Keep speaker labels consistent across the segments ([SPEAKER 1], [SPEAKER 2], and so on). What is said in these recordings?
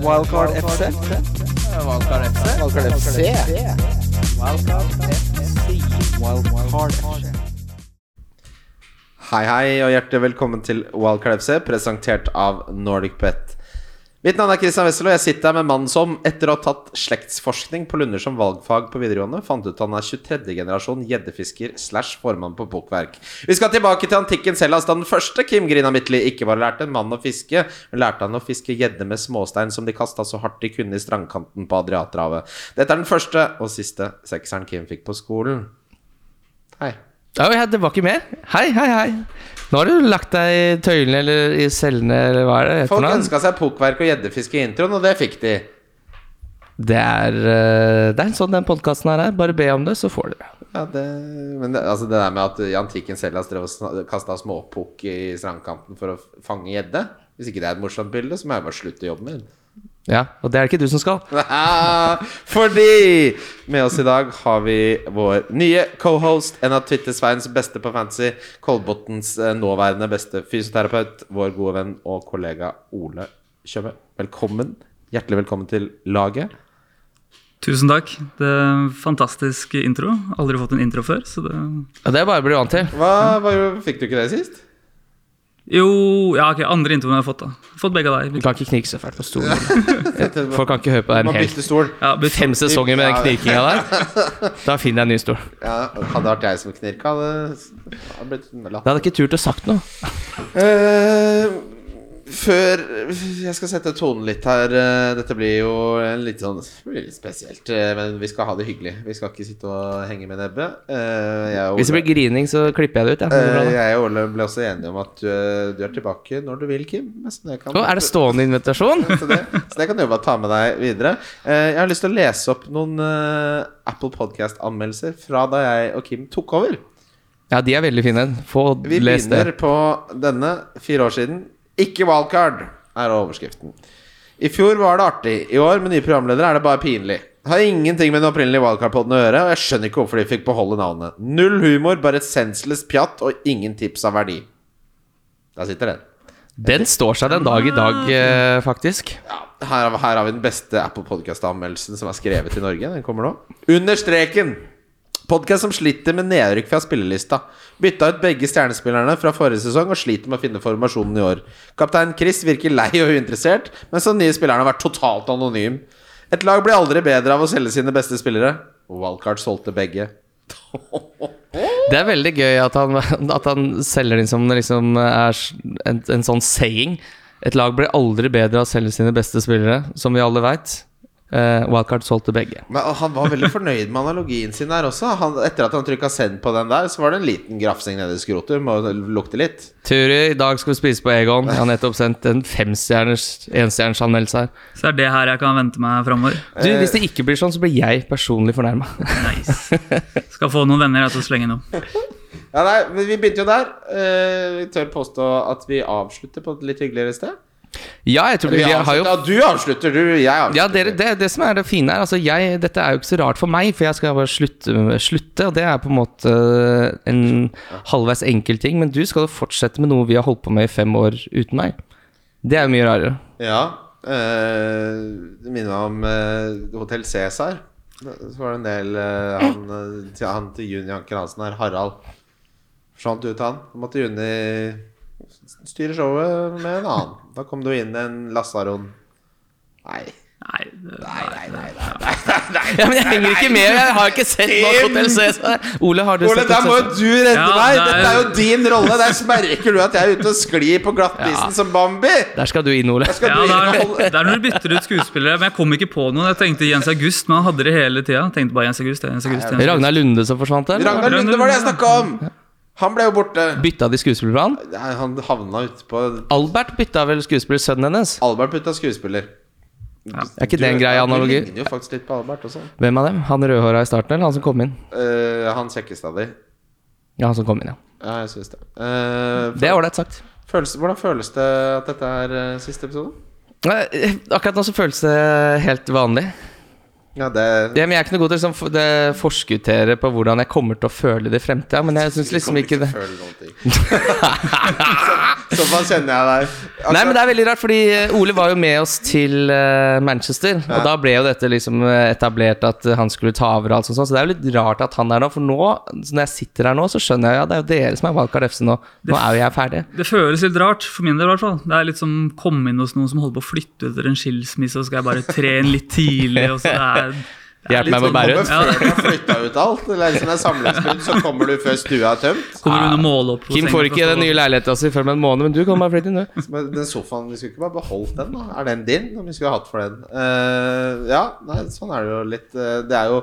[SPEAKER 1] Wildcard FC.
[SPEAKER 2] Valgkar FC.
[SPEAKER 1] Wildcard FC. Wildcard FC.
[SPEAKER 3] Hei, hei, og hjertelig velkommen til Wildcard FC, presentert av NordicBet. Mitt navn er Christian Wessel, og jeg sitter her med mannen som, etter å ha tatt slektsforskning på Lunder som valgfag på videregående, fant ut han er 23. generasjon gjeddefisker slash formann på bokverk. Vi skal tilbake til antikkens Hellas, da den første Kim Grina Midtly ikke bare lærte en mann å fiske, men lærte han å fiske gjedde med småstein som de kasta så hardt de kunne i strandkanten på Adriaterhavet. Dette er den første og siste sekseren Kim fikk på skolen. Hei.
[SPEAKER 4] Ja, ja, det var ikke mer. Hei, hei, hei. Nå har du lagt deg i tøylene eller i cellene eller hva er det? heter
[SPEAKER 3] Folk
[SPEAKER 4] nå?
[SPEAKER 3] ønska seg pukkverk og gjeddefiske i introen, og det fikk de.
[SPEAKER 4] Det er, eh, det er sånn den podkasten her er. Bare be om det, så får du det.
[SPEAKER 3] Ja, det, men det, altså det der med at i antikken Hellas drev og kasta småpukk i strandkanten for å f- fange gjedde Hvis ikke det er et morsomt bilde, så må jeg bare slutte jobben min.
[SPEAKER 4] Ja, Og det er det ikke du som skal.
[SPEAKER 3] Fordi med oss i dag har vi vår nye cohost, en av Twitter-Sveins beste på fantasy, Kolbotns eh, nåværende beste fysioterapeut, vår gode venn og kollega Ole Tjøme. Velkommen. Hjertelig velkommen til laget.
[SPEAKER 5] Tusen takk. Det er en fantastisk intro. Aldri fått en intro før, så det
[SPEAKER 4] Og det er bare å bli vant til.
[SPEAKER 3] Hva, hva gjorde- Fikk du ikke det sist?
[SPEAKER 5] Jo, ja, ok, andre introen jeg har fått, da. Fått begge av
[SPEAKER 4] Du
[SPEAKER 5] deg.
[SPEAKER 4] kan ikke knike så fælt på stolen. Folk kan ikke høre på deg
[SPEAKER 3] Må
[SPEAKER 4] en hel
[SPEAKER 3] bytte stol.
[SPEAKER 5] Ja, bytt.
[SPEAKER 4] fem sesonger med den knikinga der. Da finner jeg en ny stol.
[SPEAKER 3] Ja, hadde det vært jeg som knirka, hadde hadde blitt latt.
[SPEAKER 4] Da hadde jeg ikke turt å sagt noe.
[SPEAKER 3] Eh, før Jeg skal sette tonen litt her. eh, Dette blir jo en litt sånn det blir litt spesielt, eh, men vi skal ha det hyggelig. Vi skal ikke sitte og henge med nebbet. Eh, jeg og
[SPEAKER 4] Hvis det
[SPEAKER 3] Ole,
[SPEAKER 4] blir grining, så klipper jeg det ut. Ja. Det går
[SPEAKER 3] Eh,
[SPEAKER 4] bra, da.
[SPEAKER 3] jeg og Ole ble også enige om at eh, du er tilbake når du vil, Kim. Nesten jeg kan.
[SPEAKER 4] Å, er det stående invitasjon?
[SPEAKER 3] Så det, så det kan du bare ta med deg videre. Eh, jeg har lyst til å lese opp noen eh, Apple Podcast-anmeldelser fra da jeg og Kim tok over.
[SPEAKER 4] Ja, de er veldig fine. Få
[SPEAKER 3] Vi
[SPEAKER 4] les
[SPEAKER 3] begynner
[SPEAKER 4] det.
[SPEAKER 3] på denne fire år siden. Ikke wildcard, er overskriften. I fjor var det artig. I år, med nye programledere, er det bare pinlig. Har ingenting med den opprinnelige wildcard-poden å gjøre, og jeg skjønner ikke hvorfor de fikk beholde navnet. Null humor, bare et senseless pjatt og ingen tips av verdi. Der sitter den.
[SPEAKER 4] Den står seg den dag i dag, eh, faktisk.
[SPEAKER 3] Ja, her, har- her har vi den beste Apple Podcast-anmeldelsen som er skrevet i Norge. Den kommer nå. Under streken! Podkast som sliter med nedrykk fra spillelista. Bytta ut begge stjernespillerne fra forrige sesong og sliter med å finne formasjonen i år. Kaptein Chris virker lei og uinteressert, mens den nye spilleren har vært totalt anonym. Et lag blir aldri bedre av å selge sine beste spillere. Wildcard solgte begge.
[SPEAKER 4] Det er veldig gøy at han, at han selger den som det liksom er s- en, en sånn saying. Et lag blir aldri bedre av å selge sine beste spillere, som vi alle veit. Wildcard solgte begge.
[SPEAKER 3] Men han var veldig fornøyd med analogien sin der også. Han, etter at han trykka send på den der, så var det en liten grafsing nede i skrotum og lukte litt.
[SPEAKER 4] Turi, i dag skal vi spise på Egon. Jeg har nettopp sendt en femstjerners enstjerners anmeldelse her.
[SPEAKER 5] Så er det her jeg kan vente meg framover.
[SPEAKER 4] Du, Hvis det ikke blir sånn, så blir jeg personlig fornærma.
[SPEAKER 5] Nice. Skal få noen venner jeg, til å slenge noe.
[SPEAKER 3] Ja, nei, men Vi begynte jo der. Eh, vi tør påstå at vi avslutter på et litt hyggeligere sted.
[SPEAKER 4] Ja, jeg tror vi,
[SPEAKER 3] Vi
[SPEAKER 4] har
[SPEAKER 3] avslutter-
[SPEAKER 4] jo
[SPEAKER 3] Ja, altså, du avslutter, du. Jeg avslutter.
[SPEAKER 4] ja, dere, det, det som er det fine her altså jeg, Dette er jo ikke så rart for meg, for jeg skal bare slutte, slutte og det er på en måte eh, en halvveis enkel ting. Men du skal jo fortsette med noe vi har holdt på med i fem år uten meg. Det er jo mye rarere.
[SPEAKER 3] Ja, eh, Det minner meg om eh, Hotell Cæsar. Så var det en del eh, han, eh, til, han til Juni Anken Hansen her, Harald. Forsvant ut, han. Så måtte Juni styre showet med en annen. Da kom det jo inn en lasaron. Nei.
[SPEAKER 5] Nei, det-
[SPEAKER 4] Ja, men jeg henger ikke med, jeg har ikke sett nok Hotel Cæsar. Ole, har du
[SPEAKER 3] Ole,
[SPEAKER 4] sett
[SPEAKER 3] da må
[SPEAKER 4] Hotel
[SPEAKER 3] jo du redde
[SPEAKER 5] Ja,
[SPEAKER 3] meg!
[SPEAKER 5] det er
[SPEAKER 3] Dette er jo
[SPEAKER 5] jo-
[SPEAKER 3] din rolle! Der merker du at jeg er ute og sklir på glattisen
[SPEAKER 4] Ja.
[SPEAKER 3] som Bambi!
[SPEAKER 4] Der skal du inn, Ole.
[SPEAKER 3] Skal
[SPEAKER 5] ja,
[SPEAKER 3] du
[SPEAKER 5] det, er,
[SPEAKER 3] inneholde
[SPEAKER 5] det er når du bytter ut skuespillere. Men jeg kom ikke på noen. Jeg tenkte Jens August, men han hadde det hele tida. Tenkte bare Jens August, Jens August, Jens August.
[SPEAKER 4] Ragnar Lunde som forsvant der. eller?
[SPEAKER 3] Ragnar Lunde var det jeg snakka om! Han ble jo borte.
[SPEAKER 4] Bytta de skuespiller for han?
[SPEAKER 3] Nei, Han havna ute på
[SPEAKER 4] Albert bytta vel skuespiller sønnen hennes?
[SPEAKER 3] Albert putta skuespiller.
[SPEAKER 4] Er ikke det en grei analogi?
[SPEAKER 3] Du ligner jo faktisk litt på Albert også.
[SPEAKER 4] Hvem av dem? Han rødhåra i starten, eller han som kom inn?
[SPEAKER 3] Eh, han kjekkeste av de.
[SPEAKER 4] Ja, han som kom inn, ja.
[SPEAKER 3] Ja, jeg syns det. Eh,
[SPEAKER 4] Det er ålreit sagt.
[SPEAKER 3] føles, hvordan føles det at dette er eh, siste episode?
[SPEAKER 4] Nei, eh, Akkurat nå så føles det helt vanlig.
[SPEAKER 3] Ja, det
[SPEAKER 4] Det, men jeg er ikke noe god til å liksom, f- det- forskuttere på hvordan jeg kommer til å føle det i fremtida. Men jeg syns liksom ikke det
[SPEAKER 3] Føler noen ting. Såpass kjenner jeg deg. Akkurat-
[SPEAKER 4] Nei, men det er veldig rart, fordi eh, Ole var jo med oss til eh, Manchester. Og da ble jo dette liksom eh, etablert at eh, han skulle ta over og alt sånt. sånt, Så det er jo litt rart at han er nå, for nå, så når jeg sitter her nå, så skjønner jeg ja, det er jo dere som er valgkart FC nå. Nå er jo jeg ferdig.
[SPEAKER 5] Det føles litt rart, for min del i hvert fall. Det er litt som komme inn hos noen som holder på å flytte etter en skilsmisse, og så skal jeg bare tre inn litt tidlig, og så er det er
[SPEAKER 4] Hjelp meg med
[SPEAKER 5] litt
[SPEAKER 4] å bære
[SPEAKER 5] sånn-
[SPEAKER 3] Kommer
[SPEAKER 4] ut.
[SPEAKER 3] før du har flytta ut alt. Eller liksom det er samlingsbrudd, så kommer du før stua er tømt.
[SPEAKER 5] sånn, Kommer under målopp.
[SPEAKER 4] Ah. Kim får ikke den nye leiligheta si før om en måned, men du kan bare flytte inn, du.
[SPEAKER 3] Men den sofaen, vi skulle ikke bare beholdt den, da? Er den din? Om vi skulle hatt for den? Eh, ja, nei, sånn er det jo litt. Eh, det er jo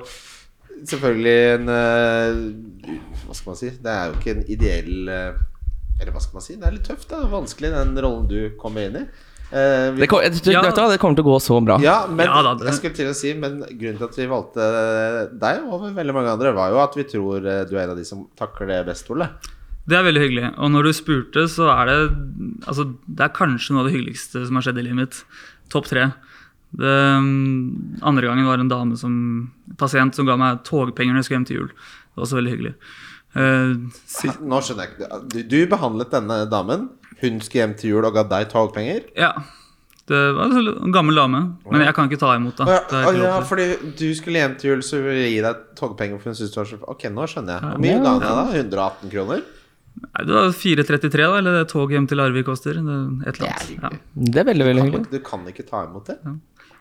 [SPEAKER 3] selvfølgelig en eh, Hva skal man si? Det er jo ikke en ideell eh, Eller hva skal man si? Det er litt tøft, da. Vanskelig, den rollen du kommer inn i. Eh, vi-
[SPEAKER 4] Det, kom, jeg, tror-
[SPEAKER 5] Ja.
[SPEAKER 4] vet du hva, det kommer til å gå så bra.
[SPEAKER 3] Ja, men
[SPEAKER 5] Ja da, det-
[SPEAKER 3] jeg skulle til å si Men grunnen til at vi valgte deg over veldig mange andre, var jo at vi tror eh, du er en av de som takler det best, Ole.
[SPEAKER 5] Det er veldig hyggelig. Og når du spurte, så er det Altså, det er kanskje noe av det hyggeligste som har skjedd i livet mitt. Topp tre. Det, um, andre gangen var det en dame som pasient som ga meg togpenger når jeg skulle hjem til jul. Det var også veldig hyggelig. Eh, si,
[SPEAKER 3] Nå skjønner jeg ikke Du, du behandlet denne damen. Hun skulle hjem til jul og ga deg togpenger.
[SPEAKER 5] ja. Det var en sånn gammel dame, men jeg kan ikke ta imot, da.
[SPEAKER 3] Å ja,
[SPEAKER 5] Det er
[SPEAKER 3] å
[SPEAKER 5] ikke
[SPEAKER 3] ja,
[SPEAKER 5] lov til.
[SPEAKER 3] fordi du skulle hjem til jul, så ville hun gi deg togpenger. For hun syntes du var så Ok, nå skjønner jeg. Hvor
[SPEAKER 4] Ja.
[SPEAKER 3] mye ga hun deg, da? 118 kroner?
[SPEAKER 5] Nei, det var 4.33, da, eller det toget hjem til Larvik koster. Det, et eller annet. Ja.
[SPEAKER 4] Det er veldig, veldig hyggelig.
[SPEAKER 3] Du kan ikke ta imot det.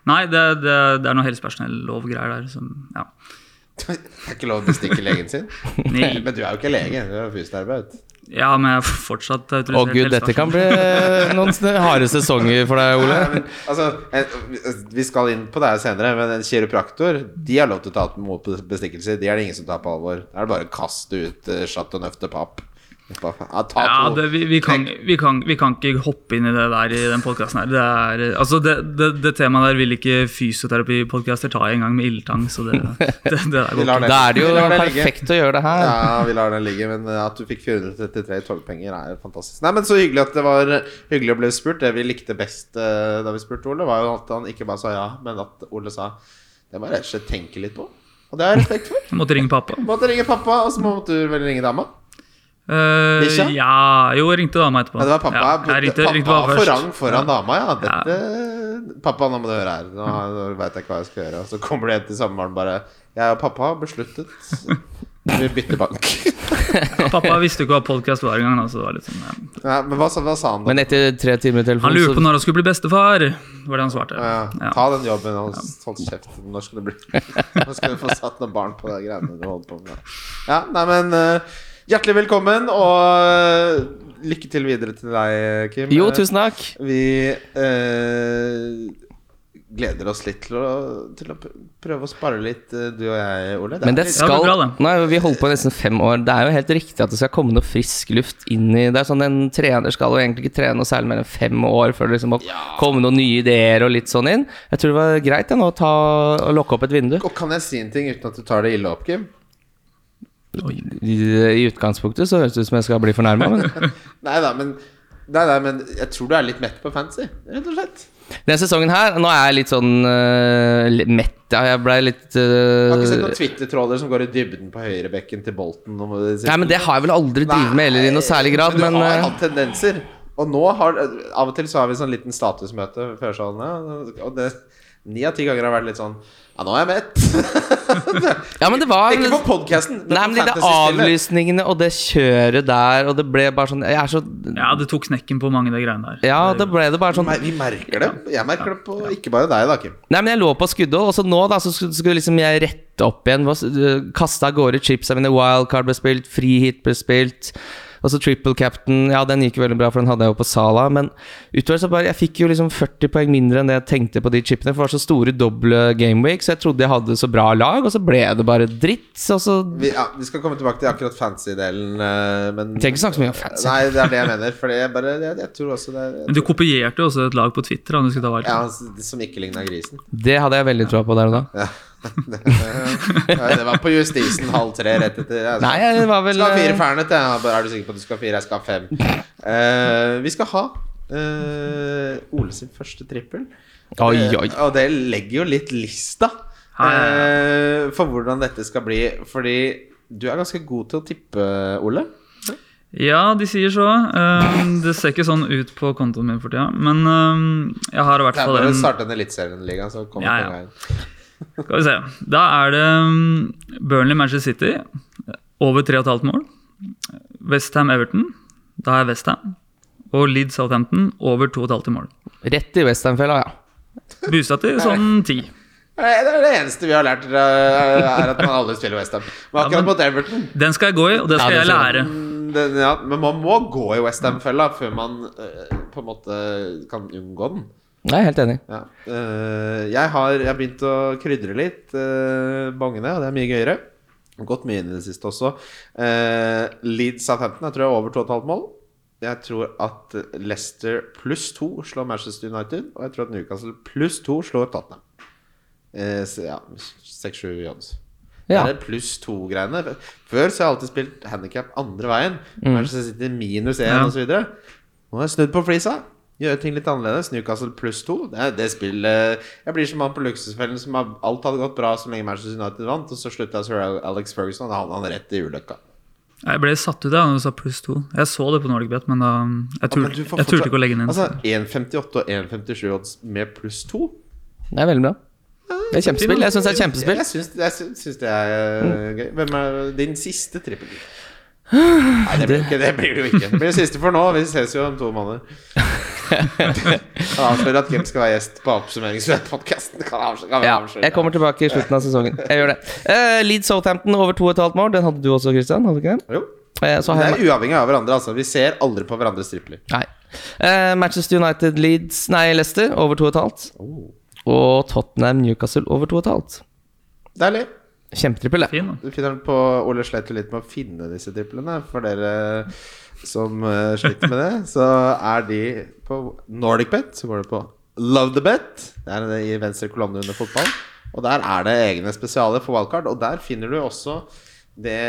[SPEAKER 5] Nei, det, det, det er noe helsepersonellovgreier der som Ja.
[SPEAKER 3] Det er ikke lov å bestikke legen sin.
[SPEAKER 5] Nei.
[SPEAKER 3] Men du er jo ikke lege, du er fysioterapeut.
[SPEAKER 5] ja, men jeg er fortsatt autorisert
[SPEAKER 4] Å gud, dette kan bli eh, noen sn- harde sesonger for deg, Ole.
[SPEAKER 3] Nei, men, altså, en, vi skal inn på det her senere, men en kiropraktor De har lov til å ta imot bestikkelser. De er det ingen som tar på alvor. Da er det bare å kaste ut uh, nøft til papp. Bare, Ja, ta
[SPEAKER 5] Ja,
[SPEAKER 3] to.
[SPEAKER 5] det, vi, vi, kan, vi, kan, vi kan ikke hoppe inn i det der i den podkasten her. Det, er, altså det, det, det temaet der vil ikke fysioterapipodkaster ta i engang med ildtang, så det, det, det der
[SPEAKER 3] Vi
[SPEAKER 5] går
[SPEAKER 3] lar
[SPEAKER 5] ikke.
[SPEAKER 3] det.
[SPEAKER 4] Da er det jo
[SPEAKER 3] Vi lar det ligge.
[SPEAKER 4] perfekt å gjøre det her.
[SPEAKER 3] Ja, vi lar den ligge, men at du fikk 433 i togpenger er fantastisk. Nei, men så hyggelig at det var hyggelig å bli spurt. Det vi likte best eh, da vi spurte Ole, var jo at han ikke bare sa ja, men at Ole sa det må jeg rett og slett tenke litt på. Og det har jeg respekt for.
[SPEAKER 5] Jeg måtte ringe pappa.
[SPEAKER 3] Måtte ringe pappa, og så måtte du vel ringe dama.
[SPEAKER 5] Eh,
[SPEAKER 3] Bikkja?
[SPEAKER 5] ja, jo, jeg ringte dama etterpå.
[SPEAKER 3] Ja, det var pappa.
[SPEAKER 5] Ja, jeg ringte, ringte
[SPEAKER 3] pappa
[SPEAKER 5] pappa
[SPEAKER 3] har
[SPEAKER 5] først.
[SPEAKER 3] forrang foran dama, ja. Dette Pappa, nå må du høre her. Nå, har- nå veit jeg ikke hva jeg skal gjøre. Og så kommer du hjem til samboeren bare Jeg og pappa har besluttet Vi bytter bank.
[SPEAKER 5] Ja, pappa visste jo ikke hva podkast var engang. da, så det var litt sånn, ja.
[SPEAKER 3] Nei, men hva, sa- hva sa han da?
[SPEAKER 4] Men etter tre timer i
[SPEAKER 5] Han lurte på
[SPEAKER 4] telefonen,
[SPEAKER 5] når han skulle bli bestefar, var det han svarte.
[SPEAKER 3] Ja,
[SPEAKER 5] Ja.
[SPEAKER 3] Ta den jobben og hold kjeft. Når skal, det bli? Nå skal du få satt noen barn på de greiene du holder på med. Ja, nei, men eh, Hjertelig velkommen, og eh, lykke til videre til deg, Kim.
[SPEAKER 4] så Jo, tusen takk.
[SPEAKER 3] Vi eh, gleder oss litt til å, til å pr- prøve å spare litt, eh, du og jeg, Ole.
[SPEAKER 4] Men det
[SPEAKER 3] litt-
[SPEAKER 5] Ja, det
[SPEAKER 4] skal
[SPEAKER 5] blir bra, det.
[SPEAKER 4] Nei, Vi holdt på i nesten fem år. Det er jo helt riktig at det skal komme noe frisk luft inn i Det er sånn En trener skal jo egentlig ikke trene noe særlig mer enn fem år før det liksom må komme noen nye ideer og litt sånn inn. Jeg tror det var greit ja, nå å ta og lukke opp et vindu.
[SPEAKER 3] Og kan jeg si en ting uten at du tar det ille opp, Kim?
[SPEAKER 4] I, I utgangspunktet så høres det ut som jeg skal bli fornærma, men
[SPEAKER 3] Nei da, men, nei, nei, men jeg tror du er litt mett på fancy, rett og slett.
[SPEAKER 4] denne sesongen her Nå er jeg litt sånn øh, litt mett. Ja, jeg blei litt øh,
[SPEAKER 3] Jeg har ikke sett noen Twitter-tråder som går i dybden på høyrebekken til Bolten. om det siste.
[SPEAKER 4] Nei, men det har jeg vel aldri drevet med heller i noe særlig grad,
[SPEAKER 3] Men
[SPEAKER 4] men
[SPEAKER 3] du har
[SPEAKER 4] øh,
[SPEAKER 3] hatt tendenser. Og nå har Av og til så har vi sånn liten statusmøte før sånn ja, Og det ni av ti ganger har vært litt sånn Ja, nå er jeg mett.
[SPEAKER 4] Ja, men det var
[SPEAKER 3] Ikke på podkasten.
[SPEAKER 4] Nei, men de der avlysningene og det kjøret der, og det ble bare sånn Jeg er så
[SPEAKER 5] ja, det tok knekken på mange, de greiene der.
[SPEAKER 4] Ja, da ble det bare sånn
[SPEAKER 3] Vi merker det. Jeg merker det på ikke bare deg, da, Kim.
[SPEAKER 4] Nei, men jeg lå på skuddet, og så nå da, så skulle, skulle liksom jeg rette opp igjen. Kasta av gårde chipsa mine. Wildcard ble spilt, frihit ble spilt. Og så triple captain. Ja, den gikk veldig bra, for den hadde jeg jo på Sala. Men utover så bare Jeg fikk jo liksom 40 poeng mindre enn det jeg tenkte på de chipene, for det var så store doble gameweek, så jeg trodde jeg hadde så bra lag, og så ble det bare dritt. Og så
[SPEAKER 3] Vi, ja, vi skal komme tilbake til akkurat fancy-delen, eh, men
[SPEAKER 4] Trenger ikke snakke så mye om fancy.
[SPEAKER 3] Nei, det er det jeg mener. For jeg bare Jeg, jeg tror også det er
[SPEAKER 5] Men du kopierte jo også et lag på Twitter. da, Om du skulle ta vare på.
[SPEAKER 3] ja, Som ikke ligna grisen.
[SPEAKER 4] Det hadde jeg veldig troa på der og da.
[SPEAKER 3] Ja. Ja, eh, det var på justisen halv tre rett etter. Jeg
[SPEAKER 4] Nei, det var vel
[SPEAKER 3] skal ha fire
[SPEAKER 4] eh,
[SPEAKER 3] fernet, jeg. Han bare, Er du sikker på at du skal ha fire? Jeg skal ha fem. Eh, vi skal ha eh, Ole sin første trippel.
[SPEAKER 4] Oi,
[SPEAKER 3] Eh,
[SPEAKER 4] oi.
[SPEAKER 3] og det legger jo litt lista
[SPEAKER 5] Ja, ja,
[SPEAKER 3] eh, for hvordan dette skal bli. Fordi du er ganske god til å tippe, Ole.
[SPEAKER 5] Ja, de sier så. Ehm, det ser ikke sånn ut på kontoen min for tida, men ehm, jeg har i hvert
[SPEAKER 3] Det er
[SPEAKER 5] fall
[SPEAKER 3] bare å
[SPEAKER 5] en
[SPEAKER 3] starte en eliteserieliga, så kommer
[SPEAKER 5] Ja,
[SPEAKER 3] ja,
[SPEAKER 5] ja.
[SPEAKER 3] ja.
[SPEAKER 5] Skal vi se. Da er det mm, Burnley Manchester City. Over 3,5 mål. Westham Everton. Da er Westham. Og Leeds Southampton over 2,5 til mål.
[SPEAKER 4] Rett i Westernfella, ja.
[SPEAKER 5] Boostad til sånn 10.
[SPEAKER 3] Eh, Det er det eneste vi har lært, eh, er at man aldri spiller Westham. Men
[SPEAKER 5] Ja,
[SPEAKER 3] akkurat
[SPEAKER 5] men-
[SPEAKER 3] mot Everton
[SPEAKER 5] Den skal jeg gå i, og det skal
[SPEAKER 4] Ja, det
[SPEAKER 5] jeg
[SPEAKER 4] skal
[SPEAKER 5] lære.
[SPEAKER 3] mm, den, ja, Men man må gå i Westham-fella før man eh, på en måte kan unngå den.
[SPEAKER 4] Jeg er helt enig.
[SPEAKER 3] Ja. Eh, jeg, har, jeg har begynt å krydre litt eh, bongene, og det er mye gøyere. Gått mye inn i det siste også. Eh, Leeds Southampton jeg tror jeg er over 2,5 mål. Jeg tror at Leicester pluss 2 slår Manchester United, og jeg tror at Newcastle pluss 2 slår Tottenham. Eh, så ja, 6-7 odds.
[SPEAKER 4] Ja.
[SPEAKER 3] Det er pluss 2-greiene. Før så har jeg alltid spilt handikap andre veien. Manchester City minus 1
[SPEAKER 5] Ja.
[SPEAKER 3] og så videre nå har jeg snudd på flisa. Gjøre ting litt annerledes. Newcastle pluss to. Det, er det spillet Jeg blir som han på Luksusfellen som har, alt hadde gått bra så lenge Manchester United vant, og så slutta sir Alex Ferguson, og da havna han rett i ulykka.
[SPEAKER 5] Jeg ble satt ut da du sa pluss 2. Jeg så det på NordicBet, men da, ehm, jeg
[SPEAKER 3] Men
[SPEAKER 5] turte
[SPEAKER 3] du får
[SPEAKER 5] jeg turte
[SPEAKER 3] fortsatt-
[SPEAKER 5] ikke å legge den inn.
[SPEAKER 3] Altså 1,58 og 1,57 odds med pluss to.
[SPEAKER 4] Det er veldig bra. Det er kjempespill. Jeg syns det er kjempespill. Mm.
[SPEAKER 3] Jeg syns, jeg syns- syns det er øh, gøy. Hvem er din siste trippel? Nei, det blir, ikke, det blir det jo ikke. Det blir det siste for nå. Vi ses jo om to måneder. Kan avsløre at Kim skal være gjest på oppsummeringspodkasten. Kan avsløre, kan
[SPEAKER 4] Ja,
[SPEAKER 3] avsløre.
[SPEAKER 4] jeg kommer tilbake i slutten av sesongen. Jeg gjør det. Uh, Leeds Southampton over 2,5 mål. Den hadde du også, Christian? Hadde du ikke det?
[SPEAKER 3] Jo.
[SPEAKER 4] Eh, så
[SPEAKER 3] Det
[SPEAKER 4] har jeg
[SPEAKER 3] er uavhengig av hverandre, altså. Vi ser aldri på hverandres tripler.
[SPEAKER 4] Nei. Eh, Manchester United Leeds Nei, Leicester over 2,5.
[SPEAKER 3] Oh.
[SPEAKER 4] Og Tottenham Newcastle over 2,5.
[SPEAKER 3] Deilig.
[SPEAKER 4] Kjempetrippel, det.
[SPEAKER 5] Fin, da.
[SPEAKER 3] Du finner den på Ole sleit jo litt med å finne disse triplene. For dere som eh, sliter med det, så er de på NordicBet. Så går det på Love the Bet. Det er det i venstre kolonne under fotball. Og der er det egne spesialer for wildcard. Og der finner du også det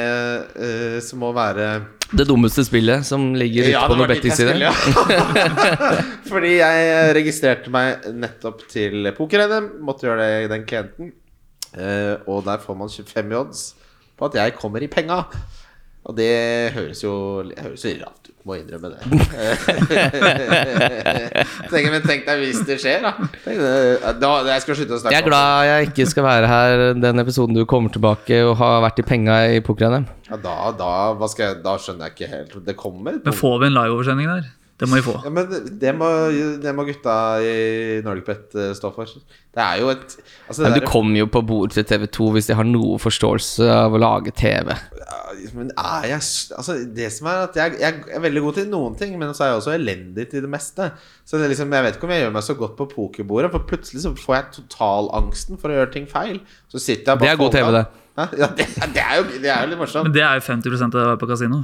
[SPEAKER 3] eh, som må være
[SPEAKER 4] Det dummeste spillet som ligger ute på
[SPEAKER 3] det
[SPEAKER 4] noen
[SPEAKER 3] var
[SPEAKER 4] bettingsider.
[SPEAKER 3] dit jeg skulle, ja. Fordi jeg eh, registrerte meg nettopp til poker-NM. Måtte gjøre det i den klienten. Eh, og der får man 25 i odds på at jeg kommer i penga. Og det høres jo Det høres jo rart ut, må innrømme det. tenk, men tenk deg hvis det skjer, da. Tenk, det- da jeg skal slutte å snakke
[SPEAKER 4] Jeg er glad jeg ikke skal være her den episoden du kommer tilbake og har vært i penga i
[SPEAKER 3] om
[SPEAKER 4] poker-NM.
[SPEAKER 3] det. Ja, da, da, hva skal jeg, da skjønner jeg ikke helt Det kommer et
[SPEAKER 5] Men får vi en liveoversending der? Det må vi få.
[SPEAKER 3] Ja, men det må, det må gutta i Nordicbet eh, stå for. Det er jo et altså det
[SPEAKER 4] Men du
[SPEAKER 3] der-
[SPEAKER 4] kommer jo på bord til TV2 hvis de har noe forståelse av å lage TV.
[SPEAKER 3] Ja, eh, Men er jeg s- Altså, det som er at jeg, jeg er veldig god til noen ting, men så er jeg også elendig til det meste. Så det er liksom, jeg vet ikke om jeg gjør meg så godt på pokerbordet, for plutselig så får jeg totalangsten for å gjøre ting feil. Så sitter jeg
[SPEAKER 4] Det er god TV, det.
[SPEAKER 3] Hæ? Ja, det, det, er jo, det er jo litt
[SPEAKER 5] Men
[SPEAKER 3] morsomt.
[SPEAKER 5] det er jo 50 av å være på kasino.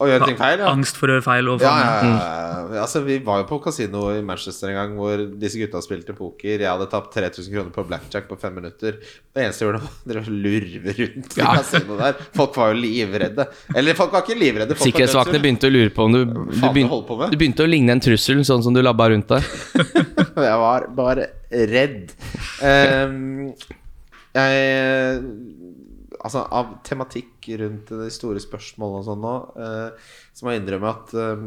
[SPEAKER 3] Å gjøre ting feil, ja.
[SPEAKER 5] Angst for å gjøre feil. Og
[SPEAKER 3] Ja,
[SPEAKER 5] faen,
[SPEAKER 3] ja, ja, ja. Altså, vi var jo på kasino i Manchester en gang hvor disse gutta spilte poker. Jeg hadde tapt 3000 kroner på blackjack på fem minutter. Det eneste jeg gjorde, var å drive og lurve rundt i kasinoet der. Folk var jo livredde. Eller folk var ikke livredde. Folk var
[SPEAKER 4] Sikkerhetsvaktene begynte å lure på om du, du,
[SPEAKER 3] faen du holder på
[SPEAKER 4] begynte,
[SPEAKER 3] med?
[SPEAKER 4] du begynte å ligne en trussel, sånn som du labba rundt der.
[SPEAKER 3] dødsur. Jeg var bare redd. Ehm, jeg Altså, av tematikk rundt de store spørsmålene og sånn nå, eh, så må jeg innrømme at eh,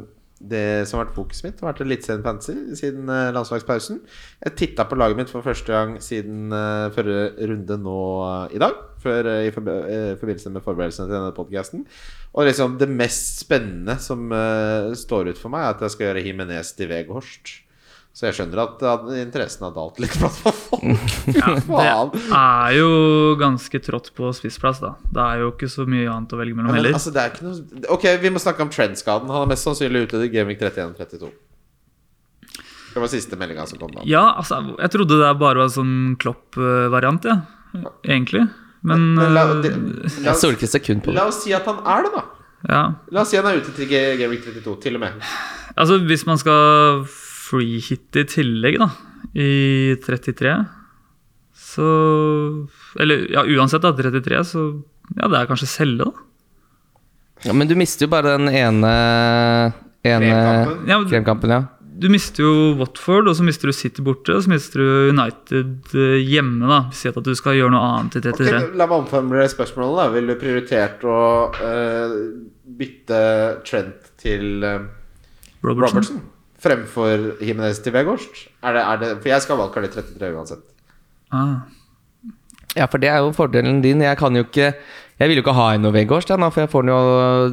[SPEAKER 3] det som har vært fokuset mitt, har vært Eliteserien Fantasy siden eh, landslagspausen. Jeg titta på laget mitt for første gang siden eh, forrige runde nå eh, i dag. Før, eh, I forbe eh, forbindelse med forberedelsene til denne podkasten. Og liksom det mest spennende som eh, står ut for meg, er at jeg skal gjøre Himinez til Veghorst. Så jeg skjønner at eh, interessen har dalt litt blant folk. Faen.
[SPEAKER 5] Det er jo ganske trått på spissplass, da. Det er jo ikke så mye annet å velge mellom
[SPEAKER 3] Ja, men
[SPEAKER 5] heller.
[SPEAKER 3] altså, det er ikke noe Ok, vi må snakke om trendskaden. Han er mest sannsynlig ute i Gaming 31-32. Det var siste meldinga som kom. da
[SPEAKER 5] Ja, altså, jeg trodde det bare var sånn Klopp-variant, ja. egentlig. Men,
[SPEAKER 3] Men la,
[SPEAKER 5] eh,
[SPEAKER 3] de, la,
[SPEAKER 4] Jeg stoler ikke et sekund på det.
[SPEAKER 3] la oss si at han er det, da.
[SPEAKER 5] ja.
[SPEAKER 3] La oss si han er ute til G- Gaming 32, til og med.
[SPEAKER 5] Altså, hvis man skal freehitte i tillegg, da, i 33, så Eller ja, uansett, da, 33, så ja, det er kanskje selge, da.
[SPEAKER 4] Ja, men du mister jo bare den ene, ene
[SPEAKER 3] Kremkampen.
[SPEAKER 5] Ja, men
[SPEAKER 4] kremkampen, ja.
[SPEAKER 5] du mister jo Watford, og så mister du City borte, og så mister du United eh, hjemme, da. Si at du skal gjøre noe annet i 33.
[SPEAKER 3] Ok, la meg omformule spørsmålet. da Ville du prioritert å eh, bytte Trent til eh,
[SPEAKER 5] Robertson.
[SPEAKER 3] Robertson fremfor Jimenez til Vegårst? Er det, er det, for jeg skal ha valgkart i 33 uansett.
[SPEAKER 5] Ah.
[SPEAKER 4] Ja, for det er jo fordelen din. Jeg kan jo ikke Jeg vil jo ikke ha en Ovegårs, da, nå, for jeg får den jo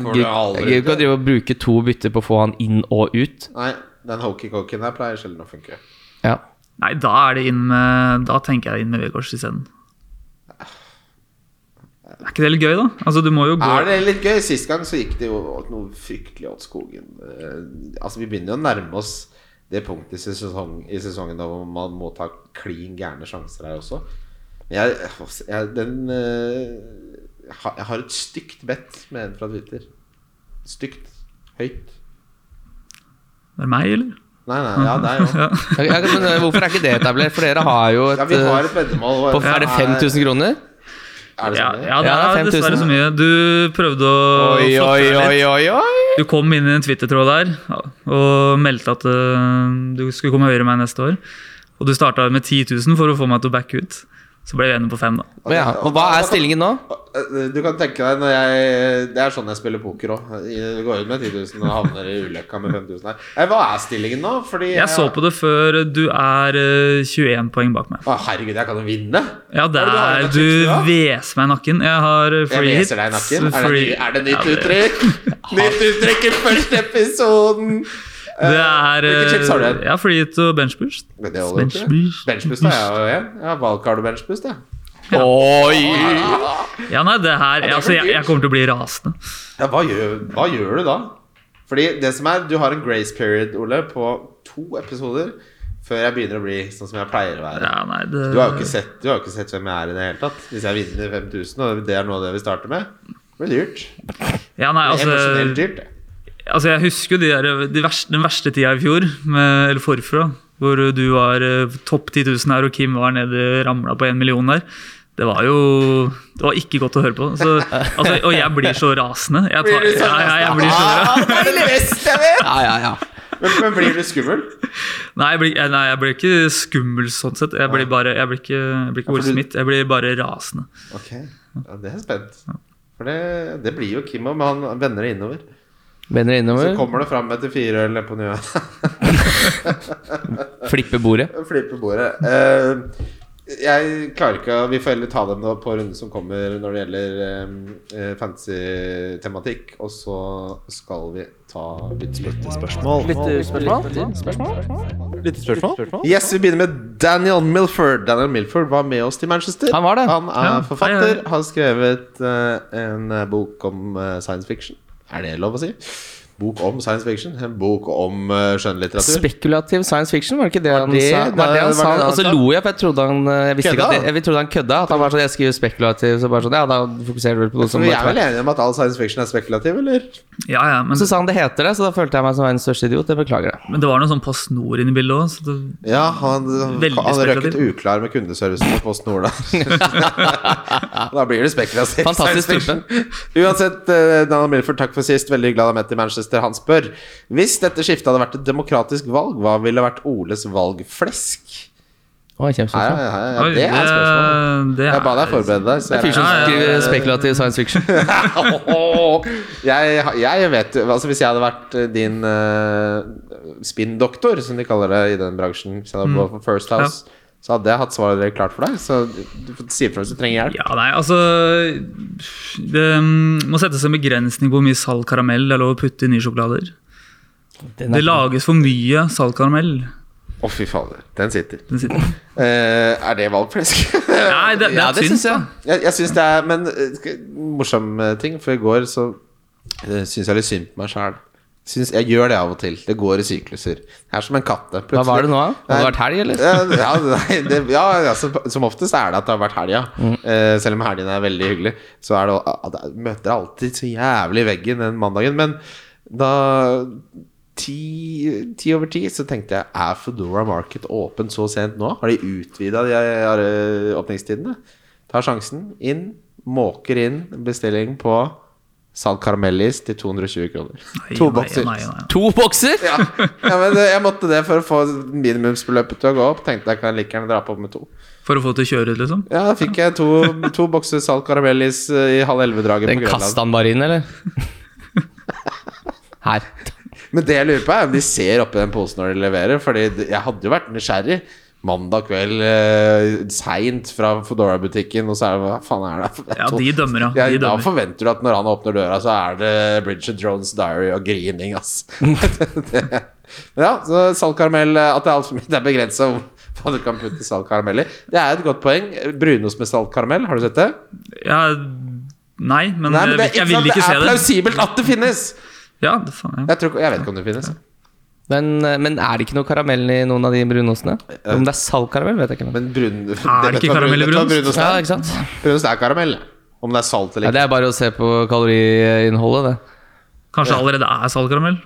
[SPEAKER 3] Får du aldri
[SPEAKER 4] Jeg gidder ikke
[SPEAKER 3] ut,
[SPEAKER 4] å drive og bruke to bytter på å få han inn og ut.
[SPEAKER 3] Nei, den hokey-koken her pleier sjelden å funke.
[SPEAKER 4] Ja.
[SPEAKER 5] Nei, da er det inn med Da tenker jeg inn med Vegårs isteden. Er ikke det litt gøy, da? Altså, du må jo gå
[SPEAKER 3] Er det litt gøy? Sist gang så gikk det jo noe fryktelig åt skogen. Eh, altså, vi begynner jo å nærme oss det punktet i, sesong, i sesongen da hvor man må ta klin gærne sjanser her også. Men jeg, jeg, den, eh, jeg har- jeg har et stygt bet med en fra Twitter. Stygt. Høyt.
[SPEAKER 5] Er det meg, eller?
[SPEAKER 3] Nei, nei, ja, det er jo
[SPEAKER 4] Ja, men eh, hvorfor er ikke det etablert? For dere har jo et
[SPEAKER 3] ja, Vi har et
[SPEAKER 4] eh,
[SPEAKER 3] veddemål. og-
[SPEAKER 4] på, Er det 5000 kroner?
[SPEAKER 3] Er det
[SPEAKER 5] Ja,
[SPEAKER 3] sånn? det er?
[SPEAKER 5] ja, det
[SPEAKER 4] Ja,
[SPEAKER 5] er
[SPEAKER 4] 5000.
[SPEAKER 5] dessverre så mye. Du prøvde å
[SPEAKER 4] Oi,
[SPEAKER 5] flotte
[SPEAKER 4] oi,
[SPEAKER 5] deg litt.
[SPEAKER 4] oi, oi, oi!
[SPEAKER 5] Du kom inn i en Twitter-tråd der og meldte at øh, du skulle komme høyere enn meg neste år. Og du starta med 10 000 for å få meg til å backe ut. Så ble vi enige på fem, da.
[SPEAKER 4] Og, ja, og hva er stillingen nå?
[SPEAKER 3] Eh, Du kan tenke deg når jeg Det er sånn jeg spiller poker òg. Du går ut med 10 000 og havner i ulykka med 5000 her. Eh, Hva er stillingen nå? Fordi
[SPEAKER 5] Jeg så på det før. Du er øh, 21 poeng bak meg.
[SPEAKER 3] Å, herregud, jeg kan jo vinne!
[SPEAKER 5] Ja, det
[SPEAKER 3] Hva er
[SPEAKER 5] er
[SPEAKER 3] det du
[SPEAKER 5] Du
[SPEAKER 3] har i nakken,
[SPEAKER 5] hveser meg i nakken. Jeg har øh,
[SPEAKER 3] Jeg
[SPEAKER 5] free hits.
[SPEAKER 3] leser deg i nakken. Er det, ny,
[SPEAKER 5] free-
[SPEAKER 3] er det nytt
[SPEAKER 5] Ja, det-
[SPEAKER 3] uttrykk? Nytt uttrykk i første episoden! Eh,
[SPEAKER 5] Det er
[SPEAKER 3] Hvilke chips har du igjen?
[SPEAKER 5] øh, Ja, free hit og bench boost.
[SPEAKER 3] Men det holder ikke.
[SPEAKER 5] Benchboost.
[SPEAKER 3] Benchboost har jeg jo igjen. Jeg har valgkart og benchboost, jeg.
[SPEAKER 4] Oi!
[SPEAKER 5] Ja, nei, det her
[SPEAKER 3] det er
[SPEAKER 5] altså,
[SPEAKER 3] for
[SPEAKER 5] jeg,
[SPEAKER 3] dyrt.
[SPEAKER 5] jeg kommer til å bli rasende.
[SPEAKER 3] Ja, hva gjør, hva gjør du da? Fordi det som er, du har en grace period, Ole, på to episoder før jeg begynner å bli sånn som jeg pleier å være.
[SPEAKER 5] Ja, nei, det,
[SPEAKER 3] Du har jo ikke sett, du har jo ikke sett hvem jeg er i det hele tatt. Hvis jeg vinner 5000, og det er noe av det vi starter med, det blir dyrt.
[SPEAKER 5] ja, nei, altså,
[SPEAKER 3] Emosjonelt dyrt. det.
[SPEAKER 5] Altså, jeg husker jo de der, de verste, den verste tida i fjor, med, eller forfra, hvor du var eh, topp 10 000 her, og Kim var nede ramla på 1 million der. Det var jo Det var ikke godt å høre på. Så, altså, og jeg blir så rasende. Jeg tar,
[SPEAKER 3] Blir du så
[SPEAKER 5] ja, ja, jeg blir så rasende.
[SPEAKER 3] Ah, det er det beste jeg vet!
[SPEAKER 4] Ja, ja, ja.
[SPEAKER 3] Men, men blir du skummel?
[SPEAKER 5] Nei, jeg blir, nei, jeg blir ikke skummel sånn sett. Jeg blir, bare, jeg blir ikke, jeg blir ikke Will
[SPEAKER 3] for du-
[SPEAKER 5] Smith. Jeg blir bare rasende.
[SPEAKER 3] Ok, ja, det er jeg spent. For det, det blir jo Kim òg, men han vender det innover.
[SPEAKER 4] Vender
[SPEAKER 3] Så
[SPEAKER 4] innover,
[SPEAKER 3] kommer det fram etter fire øl på nye
[SPEAKER 4] flipper bordet.
[SPEAKER 3] Flippe bordet. Eh, jeg klarer ikke å- Vi får heller ta dem da på runden som kommer når det gjelder fancy tematikk. Og så skal vi ta lyttespørsmål. Yes, vi begynner med Daniel Milford. Daniel Milford var med oss til Manchester.
[SPEAKER 4] Han var det.
[SPEAKER 3] Han er
[SPEAKER 5] Ja. Hei,
[SPEAKER 3] forfatter.
[SPEAKER 5] hei.
[SPEAKER 3] Har skrevet eh, en eh, bok om eh, science fiction. Er det lov å si? Bok om science fiction? En bok om eh, skjønnlitteratur?
[SPEAKER 4] Spekulativ science fiction, var det ikke det han
[SPEAKER 3] det-
[SPEAKER 4] sa? Var det han
[SPEAKER 3] det var
[SPEAKER 4] sa?
[SPEAKER 3] det han
[SPEAKER 4] Og så
[SPEAKER 3] sa.
[SPEAKER 4] lo jeg, for jeg trodde han eh, Jeg visste ikke
[SPEAKER 3] Kødda
[SPEAKER 4] at jeg, jeg trodde han kødda. At han var sånn Jeg skriver spekulativ, så bare sånn Ja, da fokuserer du vel på noe
[SPEAKER 3] Så
[SPEAKER 4] Sånn som
[SPEAKER 3] vi er vel
[SPEAKER 4] bare
[SPEAKER 3] enige om at all science fiction er spekulativ, eller?
[SPEAKER 5] Ja, ja, men,
[SPEAKER 4] så sa han det heter det, så da følte jeg meg som verdens største idiot. Jeg beklager det.
[SPEAKER 5] men det var noe sånn Post Nord inne i bildet òg, så det,
[SPEAKER 3] Ja, han,
[SPEAKER 5] Veldig
[SPEAKER 3] han røkket
[SPEAKER 5] spekulativ.
[SPEAKER 3] uklar med kundeservicen på Post Nord der. da blir det spekulativt.
[SPEAKER 4] Fantastisk
[SPEAKER 3] science fiction. Uansett, eh, Daniel Milford, takk for sist. Veldig glad han er med til Manchester. Han spør Hvis dette skiftet hadde vært et demokratisk valg, hva ville vært Oles valgflesk?
[SPEAKER 4] Å, jeg
[SPEAKER 3] Ja,
[SPEAKER 4] kjempestor.
[SPEAKER 3] ja, ja, ja,
[SPEAKER 5] Oi,
[SPEAKER 3] det er spørsmålet. Jeg ba deg forberede deg. Så
[SPEAKER 4] Det er fyr som
[SPEAKER 5] Ja, ja, ja, ja.
[SPEAKER 4] skriver spekulativ science fiction.
[SPEAKER 3] jeg, jeg vet jo altså Hvis jeg hadde vært eh, din uh, spinndoktor, som de kaller det i den bransjen, hvis jeg hadde vært på First House, så hadde jeg hatt svaret klart for deg. Så du får si ifra hvis du trenger hjelp.
[SPEAKER 5] Ja, nei, altså Det mm, må settes en begrensning på hvor mye saltkaramell det er lov å putte i nye sjokolader.
[SPEAKER 4] Den
[SPEAKER 5] Det
[SPEAKER 4] er-
[SPEAKER 5] lages for mye saltkaramell.
[SPEAKER 3] Å, fy fader. Den sitter.
[SPEAKER 5] Den sitter.
[SPEAKER 3] Eh, er det valgflesk?
[SPEAKER 5] Nei, det, det
[SPEAKER 4] Ja,
[SPEAKER 5] er
[SPEAKER 4] det
[SPEAKER 5] tynt.
[SPEAKER 4] syns jeg.
[SPEAKER 5] da.
[SPEAKER 3] jeg jeg syns det er Men eh, sk- morsom eh, ting, for i går så uh, syns jeg litt synd på meg sjæl. Syns- Jeg gjør det av og til. Det går i sykluser. Jeg er som en katt. det.
[SPEAKER 4] Hva var det nå, da? Hadde det
[SPEAKER 3] Nei.
[SPEAKER 4] vært helg, eller?
[SPEAKER 3] ja, ja, nei, det, ja ja, som, som oftest er det at det har vært helg, ja.
[SPEAKER 4] Mm.
[SPEAKER 3] Eh, selv om helgen er veldig hyggelig, så er det, al- det møter alltid så jævlig veggen den mandagen. Men da ti, ti over ti så tenkte jeg Er Foodora Market åpen så sent nå? Har de utvida de her, eh, åpningstidene? Tar sjansen. Inn. Måker inn bestilling på salt karamellis til 220 kroner.
[SPEAKER 5] Nei,
[SPEAKER 3] to
[SPEAKER 5] nei,
[SPEAKER 3] bokser.
[SPEAKER 5] nei, nei.
[SPEAKER 4] To bokser?
[SPEAKER 3] Ja. ja, men det- jeg måtte det for å få minimumsbeløpet til å gå opp. Tenkte jeg kan like gjerne dra på med to.
[SPEAKER 5] For å få det til å kjøre ut, liksom.
[SPEAKER 3] Ja, da fikk jeg to, to bokser salt karamellis eh, i halv elleve-draget på
[SPEAKER 4] Den
[SPEAKER 3] Grønland.
[SPEAKER 4] kasta han bare inn, eller? her.
[SPEAKER 3] Men det jeg lurer på, er om de ser oppi den posen når de leverer. Fordi det- jeg hadde jo vært nysgjerrig. Mandag kveld, eh, seint fra Foodora-butikken, og så er det hva faen er det?
[SPEAKER 5] Ja, de dømmer, ja.
[SPEAKER 3] Ja,
[SPEAKER 5] De
[SPEAKER 3] da
[SPEAKER 5] dømmer.
[SPEAKER 3] forventer du at når han åpner døra, så er det Bridget Jones' Diary og grining, ass. det, ja, så saltkaramell eh, At det er alt for mye. Det er begrensa hva du kan putte saltkaramell i. Det er et godt poeng. Brunost med saltkaramell, har du sett det?
[SPEAKER 5] Ja, nei, men,
[SPEAKER 3] Nei, men det, er,
[SPEAKER 5] Mm, jeg, jeg vil
[SPEAKER 3] ikke sant, det
[SPEAKER 5] ikke
[SPEAKER 3] er
[SPEAKER 5] se det.
[SPEAKER 3] plausibelt at det finnes!
[SPEAKER 5] Ja, det faen, ja.
[SPEAKER 3] Jeg, tror, jeg vet ikke om det finnes.
[SPEAKER 4] Men, eh, men er det ikke noe karamell i noen av de brunostene? Om det er saltkaramell, vet jeg ikke. Men.
[SPEAKER 3] Men brun...
[SPEAKER 5] Er det ikke karamell i brunost?
[SPEAKER 4] Ja, ikke sant?
[SPEAKER 3] Brunost er karamell. Om det er salt
[SPEAKER 4] Ja,
[SPEAKER 3] eller
[SPEAKER 4] det
[SPEAKER 3] ikke.
[SPEAKER 4] er bare å se på kaloriinnholdet, det.
[SPEAKER 5] Kanskje det allerede er saltkaramell?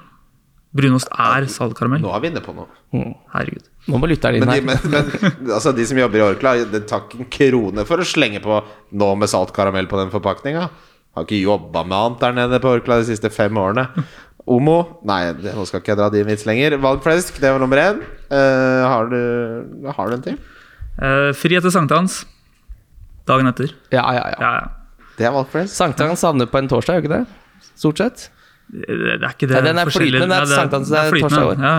[SPEAKER 5] Brunost er saltkaramell?
[SPEAKER 3] Nå er vi inne på noe.
[SPEAKER 5] Herregud.
[SPEAKER 4] Nå må lytteren inn
[SPEAKER 3] Men de,
[SPEAKER 4] her.
[SPEAKER 3] men, men, altså, de som jobber i Orkla, det tar ikke en krone for å slenge på nå med salt karamell på den forpakninga. Har ikke jobba med annet der nede på Orkla de siste fem årene. Omo Nei, det, nå skal ikke jeg dra din vits lenger. Valgflesk, det var nummer én. Eh, har, du, har du en til?
[SPEAKER 5] Eh, fri etter sankthans. Dagen etter.
[SPEAKER 4] Ja, ja, ja.
[SPEAKER 5] Ja, ja.
[SPEAKER 3] Det er valgflesk.
[SPEAKER 4] Sankthans havner på en torsdag, gjør ikke det? Stort sett.
[SPEAKER 5] Det er ikke det
[SPEAKER 4] Nei, den er
[SPEAKER 5] forskjellig-
[SPEAKER 4] flytende, den er
[SPEAKER 5] Nei,
[SPEAKER 4] sankthans, det er
[SPEAKER 5] flytende,
[SPEAKER 4] torsdag år.
[SPEAKER 5] Ja.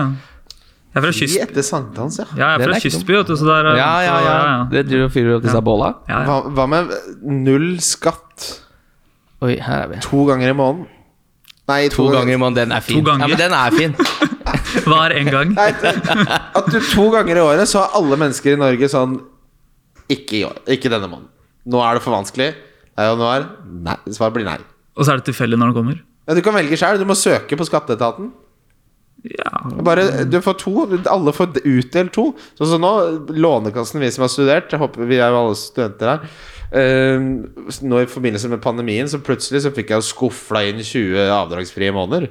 [SPEAKER 5] Jeg er fra
[SPEAKER 3] I
[SPEAKER 5] kyst...
[SPEAKER 3] etter sankthans, ja.
[SPEAKER 5] Ja, jeg
[SPEAKER 4] Den er
[SPEAKER 5] er fra
[SPEAKER 4] ikke
[SPEAKER 5] kystby, vet du, så der
[SPEAKER 4] Ja,
[SPEAKER 5] er-
[SPEAKER 4] ja,
[SPEAKER 5] så-
[SPEAKER 4] ja.
[SPEAKER 5] ja.
[SPEAKER 4] Det driver og fyrer opp disse båla.
[SPEAKER 5] Ja, ja.
[SPEAKER 3] Hva, hva med null skatt
[SPEAKER 4] Oi, her er vi.
[SPEAKER 3] to ganger i måneden? Nei,
[SPEAKER 4] To ganger i måneden. Den er fin.
[SPEAKER 5] To
[SPEAKER 4] Ja,
[SPEAKER 5] ganger.
[SPEAKER 4] men den er fin.
[SPEAKER 5] Hver en gang.
[SPEAKER 3] Nei, at du to ganger i året så har alle mennesker i Norge sånn Ikke i år. Ikke denne måneden. Nå er det for vanskelig. Det er januar. Nei. Svaret blir nei.
[SPEAKER 5] Og så er det tilfeldig når den kommer.
[SPEAKER 3] Men du kan velge sjøl. Du må søke på skatteetaten.
[SPEAKER 5] Ja.
[SPEAKER 3] Bare, du får to. Alle får utdelt to. Sånn som nå, Lånekassen, vi som har studert jeg håper Vi er jo alle studenter her. eh, nå i forbindelse med pandemien, så plutselig så fikk jeg jo skufla inn 20 avdragsfrie måneder.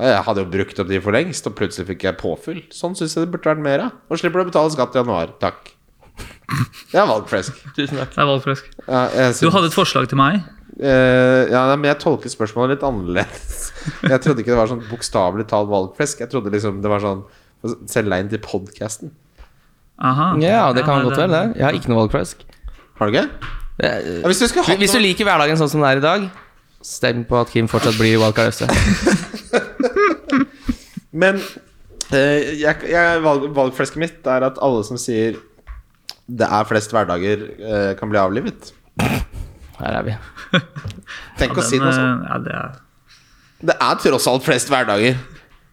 [SPEAKER 3] Jeg hadde jo brukt opp de for lengst, og plutselig fikk jeg påfyll. Sånn syns jeg det burde vært mer av. Og slipper du å betale skatt i januar. Takk. Jeg har valgt fresk.
[SPEAKER 4] Tusen takk.
[SPEAKER 5] Det er valgflesk.
[SPEAKER 3] Ja, jeg
[SPEAKER 5] Du
[SPEAKER 3] synes-
[SPEAKER 5] hadde et forslag til meg.
[SPEAKER 3] Eh, ja, nei, men jeg tolket spørsmålet litt annerledes. Jeg trodde ikke det var sånn bokstavelig talt valgflesk. Jeg trodde liksom det var sånn Selg deg inn til podkasten.
[SPEAKER 5] Aha.
[SPEAKER 4] Ja, det kan
[SPEAKER 5] nei,
[SPEAKER 4] godt være det. Jeg har ikke noe valgflesk.
[SPEAKER 3] Har du ikke?
[SPEAKER 4] Det-
[SPEAKER 3] Ja, hvis du skulle hatt
[SPEAKER 4] Hvis du
[SPEAKER 3] noe-
[SPEAKER 4] liker hverdagen sånn som den er i dag, stem på at Kim fortsatt blir Wildcard FC.
[SPEAKER 3] Men eh, jeg, jeg, valg, valgflesket mitt er at alle som sier det er flest hverdager, eh, kan bli avlivet.
[SPEAKER 4] Her er vi.
[SPEAKER 3] Tenk
[SPEAKER 5] Ja,
[SPEAKER 3] å si
[SPEAKER 5] den,
[SPEAKER 3] noe sånt.
[SPEAKER 5] eh, Ja, det er
[SPEAKER 3] Det er tross alt flest hverdager.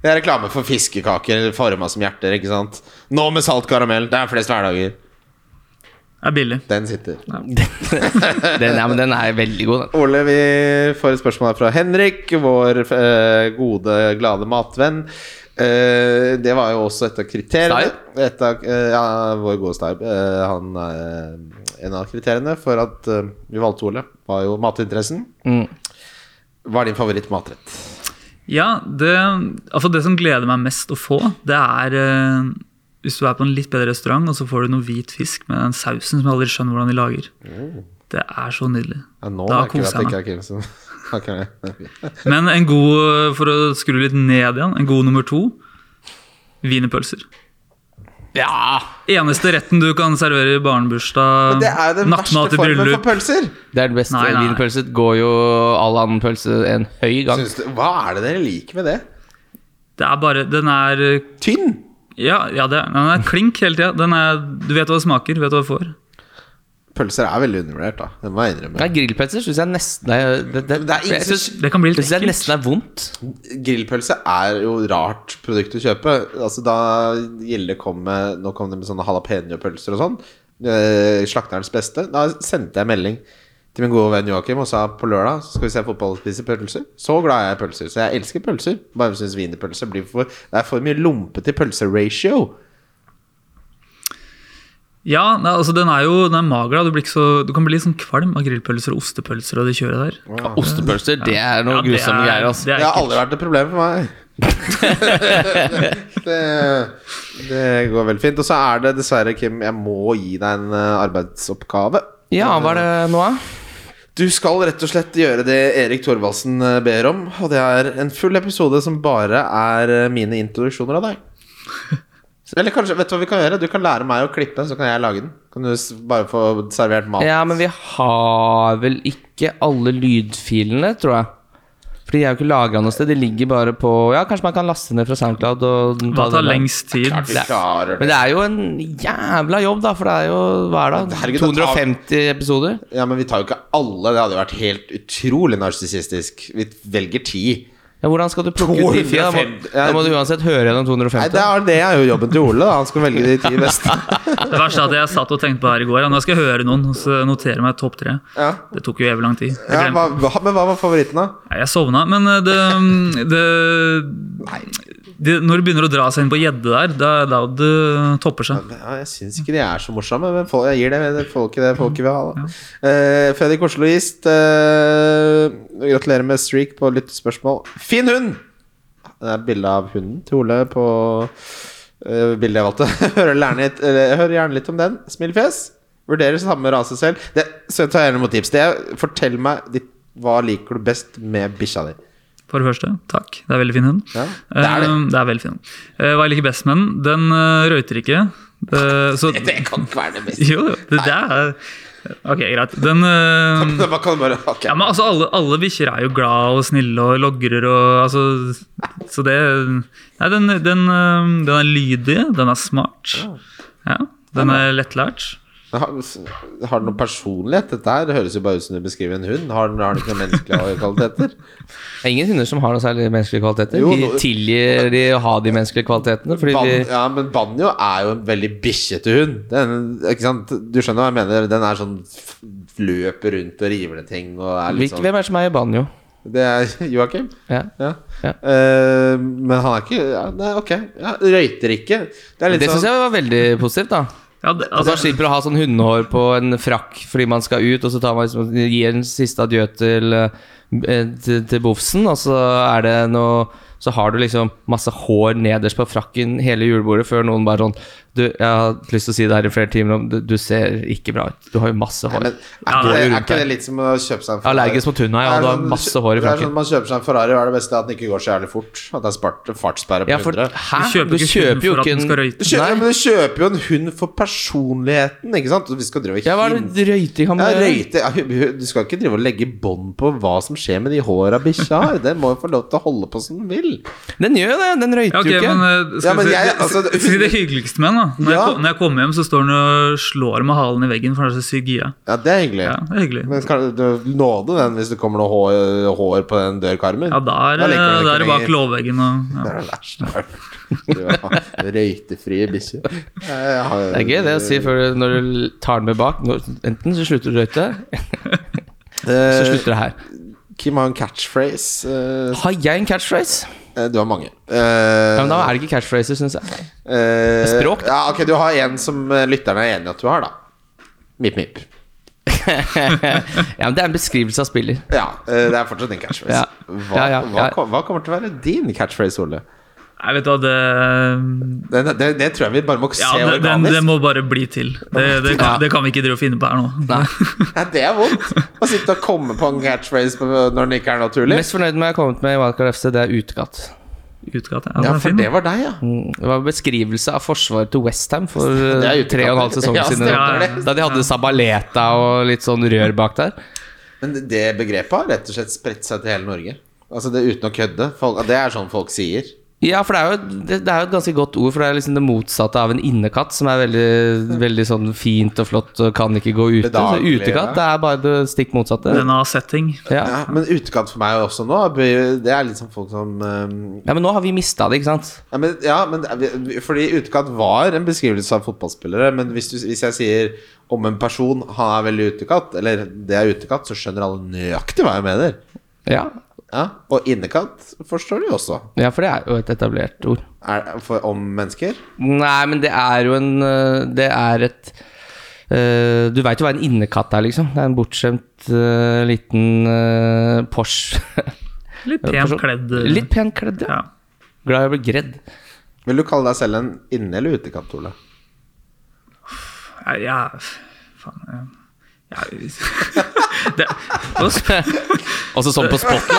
[SPEAKER 3] Det er reklame for fiskekaker forma som hjerter, ikke sant. Nå med salt karamell. Det er flest hverdager.
[SPEAKER 5] er billig.
[SPEAKER 3] Den sitter.
[SPEAKER 4] Den, ja, men den er veldig god, den.
[SPEAKER 3] Ole, vi får et spørsmål her fra Henrik, vår eh, gode, glade matvenn. Eh, det var jo også et av kriteriene. Et av, eh, ja, vår gode Starb. eh, han er eh, en av kriteriene for at eh, vi valgte Ole, var jo matinteressen.
[SPEAKER 4] Mm.
[SPEAKER 3] Hva er din favorittmatrett?
[SPEAKER 5] Ja, det, altså det som gleder meg mest å få, det er eh, hvis du er på en litt bedre restaurant, og så får du noe hvit fisk med den sausen som jeg aldri skjønner hvordan de lager.
[SPEAKER 4] Mm.
[SPEAKER 5] Det er så nydelig.
[SPEAKER 3] Ja, nå
[SPEAKER 5] Da
[SPEAKER 3] merker vi at
[SPEAKER 5] koser
[SPEAKER 3] det ikke
[SPEAKER 5] jeg Sånn
[SPEAKER 3] er Kim som snakker.
[SPEAKER 5] Men en god, eh, for å skru litt ned igjen, en god nummer to wienerpølser.
[SPEAKER 4] Ja!
[SPEAKER 5] Eneste retten du kan servere i barnebursdag,
[SPEAKER 3] Det er jo den verste
[SPEAKER 5] nattmat i
[SPEAKER 3] formen for
[SPEAKER 5] bryllup.
[SPEAKER 3] pølser!
[SPEAKER 4] Det er den beste.
[SPEAKER 5] Nei, nei.
[SPEAKER 4] Wienerpølse går jo all annen pølse en høy gang.
[SPEAKER 3] Syns du, hva er det dere liker med det?
[SPEAKER 5] Det er bare Den er
[SPEAKER 3] Tynn!
[SPEAKER 5] Ja, ja det er, den er klink hele tida. Den er, du vet hva det smaker, vet hva du får.
[SPEAKER 3] Pølser er veldig undervurdert, da. Det må jeg innrømme.
[SPEAKER 4] Nei, grillpølser syns jeg nesten er Det, det,
[SPEAKER 3] Men det er ingen
[SPEAKER 4] jeg
[SPEAKER 3] som-
[SPEAKER 4] synes-
[SPEAKER 5] Det kan bli
[SPEAKER 4] jeg
[SPEAKER 5] litt
[SPEAKER 4] synes det
[SPEAKER 5] ekkelt.
[SPEAKER 4] nesten er vondt.
[SPEAKER 3] Grillpølse er jo rart produkt å kjøpe. Altså Da Gilde kom med Nå kom det med sånne jalapeño-pølser og sånn. Eh, slakterens beste. Da sendte jeg melding til min gode venn Joakim og sa på lørdag så skal vi se fotball og spise pølser. Så glad er jeg i pølser. Så jeg elsker pølser. Bare syns wienerpølse blir for Det er for mye lompete pølse-ratio.
[SPEAKER 5] Ja, nei, altså den er jo den er mager. da. Du, blir ikke så, du kan bli litt sånn kvalm av grillpølser og ostepølser og det kjøret der.
[SPEAKER 4] Ja, ostepølser, det er noe
[SPEAKER 5] Ja, det
[SPEAKER 4] grusomme
[SPEAKER 5] er-
[SPEAKER 4] greier, altså.
[SPEAKER 5] Det
[SPEAKER 3] Det
[SPEAKER 5] er
[SPEAKER 3] har
[SPEAKER 5] ekkelt.
[SPEAKER 3] aldri vært et problem for meg. det, det går veldig fint. Og så er det dessverre, Kim, jeg må gi deg en eh, arbeidsoppgave.
[SPEAKER 4] Ja, hva er det nå, da?
[SPEAKER 3] Du skal rett og slett gjøre det Erik Thorvaldsen eh, ber om, og det er en full episode som bare er eh, mine introduksjoner av deg. Så- Eller kanskje, vet du hva vi kan gjøre? Du kan lære meg å klippe, så kan jeg lage den. Kan du s- bare få servert mat?
[SPEAKER 4] Ja, men vi har vel ikke alle lydfilene, tror jeg. Fordi de er jo ikke lagra noe sted. De ligger bare på Ja, kanskje man kan laste ned fra SoundCloud og
[SPEAKER 5] Hva
[SPEAKER 4] den
[SPEAKER 5] tar
[SPEAKER 4] der.
[SPEAKER 5] lengst tid?
[SPEAKER 3] Vi klarer
[SPEAKER 4] Men
[SPEAKER 3] det.
[SPEAKER 4] det er jo en jævla jobb, da, for det er jo Hva er det?
[SPEAKER 3] Herregud, det tar-
[SPEAKER 4] 250 episoder?
[SPEAKER 3] Ja, men vi tar jo ikke alle. Det hadde jo vært helt utrolig narsissistisk. Vi velger ti.
[SPEAKER 4] Ja, hvordan skal du plukke ut de fire? Da
[SPEAKER 3] 250.
[SPEAKER 4] må, da må du uansett høre
[SPEAKER 3] Nei,
[SPEAKER 4] gjennom
[SPEAKER 3] det
[SPEAKER 4] 250.
[SPEAKER 3] er, det er jo jobben til Ole, da. Han skal velge de ti beste.
[SPEAKER 5] Det verste er at jeg satt og tenkte på det her i går. Ja, nå skal jeg høre noen og så notere meg topp tre.
[SPEAKER 3] Ja.
[SPEAKER 5] Det tok jo evig lang tid. Jeg,
[SPEAKER 3] Ja,
[SPEAKER 5] glemte-
[SPEAKER 3] hva, hva- men hva var favoritten, da?
[SPEAKER 5] Nei, jeg sovna, men eh, det, det, det Når det begynner å dra seg inn på gjedde der, da er da det topper seg.
[SPEAKER 3] Ja, jeg syns ikke de er så morsomme, men fol- jeg gir det, det folket det folket vil ha. Da. Eh, Fredrik Oslo Gist, eh, gratulerer med streak på lyttespørsmål. Fin hund! Det er bilde av hunden til Ole på eh, bildet jeg valgte. Hører gjerne, litt- eller, hør gjerne litt om den. Smilefjes. Vurderer samme rase selv. Det, så jeg tar gjerne imot tips. Det, er- fortell meg ditt, hva liker du best med bikkja di.
[SPEAKER 5] For det første, takk. Det er veldig fin hund.
[SPEAKER 3] Ja, det er det.
[SPEAKER 5] Eh, det er veldig fin hund. Eh, Hva jeg liker best med den? Den eh, røyter ikke. Eh, så,
[SPEAKER 3] Det kan ikke være det beste.
[SPEAKER 5] jo, jo, det der er Ok, greit. Den eh,
[SPEAKER 3] Man kan bare, ok.
[SPEAKER 5] Ja, men altså, alle, alle bikkjer er jo glad og snille og logrer og altså Så det Nei, den, den, øhm, den er lydig, den er smart. Ja, den er lettlært.
[SPEAKER 3] Har, har den noe personlighet? Dette her høres jo bare ut som du beskriver en hund. Har den, har den ikke noen menneskelige kvaliteter?
[SPEAKER 4] Det er ingen hunder som har noe særlig menneskelige kvaliteter.
[SPEAKER 3] Jo,
[SPEAKER 4] De
[SPEAKER 3] nå-
[SPEAKER 4] tilgir de å ha de menneskelige kvalitetene. Fordi
[SPEAKER 3] Ban,
[SPEAKER 4] de,
[SPEAKER 3] ja, men Banjo er jo en veldig bikkjete hund. Den, ikke sant? Du skjønner hva jeg mener? Den er sånn f- løper rundt og river ned ting og er litt
[SPEAKER 4] Hvil-
[SPEAKER 3] sånn
[SPEAKER 4] hvem er det som er i banjo?
[SPEAKER 3] Det er Joakim.
[SPEAKER 4] Ja.
[SPEAKER 3] Ja.
[SPEAKER 4] Ja.
[SPEAKER 3] Eh, men han er ikke ja, Nei, ok. Ja, røyter ikke. Det er litt
[SPEAKER 4] Det syns
[SPEAKER 3] sånn
[SPEAKER 4] jeg var veldig positivt, da.
[SPEAKER 5] Ja, det,
[SPEAKER 4] At man
[SPEAKER 5] altså,
[SPEAKER 4] slipper å ha sånn hundehår på en frakk fordi man skal ut, og så tar man liksom, gir en siste adjø til, eh, til, til bofsen, og så er det noe Så har du liksom masse hår nederst på frakken hele julebordet før noen bare sånn Du, jeg har lyst til å si det her i flere timer, men du, du ser ikke bra ut. Du har jo masse
[SPEAKER 3] men
[SPEAKER 4] hår.
[SPEAKER 3] er, ikke det, er ikke det litt som å kjøpe seg en Ferrari?
[SPEAKER 4] Allergisk mot hund,
[SPEAKER 3] Det er
[SPEAKER 4] ja, og du har
[SPEAKER 3] sånn-
[SPEAKER 4] masse hår i
[SPEAKER 3] det er
[SPEAKER 4] frakken.
[SPEAKER 3] sånn Man kjøper seg en Ferrari, og er det beste at den ikke går så jævlig fort. At det er spart, fartssperre på
[SPEAKER 4] Ja, for
[SPEAKER 3] 100.
[SPEAKER 4] hæ?
[SPEAKER 5] du kjøper ikke hunden for at den
[SPEAKER 3] Du
[SPEAKER 5] skal røyte.
[SPEAKER 3] kjøper, ja, men du kjøper jo en hund for personligheten, ikke sant? Og Vi skal drive og
[SPEAKER 4] Ja, hva er det røyting har
[SPEAKER 3] Mm. Ja,
[SPEAKER 4] med
[SPEAKER 3] røyte ja, hu- hu- Du skal ikke drive og legge bånd på hva som skjer med de håra bikkja har. Den må jo få lov til å holde på som den vil.
[SPEAKER 4] Den gjør jo det, den røyter
[SPEAKER 5] ja, ok,
[SPEAKER 4] jo ikke.
[SPEAKER 5] men øh,
[SPEAKER 3] Ja,
[SPEAKER 5] skal
[SPEAKER 3] men
[SPEAKER 5] vi
[SPEAKER 3] jeg-
[SPEAKER 5] si-
[SPEAKER 3] altså,
[SPEAKER 5] skal vi si det hyggeligste med den, da. Når,
[SPEAKER 3] Ja.
[SPEAKER 5] jeg, kom- når jeg kommer hjem, så står den og slår med halen i veggen, for den er så sykt gira.
[SPEAKER 3] Ja, det er hyggelig.
[SPEAKER 5] Ja, det er hyggelig.
[SPEAKER 3] Men skal du nåde den hvis det kommer noe hår, hår på den dørkarmen?
[SPEAKER 5] Ja, da er,
[SPEAKER 3] Da liker den
[SPEAKER 5] øh,
[SPEAKER 3] ikke
[SPEAKER 5] da er det bak
[SPEAKER 3] lenger.
[SPEAKER 5] låvveggen og ja.
[SPEAKER 3] Det er det verste jeg har hørt. Du har Røytefrie bikkjer. Jeg har-
[SPEAKER 4] Det er gøy det å si før du, når du tar den med bak. Når, enten så slutter du å røyte, så
[SPEAKER 3] Eh,
[SPEAKER 4] slutter det her.
[SPEAKER 3] Kim har en catchphrase. eh,
[SPEAKER 4] Har jeg en catchphrase?
[SPEAKER 3] eh, du har mange. Eh,
[SPEAKER 4] Ja, men da er det ikke catchphrases, syns jeg.
[SPEAKER 3] Eh,
[SPEAKER 4] Språk, da.
[SPEAKER 3] Ja, ok, du har en som eh, lytterne er enig i at du har, da. Mip, mip.
[SPEAKER 4] Ja, men Det er en beskrivelse av spiller.
[SPEAKER 3] Ja, eh, det er fortsatt din catchphrase.
[SPEAKER 4] Ja.
[SPEAKER 3] Hva,
[SPEAKER 4] Ja, ja,
[SPEAKER 3] hva,
[SPEAKER 4] ja.
[SPEAKER 3] kom- hva kommer til å være din catchphrase, Ole?
[SPEAKER 5] Nei, vet du hva, det
[SPEAKER 3] Det, det, det tror jeg vi bare må se
[SPEAKER 5] Ja, det, den,
[SPEAKER 3] organisk.
[SPEAKER 5] det må bare bli til. Det, det,
[SPEAKER 4] Ja.
[SPEAKER 5] kan, det kan vi ikke drive og finne på her nå.
[SPEAKER 4] Nei.
[SPEAKER 3] Nei, det er vondt å sitte og komme på en catchphrase på, når den ikke er naturlig.
[SPEAKER 4] Mest fornøyd med jeg har kommet med i Wildcard FC, det er utekatt.
[SPEAKER 5] Utgatt, ja,
[SPEAKER 3] Ja,
[SPEAKER 5] den er
[SPEAKER 3] for
[SPEAKER 5] fin.
[SPEAKER 3] det var deg, ja.
[SPEAKER 4] Mm, Det var en beskrivelse av forsvaret til Westham for
[SPEAKER 3] Det er
[SPEAKER 4] eh,
[SPEAKER 3] utekatt.
[SPEAKER 4] tre og en halv sesong
[SPEAKER 3] Ja,
[SPEAKER 4] siden.
[SPEAKER 5] stemmer det.
[SPEAKER 4] Da de hadde Sabaleta og litt sånn rør bak der.
[SPEAKER 3] Men det begrepet har rett og slett spredt seg til hele Norge. Altså det Uten å kødde. Folk, det er sånn folk sier.
[SPEAKER 4] Ja, for det er, jo, det, det er jo et ganske godt ord, for det er liksom det motsatte av en innekatt, som er veldig, veldig sånn fint og flott og kan ikke gå ute. Så
[SPEAKER 3] Bedagelig,
[SPEAKER 4] utekatt,
[SPEAKER 3] ja.
[SPEAKER 4] det er bare det stikk motsatte.
[SPEAKER 5] Den har setting.
[SPEAKER 4] Ja.
[SPEAKER 3] Ja, men utekant for meg også nå, det er liksom folk som eh,
[SPEAKER 4] ja, men nå har vi mista det, ikke sant?
[SPEAKER 3] Ja, men, ja, men eh, vi- fordi utekant var en beskrivelse av fotballspillere. Men hvis, du, hvis jeg sier om en person han er veldig utekatt, eller det er utekatt, så skjønner alle nøyaktig hva jeg mener.
[SPEAKER 4] Ja.
[SPEAKER 3] Ja, Og innekatt forstår de også.
[SPEAKER 4] ja, for det er jo et etablert ord.
[SPEAKER 3] Er, for, om mennesker.
[SPEAKER 4] Nei, men det er jo en øh, Det er et øh, Du veit jo hva en innekatt er, liksom. Det er en bortskjemt øh, liten øh, Porsche.
[SPEAKER 5] Litt pent kledd. eh,
[SPEAKER 4] Litt pent kledd, ja.
[SPEAKER 5] Ja.
[SPEAKER 4] Glad i å bli gredd.
[SPEAKER 3] Vil du kalle deg selv en inne- eller utekant, Ole?
[SPEAKER 5] Ja, ja, faen ja. Ja, det, det var sp-
[SPEAKER 4] Også sånn på spotten,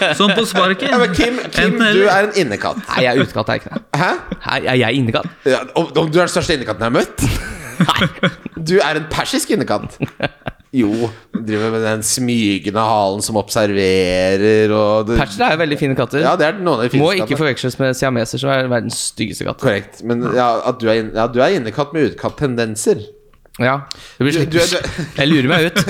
[SPEAKER 4] da.
[SPEAKER 5] sånn på sparket.
[SPEAKER 3] Ja, men Kim, Kim
[SPEAKER 5] Enten eller.
[SPEAKER 3] du er en innekatt.
[SPEAKER 4] Nei, jeg er utekatt, jeg er ikke det.
[SPEAKER 3] Hæ?
[SPEAKER 4] Nei, jeg er innekatt.
[SPEAKER 3] Ja, om, om du er den største innekatten jeg har møtt? Nei. Du er en persisk innekatt. Jo, driver med den smygende halen som observerer og det-
[SPEAKER 4] Patcher er jo veldig fine katter.
[SPEAKER 3] Ja, det er noen av de
[SPEAKER 4] Må
[SPEAKER 3] fineste
[SPEAKER 4] ikke
[SPEAKER 3] kattene.
[SPEAKER 4] forveksles med siameser, som er verdens styggeste katt.
[SPEAKER 3] Korrekt. Men ja, at du er, inn, ja, du er innekatt med utkattendenser.
[SPEAKER 4] Ja, det blir
[SPEAKER 3] Du-
[SPEAKER 4] slik.
[SPEAKER 3] du er- du-
[SPEAKER 4] Jeg lurer meg ut.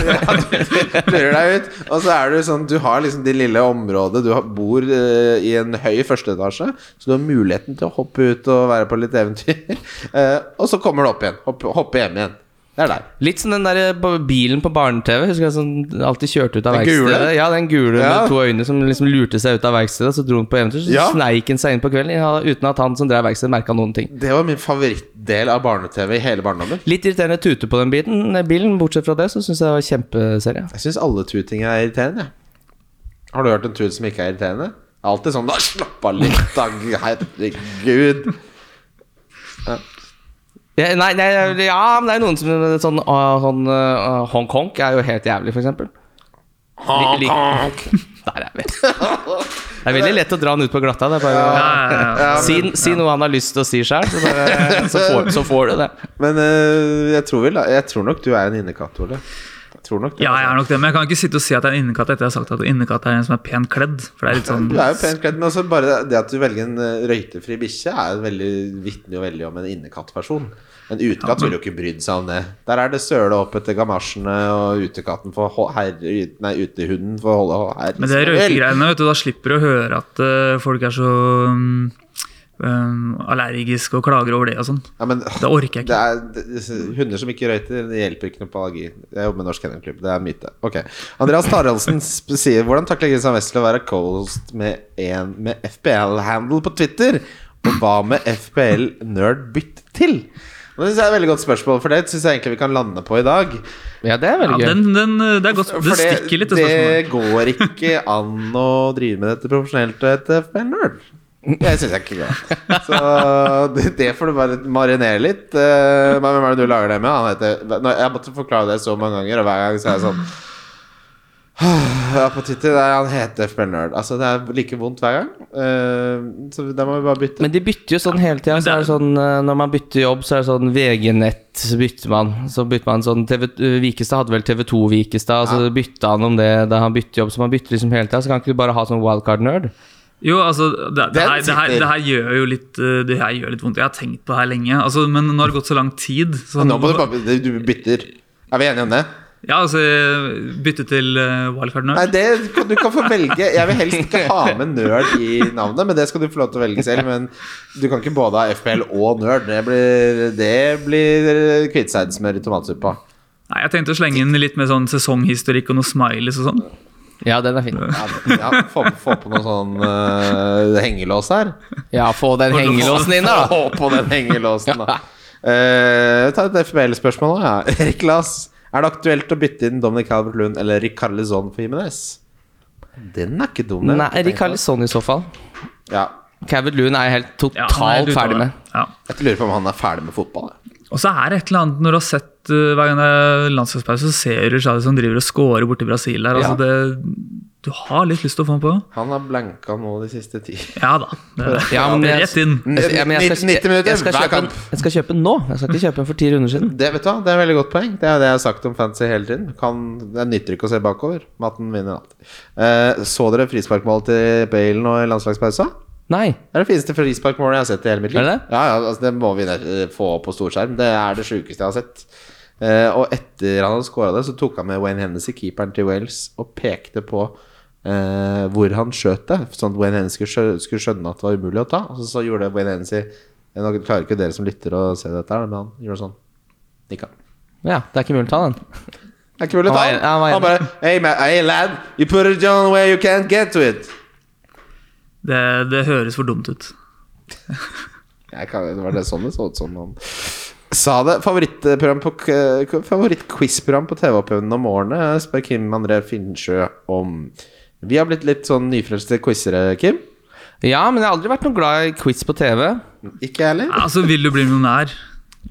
[SPEAKER 3] Lurer deg ut. Og så er du sånn Du har liksom det lille området Du har- bor eh, i en høy første etasje, så du har muligheten til å hoppe ut og være på litt eventyr. Eh, og så kommer du opp igjen. Hoppe, hoppe hjem igjen. Det er deg.
[SPEAKER 4] Litt som den der eh, ba- bilen på barne-TV. Husker jeg som alltid kjørte ut av
[SPEAKER 3] Den
[SPEAKER 4] verkstedet.
[SPEAKER 3] gule?
[SPEAKER 4] Ja, den gule
[SPEAKER 3] Ja.
[SPEAKER 4] med to øyne som liksom lurte seg ut av verkstedet. Så dro han på eventyr, så
[SPEAKER 3] Ja.
[SPEAKER 4] sneik han seg inn på kvelden ja, uten at han som drev verkstedet, merka noen ting.
[SPEAKER 3] Det var min favorittdel av barne-TV i hele barndommen.
[SPEAKER 4] Litt irriterende tute på den biten, eh, bilen. Bortsett fra det, så syns jeg det var kjempeserie.
[SPEAKER 3] Jeg syns alle tuting er irriterende. jeg. Har du hørt en tut som ikke er irriterende? Det er Alltid sånn da, 'Slapp av litt, da. Herregud.
[SPEAKER 4] Ja, nei, nei, ja, men det er jo noen som sånn, ah, sånn ah, Hong Kong er jo helt jævlig, for eksempel. Hong Kong! Der er vi. Det er veldig lett å dra han ut på glatta. Det er bare
[SPEAKER 5] Ja, ja, ja.
[SPEAKER 4] Si, si noe han har lyst til å si sjøl, så, bare- så, får- så får du det.
[SPEAKER 3] Men eh, jeg, tror vel, jeg tror nok du er en innekatt, Ole. Jeg tror nok det. altså.
[SPEAKER 5] ja, jeg er nok det, men jeg kan ikke sitte og si at jeg er en innekatt etter jeg har sagt at en innekatt er en som er pent kledd. For det er litt sånn
[SPEAKER 3] Du er jo pent kledd, men også bare det at du velger en eh, røytefri bikkje, er veldig, vitner jo veldig om en innekattperson. En utekatt ville jo ikke brydd seg om det. Der er det søle opp etter gamasjene, og utekatten får hå- herre... Nei, utehunden får holde herre...
[SPEAKER 5] Men det er røykegreiene, vet du, da slipper du å høre at eh, folk er så um, um, allergiske og klager over det og sånn.
[SPEAKER 3] Ja, men,
[SPEAKER 5] Det orker jeg ikke.
[SPEAKER 3] Det er, det, det- hunder som ikke røyter, det hjelper ikke noe på allergi. Jeg jobber med Norsk Kennelklubb, det er myte. Ok, Andreas Taraldsen sp- sier hvordan takler Christian Wessel å være coast med en med FPL-handle på Twitter? Og hva med FPL-nerd bytt til? Og Det synes jeg er et veldig godt spørsmål, for det synes jeg egentlig vi kan lande på i dag.
[SPEAKER 4] Ja, det er
[SPEAKER 5] Ja,
[SPEAKER 4] veldig gøy.
[SPEAKER 5] den, den, eh, det er godt,
[SPEAKER 3] For
[SPEAKER 5] det stikker litt, det spørsmålet.
[SPEAKER 3] det går ikke an å drive med dette profesjonelt og hete FPL-nerd. Jeg syns jeg ikke går. Så det, det får du bare marinere litt. Eh, Men hvem er det du lager det med? Han heter Nå, Jeg har måttet forklare det så mange ganger, og hver gang så er jeg sånn ja, på Twitter, nei, Han heter FPL-nerd. Altså, det er like vondt hver gang. Eh, så da må vi bare bytte.
[SPEAKER 4] Men de bytter jo sånn hele tida. Så er det sånn, eh, når man bytter jobb, så er det sånn VG-nett så bytter man. Så bytter man sånn TV, Vikestad hadde vel TV2 Vikestad, og så bytta han om det da han bytter jobb. Så man bytter liksom hele tida. Så kan ikke du bare ha sånn wildcard-nerd?
[SPEAKER 5] Jo, altså, det, det,
[SPEAKER 3] Den
[SPEAKER 5] her, det,
[SPEAKER 3] sitter.
[SPEAKER 5] her, det her gjør jo litt eh, Det her gjør litt vondt. Jeg har tenkt på det her lenge, altså, men nå har det gått så lang tid. Så
[SPEAKER 3] Nå må du bare Du bytter. Er vi enige om det?
[SPEAKER 5] Ja, altså, bytte til eh, wildcard nå.
[SPEAKER 3] Nei, det, kan- du kan få velge Jeg vil helst ikke ha med nerd i navnet, men det skal du få lov til å velge selv. Men du kan ikke både ha FPL og nerd. Det blir, det blir kvittseidsmør i tomatsuppa.
[SPEAKER 5] Nei, jeg tenkte å slenge inn litt med sånn sesonghistorikk og noe smileys og sånn.
[SPEAKER 4] Ja, den er fin.
[SPEAKER 3] Ja, ja, få, få på noe sånn eh, hengelås her.
[SPEAKER 4] Ja, få den hengelåsen inn der, da.
[SPEAKER 3] Få på den hengelåsen, da. Eh, ta et FPL-spørsmål, da. Ja. Erik Lass, er det aktuelt å bytte inn Dominic Albert Lund eller Ricard Lizon for Jimenez? Den er ikke dum, den.
[SPEAKER 4] Nei, Rikarlison i så fall.
[SPEAKER 3] Ja.
[SPEAKER 4] Cavett Loon er jeg helt
[SPEAKER 5] Ja, han er
[SPEAKER 4] totalt
[SPEAKER 5] helt ute av
[SPEAKER 4] ferdig
[SPEAKER 5] det.
[SPEAKER 4] med.
[SPEAKER 5] Ja.
[SPEAKER 3] Jeg lurer på om han er ferdig med fotball. jeg.
[SPEAKER 5] Og så er det et eller annet når du har sett eh, hver gang det er landslagspause, så ser du Charlie som driver og scorer borti Brasil der. Altså,
[SPEAKER 4] Ja.
[SPEAKER 5] det, du har litt lyst til å få ham på.
[SPEAKER 3] Han har blanka nå de siste ti.
[SPEAKER 5] Ja da. Det,
[SPEAKER 4] Ja, men jeg-
[SPEAKER 5] rett inn.
[SPEAKER 4] Jeg- ja, men jeg skal-
[SPEAKER 3] 90 minutter
[SPEAKER 4] jeg skal
[SPEAKER 3] hver
[SPEAKER 4] kjøpe den-
[SPEAKER 3] kamp.
[SPEAKER 4] Jeg skal kjøpe den nå. Jeg skal ikke kjøpe den for ti runder siden.
[SPEAKER 3] Det vet du hva, det er et veldig godt poeng. Det er jo det jeg har sagt om fantasy hele tiden. Kan, det nytter ikke å se bakover. Matten vinner alltid. Eh, så dere frisparkmålet til Bale nå i landslagspausa?
[SPEAKER 4] Nei.
[SPEAKER 3] Det er det fineste frisparkmålet jeg har sett i hele mitt liv.
[SPEAKER 4] Er det det?
[SPEAKER 3] Ja, ja, altså, det må vi ne- få opp på storskjerm. Det er det sjukeste jeg har sett. Eh, og etter han hadde scora det, så tok han med Wayne Hennessy, keeperen til Wales, og pekte på eh, hvor han skjøt det, sånn at Wayne Hennessy skulle, skjø skulle skjønne at det var umulig å ta. Og så, så gjorde Wayne Hennessy Nå klarer ikke dere som lytter å se dette, her, men han gjorde sånn. Nikka.
[SPEAKER 4] Ja, det er ikke mulig å ta den.
[SPEAKER 3] Det er ikke mulig å ta
[SPEAKER 4] Han var
[SPEAKER 3] den.
[SPEAKER 4] en- han var
[SPEAKER 3] Han bare hey, man, hey, lad, you put it down where you can't get to it.
[SPEAKER 5] Det, det høres for dumt ut.
[SPEAKER 3] Jeg kan, det var det sånn det så ut som han sa det. Favorittprogram på k- k- Favorittquizprogram på TV-oppøvende om årene, spør Kim André Finnsjø om. Vi har blitt litt sånn nyfrelste quizere, Kim.
[SPEAKER 4] Ja, men jeg har aldri vært noe glad i quiz på TV.
[SPEAKER 3] Ikke jeg heller.
[SPEAKER 5] Altså, vil du bli millionær?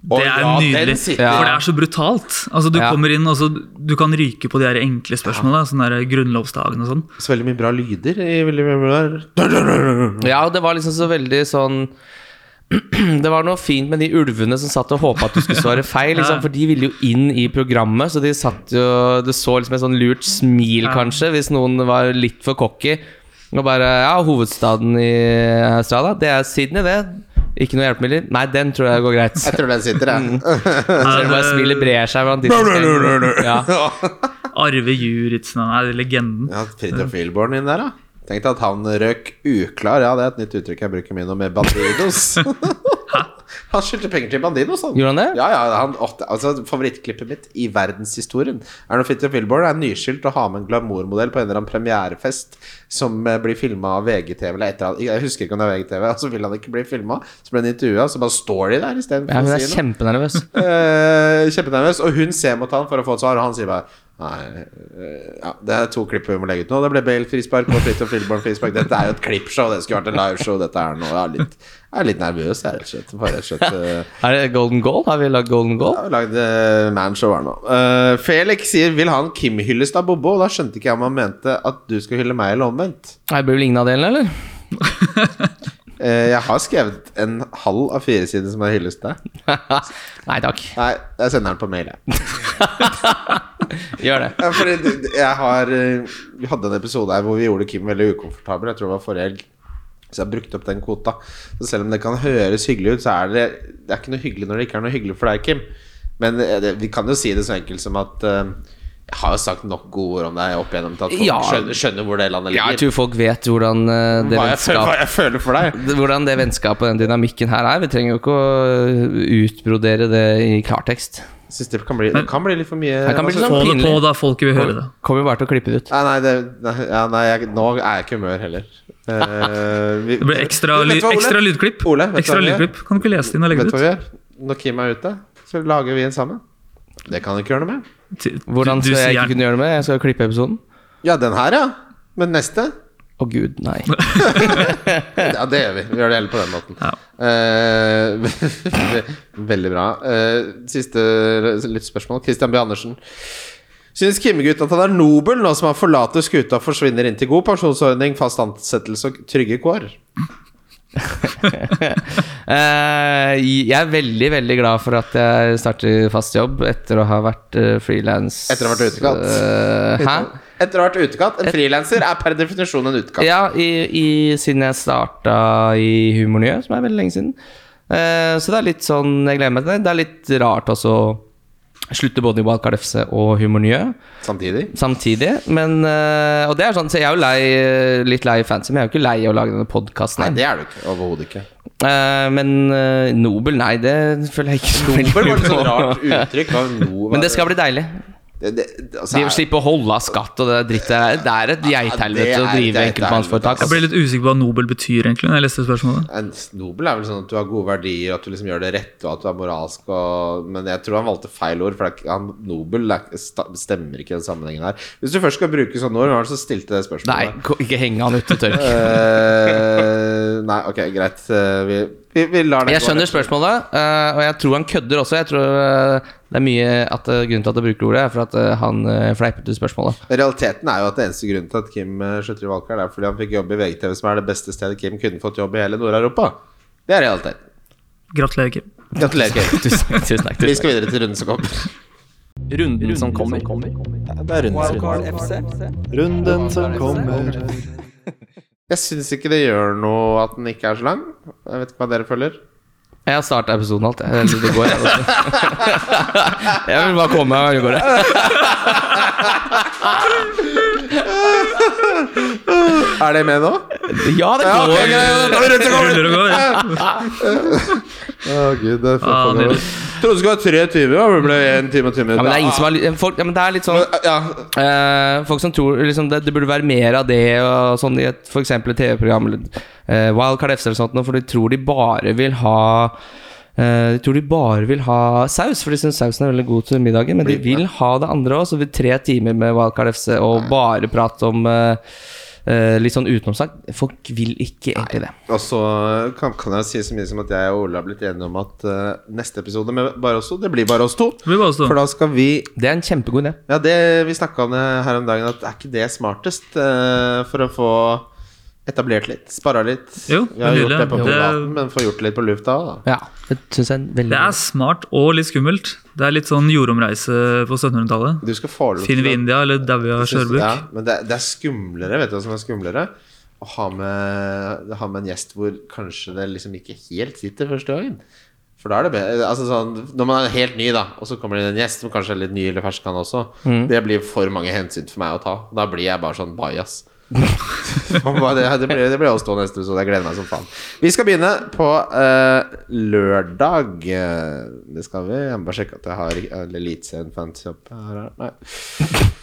[SPEAKER 3] Å
[SPEAKER 5] Det er
[SPEAKER 3] ja, den
[SPEAKER 5] nydelig.
[SPEAKER 3] sitter.
[SPEAKER 5] For det er så brutalt. Altså, du
[SPEAKER 4] Ja.
[SPEAKER 5] kommer inn, og så du kan ryke på de her enkle spørsmåla. Sånne der grunnlovsdagen og sånn.
[SPEAKER 3] Så veldig mye bra lyder i veldig mye bra
[SPEAKER 4] Ja, og det var liksom så veldig sånn Det var noe fint med de ulvene som satt og håpa at du skulle svare feil. Liksom, for de ville jo inn i programmet, så de satt jo Du så liksom et sånn lurt smil,
[SPEAKER 5] Ja.
[SPEAKER 4] kanskje, hvis noen var litt for cocky. Og bare Ja, hovedstaden i Australia, det er Sydney, det. Ikke noe hjelpemidler? Nei, den tror jeg går greit.
[SPEAKER 3] Jeg tror den sitter, jeg.
[SPEAKER 4] Selv om bare
[SPEAKER 5] Eh,
[SPEAKER 4] smilet brer seg blant de som skal ja.
[SPEAKER 3] Mm.
[SPEAKER 5] Arve Juritzen, han er
[SPEAKER 4] Mm.
[SPEAKER 5] legenden.
[SPEAKER 3] Ja, Fridtjof Wilborn inn der, da. Tenk deg at han røk uklar. Ja, det er et nytt uttrykk jeg bruker mye nå, med bandidos. han skyldte penger til bandidos, han.
[SPEAKER 4] Gjorde han det?
[SPEAKER 3] Ja, ja, han, å, det- altså, Favorittklippet mitt i verdenshistorien er når Fridtjof Wilborn er nyskyldt og har med en glamourmodell på en eller annen premierefest som eh, blir filma av VGTV, eller et eller annet. Jeg husker ikke om det er VGTV, og så altså, vil han ikke bli filma. Så blir han intervjua, så bare står de der
[SPEAKER 4] ja, hun
[SPEAKER 3] istedenfor
[SPEAKER 4] er kjempenervøs.
[SPEAKER 3] Eh, kjempenervøs, og hun ser mot han for å få et svar, og han sier bare Nei, eh, ja, det er to klipp vi må legge ut nå. Det ble Bale frispark og Fridtjof Filborn frispark. Dette er jo et klippshow, det skulle vært en liveshow. Dette er noe Jeg er litt, jeg er litt nervøs, jeg, rett og slett. Bare rett og slett eh,
[SPEAKER 4] Er det golden goal? Har vi lagd golden goal?
[SPEAKER 3] jeg har lagd eh, manshow her nå. Eh, Felix sier 'Vil ha en Kim-hyllest av Bobo?' Og da skjønte ikke jeg om han mente at du skal hylle meg, eller omvendt.
[SPEAKER 4] Nei, blir vel ingen av delene, eller?
[SPEAKER 3] Eh, jeg har skrevet en halv av fire sider som er hyllest til deg.
[SPEAKER 4] Nei takk.
[SPEAKER 3] Nei, jeg sender den på mail, jeg.
[SPEAKER 4] Gjør det.
[SPEAKER 3] Ja, fordi du- du- jeg har eh, Vi hadde en episode her hvor vi gjorde Kim veldig ukomfortabel. Jeg tror det var forrige helg. Så jeg brukte opp den kvota. Så selv om det kan høres hyggelig ut, så er det, det er ikke noe hyggelig når det ikke er noe hyggelig for deg, Kim. Men eh, det, vi kan jo si det så enkelt som at eh, jeg har jo sagt nok gode ord om deg opp igjennom til at folk
[SPEAKER 4] Ja.
[SPEAKER 3] skjønner, skjønner hvor det landet
[SPEAKER 4] Ja, jeg
[SPEAKER 3] ligger.
[SPEAKER 4] tror folk vet hvordan eh, det
[SPEAKER 3] hva, jeg føler,
[SPEAKER 4] vennskapet
[SPEAKER 3] hva jeg føler for deg.
[SPEAKER 4] hvordan det vennskapet og den dynamikken her er. Vi trenger jo ikke å eh, utbrodere det i klartekst.
[SPEAKER 3] Jeg synes det kan bli, det kan bli litt for mye
[SPEAKER 4] Det kan bli
[SPEAKER 3] altså,
[SPEAKER 4] litt
[SPEAKER 5] Få det
[SPEAKER 4] pinlig.
[SPEAKER 5] på, da. Folket vil høre det.
[SPEAKER 4] Kommer jo bare til å klippe det ut.
[SPEAKER 3] Nei, nei, det, nei, ja, nei jeg, nå er jeg ikke i humør heller. Eh, vi-
[SPEAKER 5] Det blir ekstra,
[SPEAKER 3] Vet
[SPEAKER 5] ly
[SPEAKER 3] du hva, Ole?
[SPEAKER 5] ekstra lydklipp.
[SPEAKER 3] Ole, vet du
[SPEAKER 5] Ekstra
[SPEAKER 3] hva vi gjør?
[SPEAKER 5] lydklipp. Kan du ikke lese det inn og legge
[SPEAKER 3] Vet du hva
[SPEAKER 5] det
[SPEAKER 3] vi
[SPEAKER 5] ut?
[SPEAKER 3] gjør? Når Kim er ute, så lager vi en sammen. Det kan du ikke gjøre noe med.
[SPEAKER 5] Til-
[SPEAKER 4] Hvordan skal
[SPEAKER 5] du
[SPEAKER 4] jeg
[SPEAKER 5] sier
[SPEAKER 4] ikke kunne gjøre det med? Jeg skal jo klippe episoden.
[SPEAKER 3] Ja, den her, ja. Men neste?
[SPEAKER 4] Å gud, nei.
[SPEAKER 3] Ja, det gjør vi. Vi gjør det heller på den måten.
[SPEAKER 5] Ja.
[SPEAKER 3] Eh, veldig bra. Eh, siste lyttspørsmål. Christian B. Andersen. Synes Kimmegutt at han er nobel nå som han forlater skuta og forsvinner inn til god pensjonsordning, fast ansettelse og trygge kår?
[SPEAKER 4] Eh, jeg er veldig, veldig glad for at jeg starter fast jobb etter å ha vært uh, frilans.
[SPEAKER 3] Etter å ha vært utekatt.
[SPEAKER 4] hæ?
[SPEAKER 3] Etter å ha vært utekatt. En frilanser er per definisjon en utekatt.
[SPEAKER 4] Ja, i, i, siden jeg starta i Humornyhet, som er veldig lenge siden. Eh, så det er litt sånn Jeg gleder meg til det. Det er litt rart også å slutte både i Wildcard FC og Humornyhet.
[SPEAKER 3] Samtidig.
[SPEAKER 4] samtidig. Men, øh, og det er sånn, så jeg er jo lei, øh, litt lei fancy, men jeg er jo ikke lei av å lage denne
[SPEAKER 3] Nei,
[SPEAKER 4] podkasten.
[SPEAKER 3] det er du ikke. Overhodet ikke.
[SPEAKER 4] men øh, Nobel, nei, det føler jeg ikke så veldig
[SPEAKER 3] Nobel var et
[SPEAKER 4] på.
[SPEAKER 3] sånt rart uttrykk. hva er no-
[SPEAKER 4] Men det skal bli deilig.
[SPEAKER 3] Det- det- altså,
[SPEAKER 4] De
[SPEAKER 3] er-
[SPEAKER 4] slipper å holde av skatt og det der drittet. der. Det er et
[SPEAKER 3] det
[SPEAKER 4] geithelvete
[SPEAKER 3] er
[SPEAKER 4] å
[SPEAKER 3] et
[SPEAKER 4] drive
[SPEAKER 3] geithelvete,
[SPEAKER 4] enkeltmannsforetak.
[SPEAKER 5] Jeg ble litt usikker på hva Nobel betyr, egentlig. når jeg leste spørsmålet.
[SPEAKER 3] en Nobel er vel sånn at du har gode verdier, at du liksom gjør det rett, og at du er moralsk, og, men jeg tror han valgte feil ord, for det er, ikke- han, Nobel er, ikke- sta- stemmer ikke i den sammenhengen her. Hvis du først skal bruke sånne ord, hvem var det som stilte det spørsmålet?
[SPEAKER 4] Nei, ko- ikke henge han ute i tørk.
[SPEAKER 3] Eh, nei, ok, greit. Eh, vi, vi, vi lar det
[SPEAKER 4] Jeg
[SPEAKER 3] gå.
[SPEAKER 4] skjønner spørsmålet, øh, og jeg tror han kødder også. Jeg tror øh, det er mye at øh, Grunnen til at jeg bruker ordet, er for at øh, han øh, fleipet ut spørsmålet.
[SPEAKER 3] Realiteten er jo at det eneste grunnen til at Kim eh, slutter i valgkamp, er fordi han fikk jobb i VGTV, som er det beste stedet Kim kunne fått jobb i hele Nord-Europa. Det er realiteten.
[SPEAKER 5] Gratulerer, Kim.
[SPEAKER 3] Gratulerer, Kim.
[SPEAKER 4] Tusen takk. Tusen takk,
[SPEAKER 3] Vi
[SPEAKER 4] tusen
[SPEAKER 3] skal videre til runden som kommer.
[SPEAKER 4] takk. Runden som kommer.
[SPEAKER 1] Det er
[SPEAKER 2] Wildcard
[SPEAKER 1] FC.
[SPEAKER 2] Runden som kommer.
[SPEAKER 3] Jeg syns ikke det gjør noe at den ikke er så lang. Jeg vet ikke hva dere føler.
[SPEAKER 4] Jeg har starta episoden alt. jeg. Eller det går, jeg. vet du. Jeg vil bare komme meg av gårde.
[SPEAKER 3] Er det med nå?
[SPEAKER 4] Ja, det
[SPEAKER 3] Ja, ok, greit. Da er vi rundt og går.
[SPEAKER 5] Ruller og går.
[SPEAKER 3] Å gud, det er for
[SPEAKER 5] Ah,
[SPEAKER 3] for-
[SPEAKER 5] nydelig.
[SPEAKER 3] Trodde det skulle være tre timer, og det ble en time og ti
[SPEAKER 4] Ja,
[SPEAKER 3] minutter.
[SPEAKER 4] men det er ingen som har li- folk, ja, men det er litt sånn
[SPEAKER 3] Men, ja,
[SPEAKER 4] eh, Folk som tror liksom, det, det burde være mer av det og sånn i et f.eks. et TV-program eller eh, Wildcard FC eller sånt, noe, for de tror de bare vil ha eh, de tror de bare vil ha saus, for de syns sausen er veldig god til middagen. Men de vil ha det andre òg, så vi tre timer med Wildcard FC og bare prate om eh, eh, litt sånn utenomsak. Folk vil ikke egentlig det.
[SPEAKER 3] Og så kan, kan jeg si så mye som at jeg og Ole har blitt enige om at eh, neste episode med bare oss to, det blir bare oss to.
[SPEAKER 5] Det blir bare
[SPEAKER 3] For
[SPEAKER 5] sånn.
[SPEAKER 3] da skal vi
[SPEAKER 4] Det er en kjempegod idé.
[SPEAKER 3] Ja, det vi snakka om det her om dagen, at er ikke det smartest eh, for å få Etablert litt, spara litt.
[SPEAKER 5] Jo,
[SPEAKER 3] Vi har gjort
[SPEAKER 5] nydelig.
[SPEAKER 3] det på
[SPEAKER 5] Det-
[SPEAKER 3] privaten, men får gjort det litt på lufta òg, da.
[SPEAKER 4] Ja, det syns jeg er veldig
[SPEAKER 5] Det er smart og litt skummelt. Det er litt sånn jordomreise på 1700-tallet.
[SPEAKER 3] Du skal få lov
[SPEAKER 5] Finner vi
[SPEAKER 3] å-
[SPEAKER 5] India, eller dauer vi av skjørbuk?
[SPEAKER 3] Ja, men det, det er skumlere, vet du hva som er skumlere? Å ha med, ha med en gjest hvor kanskje det liksom ikke helt sitter første gangen. For da er det be- altså sånn, Når man er helt ny, da, og så kommer det inn en gjest som kanskje er litt ny eller fersk, han også, det blir for mange hensyn for meg å ta. Da blir jeg bare sånn bajas. det, det blir, det blir å stå neste episode. Jeg gleder meg som faen. Vi skal begynne på eh, lørdag. Eh, Det skal vi. Jeg må bare sjekke at jeg har Eliteserien Fantasy opp her. her. Nei.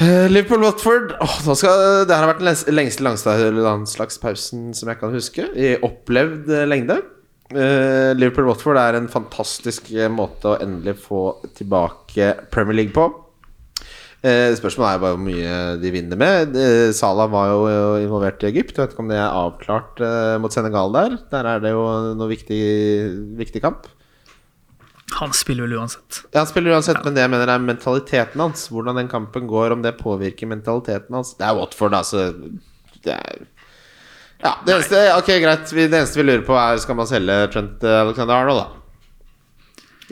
[SPEAKER 3] Eh, Liverpool-Watford Åh, nå skal, Det her har vært den lengste, lengste landslagspausen som jeg kan huske. I opplevd eh, lengde. Eh, Liverpool-Watford er en fantastisk eh, måte å endelig få tilbake Premier League på. Eh, spørsmålet er jo bare hvor mye de vinner med. Eh, Salah var jo eh, involvert i Egypt. Jeg vet ikke om det er avklart eh, mot Senegal der. Der er det jo noe viktig, viktig kamp.
[SPEAKER 5] Han spiller vel uansett.
[SPEAKER 3] Ja, han spiller uansett, men det jeg mener er mentaliteten hans. Hvordan den kampen går, om det påvirker mentaliteten hans. Det er Watford, da, så det er Ja, det eneste, ok, greit. Vi, det eneste vi lurer på, er skal man selge Trent eh, Alexander Arnold, da?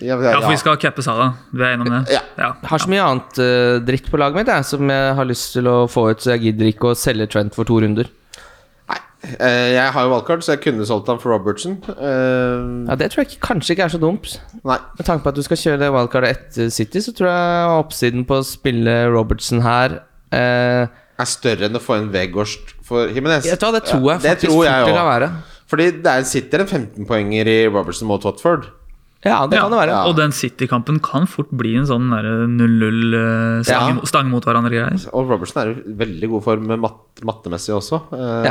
[SPEAKER 3] Ja,
[SPEAKER 5] Ja, for vi skal cappe Salah. Vi er enige om det?
[SPEAKER 3] Ja.
[SPEAKER 4] Jeg har så mye annet eh, dritt på laget mitt jeg, som jeg har lyst til å få ut, så jeg gidder ikke å selge Trent for to runder.
[SPEAKER 3] Nei. Eh, jeg har jo valgkart, så jeg kunne solgt han for Robertson. Eh,
[SPEAKER 4] Ja, Det tror jeg ikke, kanskje ikke er så dumt.
[SPEAKER 3] Nei.
[SPEAKER 4] Med tanke på at du skal kjøre det wildcardet etter City, så tror jeg oppsiden på å spille Robertson her eh,
[SPEAKER 3] Er større enn å få en Vegårst for Himinez.
[SPEAKER 4] Vet du hva, det tror jeg
[SPEAKER 3] det
[SPEAKER 4] faktisk
[SPEAKER 3] tror jeg
[SPEAKER 4] fort det
[SPEAKER 3] også.
[SPEAKER 4] kan være.
[SPEAKER 3] Fordi det er- sitter en 15-poenger i Robertson mot Watford.
[SPEAKER 4] Ja, det kan det være.
[SPEAKER 3] Ja.
[SPEAKER 5] Og den City-kampen kan fort bli en sånn der 0-0, eh,
[SPEAKER 3] Ja.
[SPEAKER 5] stang, stang mot hverandre-greier.
[SPEAKER 3] Og Robertson er i veldig god form mat mattemessig også. Eh,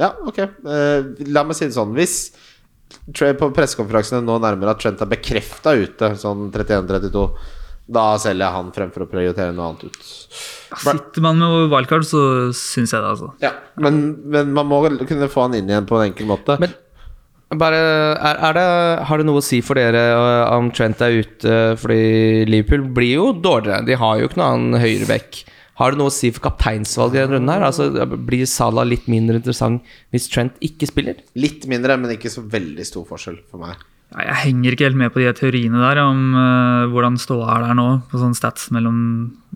[SPEAKER 3] ja. ok. Eh, la meg si det sånn. Hvis Tre- på pressekonferansene nå nærmer at Trent er bekrefta ute, sånn 31-32, da selger jeg han fremfor å prioritere noe annet ut.
[SPEAKER 5] Sitter man med wildcard, så syns jeg det, altså.
[SPEAKER 3] Ja. Men, men man må kunne få han inn igjen på en enkel måte.
[SPEAKER 4] Men bare, er, er det, har det noe å si for dere øh, om Trent er ute? Fordi Liverpool blir jo dårligere. De har jo ikke noen annen høyrebekk. Har det noe å si for kapteinsvalget i denne runden? her? Altså, blir Salah litt mindre interessant hvis Trent ikke spiller?
[SPEAKER 3] Litt mindre, men ikke så veldig stor forskjell for meg.
[SPEAKER 5] Nei, Jeg henger ikke helt med på de teoriene der om eh, hvordan ståa er der nå, på sånn stats mellom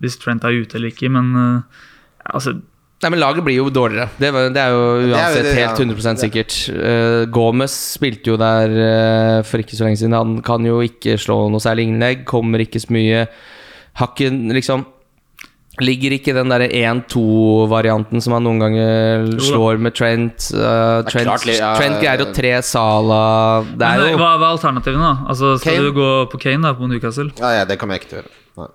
[SPEAKER 5] hvis Trent er ute eller ikke, men eh, altså
[SPEAKER 4] Nei, men Laget blir jo dårligere. Det, var- det er jo
[SPEAKER 3] det er jo
[SPEAKER 4] uansett
[SPEAKER 3] det, ja.
[SPEAKER 4] helt 100 sikkert. Eh, Gomez spilte jo der eh, for ikke så lenge siden. Han kan jo ikke slå noe særlig innlegg. Kommer ikke så mye. Har ikke liksom Ligger ikke den derre 1-2-varianten som han noen ganger slår med Trent. Eh,
[SPEAKER 3] Det er
[SPEAKER 4] Trent,
[SPEAKER 3] klart, ja,
[SPEAKER 4] Trent greier
[SPEAKER 3] ja.
[SPEAKER 4] å tre Sala Det er
[SPEAKER 5] men,
[SPEAKER 4] jo
[SPEAKER 5] Hva hva er alternativene, da? Altså, skal
[SPEAKER 3] Kane?
[SPEAKER 5] du gå på Kane da, på Newcastle?
[SPEAKER 3] Ja, ja, det kommer jeg ikke til å gjøre. Nei.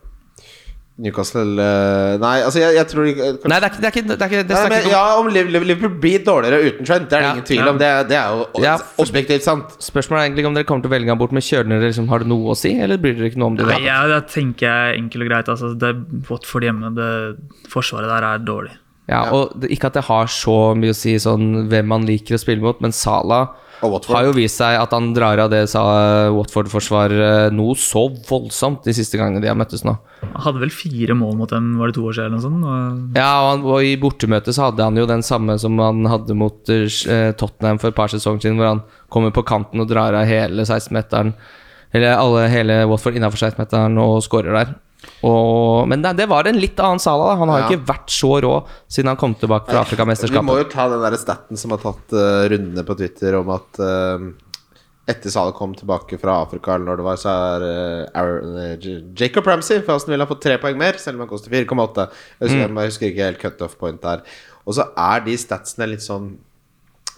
[SPEAKER 3] Newcastle eh, Nei, altså, jeg, jeg tror ikke-
[SPEAKER 4] Nei, det er ikke Det er ikke, det er ikke, det
[SPEAKER 3] Nei,
[SPEAKER 4] snakker
[SPEAKER 3] men,
[SPEAKER 4] ikke om
[SPEAKER 3] ja, om Liv- Liv- Liverpool blir dårligere uten Trent, det er det
[SPEAKER 4] Ja.
[SPEAKER 3] ingen tvil
[SPEAKER 5] Ja.
[SPEAKER 3] om. Det, er- det er jo
[SPEAKER 4] Ja.
[SPEAKER 3] objektivt sant.
[SPEAKER 4] Spørsmålet er egentlig om dere kommer til å velge han bort med kjølere. Liksom, har det noe å si, eller bryr dere ikke noe om det? i det
[SPEAKER 5] Nei,
[SPEAKER 4] hele tatt?
[SPEAKER 5] jeg, det tenker jeg enkelt og greit. Altså, det er Watford hjemme. Det forsvaret der er dårlig.
[SPEAKER 4] Ja, og det, Ikke at det har så mye å si sånn, hvem han liker å spille mot, men Salah
[SPEAKER 3] Og Watford.
[SPEAKER 4] har jo vist seg at han drar av det sa eh, Watford-forsvaret eh, noe så voldsomt de siste gangene de har møttes nå.
[SPEAKER 5] Han hadde vel fire mål mot dem, var det to år siden? eller noe sånt?
[SPEAKER 4] Ja, og, han, og I bortemøtet så hadde han jo den samme som han hadde mot eh, Tottenham for et par sesonger siden, hvor han kommer på kanten og drar av hele 16-meteren, eller alle, hele Watford innafor 16-meteren og scorer der. Og, men det, det var en litt annen Salah. da. Han har jo
[SPEAKER 3] Ja.
[SPEAKER 4] ikke vært så rå siden han kom tilbake fra
[SPEAKER 3] Vi må
[SPEAKER 4] Afrikamesterskapet.
[SPEAKER 3] jo ta den der staten som har tatt eh, rundene på Twitter om at eh, etter Salah kom tilbake fra Afrika, eller når det var, så er eh, Aaron, eh, J- Jacob Ramsey for Aston Villa fått tre poeng mer, selv om han koster 4,8. Jeg, husker-
[SPEAKER 4] Mm.
[SPEAKER 3] jeg husker ikke helt cutoff point der. Og så er de statsene litt sånn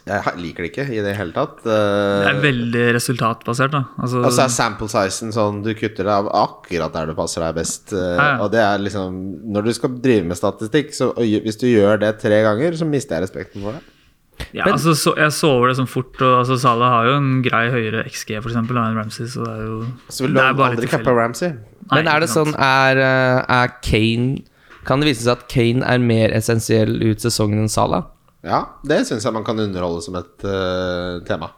[SPEAKER 3] Jeg ha- liker det ikke i det hele tatt.
[SPEAKER 5] Det
[SPEAKER 3] Uh,
[SPEAKER 5] er veldig resultatbasert, da. Altså,
[SPEAKER 3] Og så er sample sizen sånn Du kutter deg av akkurat der du passer deg best. eh,
[SPEAKER 5] Ja, ja.
[SPEAKER 3] Og det er liksom Når du skal drive med statistikk, så og gj- hvis du gjør det tre ganger, så mister jeg respekten for det.
[SPEAKER 5] ja, altså, så, jeg så over det sånn fort. Og, altså, Salah har jo en grei høyere XG for eksempel, enn Ramsey, så det er jo
[SPEAKER 3] Så vil du
[SPEAKER 5] det er bare
[SPEAKER 3] aldri
[SPEAKER 5] litt
[SPEAKER 3] cappe
[SPEAKER 5] tilfeldig.
[SPEAKER 3] Ramsey.
[SPEAKER 5] Nei,
[SPEAKER 4] Men er det
[SPEAKER 5] ikke sant.
[SPEAKER 4] sånn er, eh, er Kane Kan det vise seg at Kane er mer essensiell ut sesongen enn Salah?
[SPEAKER 3] Ja, det syns jeg man kan underholde som et eh, tema.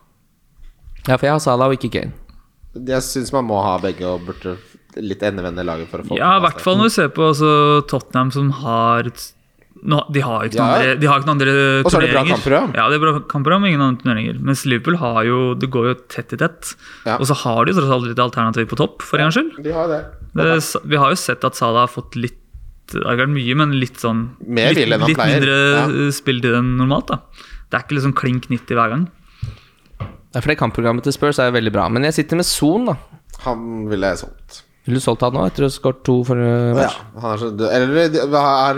[SPEAKER 4] Ja, for jeg har Salah og ikke Kane.
[SPEAKER 3] Jeg syns man må ha begge og burde
[SPEAKER 4] sånn-
[SPEAKER 3] litt endevende laget for å få
[SPEAKER 5] Ja, i
[SPEAKER 3] på plass
[SPEAKER 5] hvert fall når du ser på altså, Tottenham, som har et nå, de har jo ikke
[SPEAKER 3] Ja,
[SPEAKER 5] noen
[SPEAKER 3] ja.
[SPEAKER 5] andre, de har ikke noen andre turneringer.
[SPEAKER 3] Og så er det bra kamper,
[SPEAKER 5] Ja, det er bra kamper, men ingen andre turneringer. Mens Liverpool har jo, det går jo tett i tett.
[SPEAKER 3] Ja.
[SPEAKER 5] Og så har de jo tross alt litt alternativ på topp, for en gangs skyld.
[SPEAKER 3] De har det.
[SPEAKER 5] Det, vi har jo sett at Salah har fått litt det har ikke vært mye, men litt sånn
[SPEAKER 3] Mer
[SPEAKER 5] litt,
[SPEAKER 3] vill enn han
[SPEAKER 5] litt
[SPEAKER 3] pleier.
[SPEAKER 5] mindre
[SPEAKER 3] Ja.
[SPEAKER 5] eh, spilletid enn normalt. da Det er ikke liksom klink 90 hver gang.
[SPEAKER 4] Ja, for det kampprogrammet til Spurs er jo veldig bra. Men jeg sitter med Son, da.
[SPEAKER 3] Han ville jeg solgt.
[SPEAKER 4] Ville du solgt han nå etter å ha skåret to for
[SPEAKER 3] Ja,
[SPEAKER 4] uh, match?
[SPEAKER 3] han er, så, eller, er det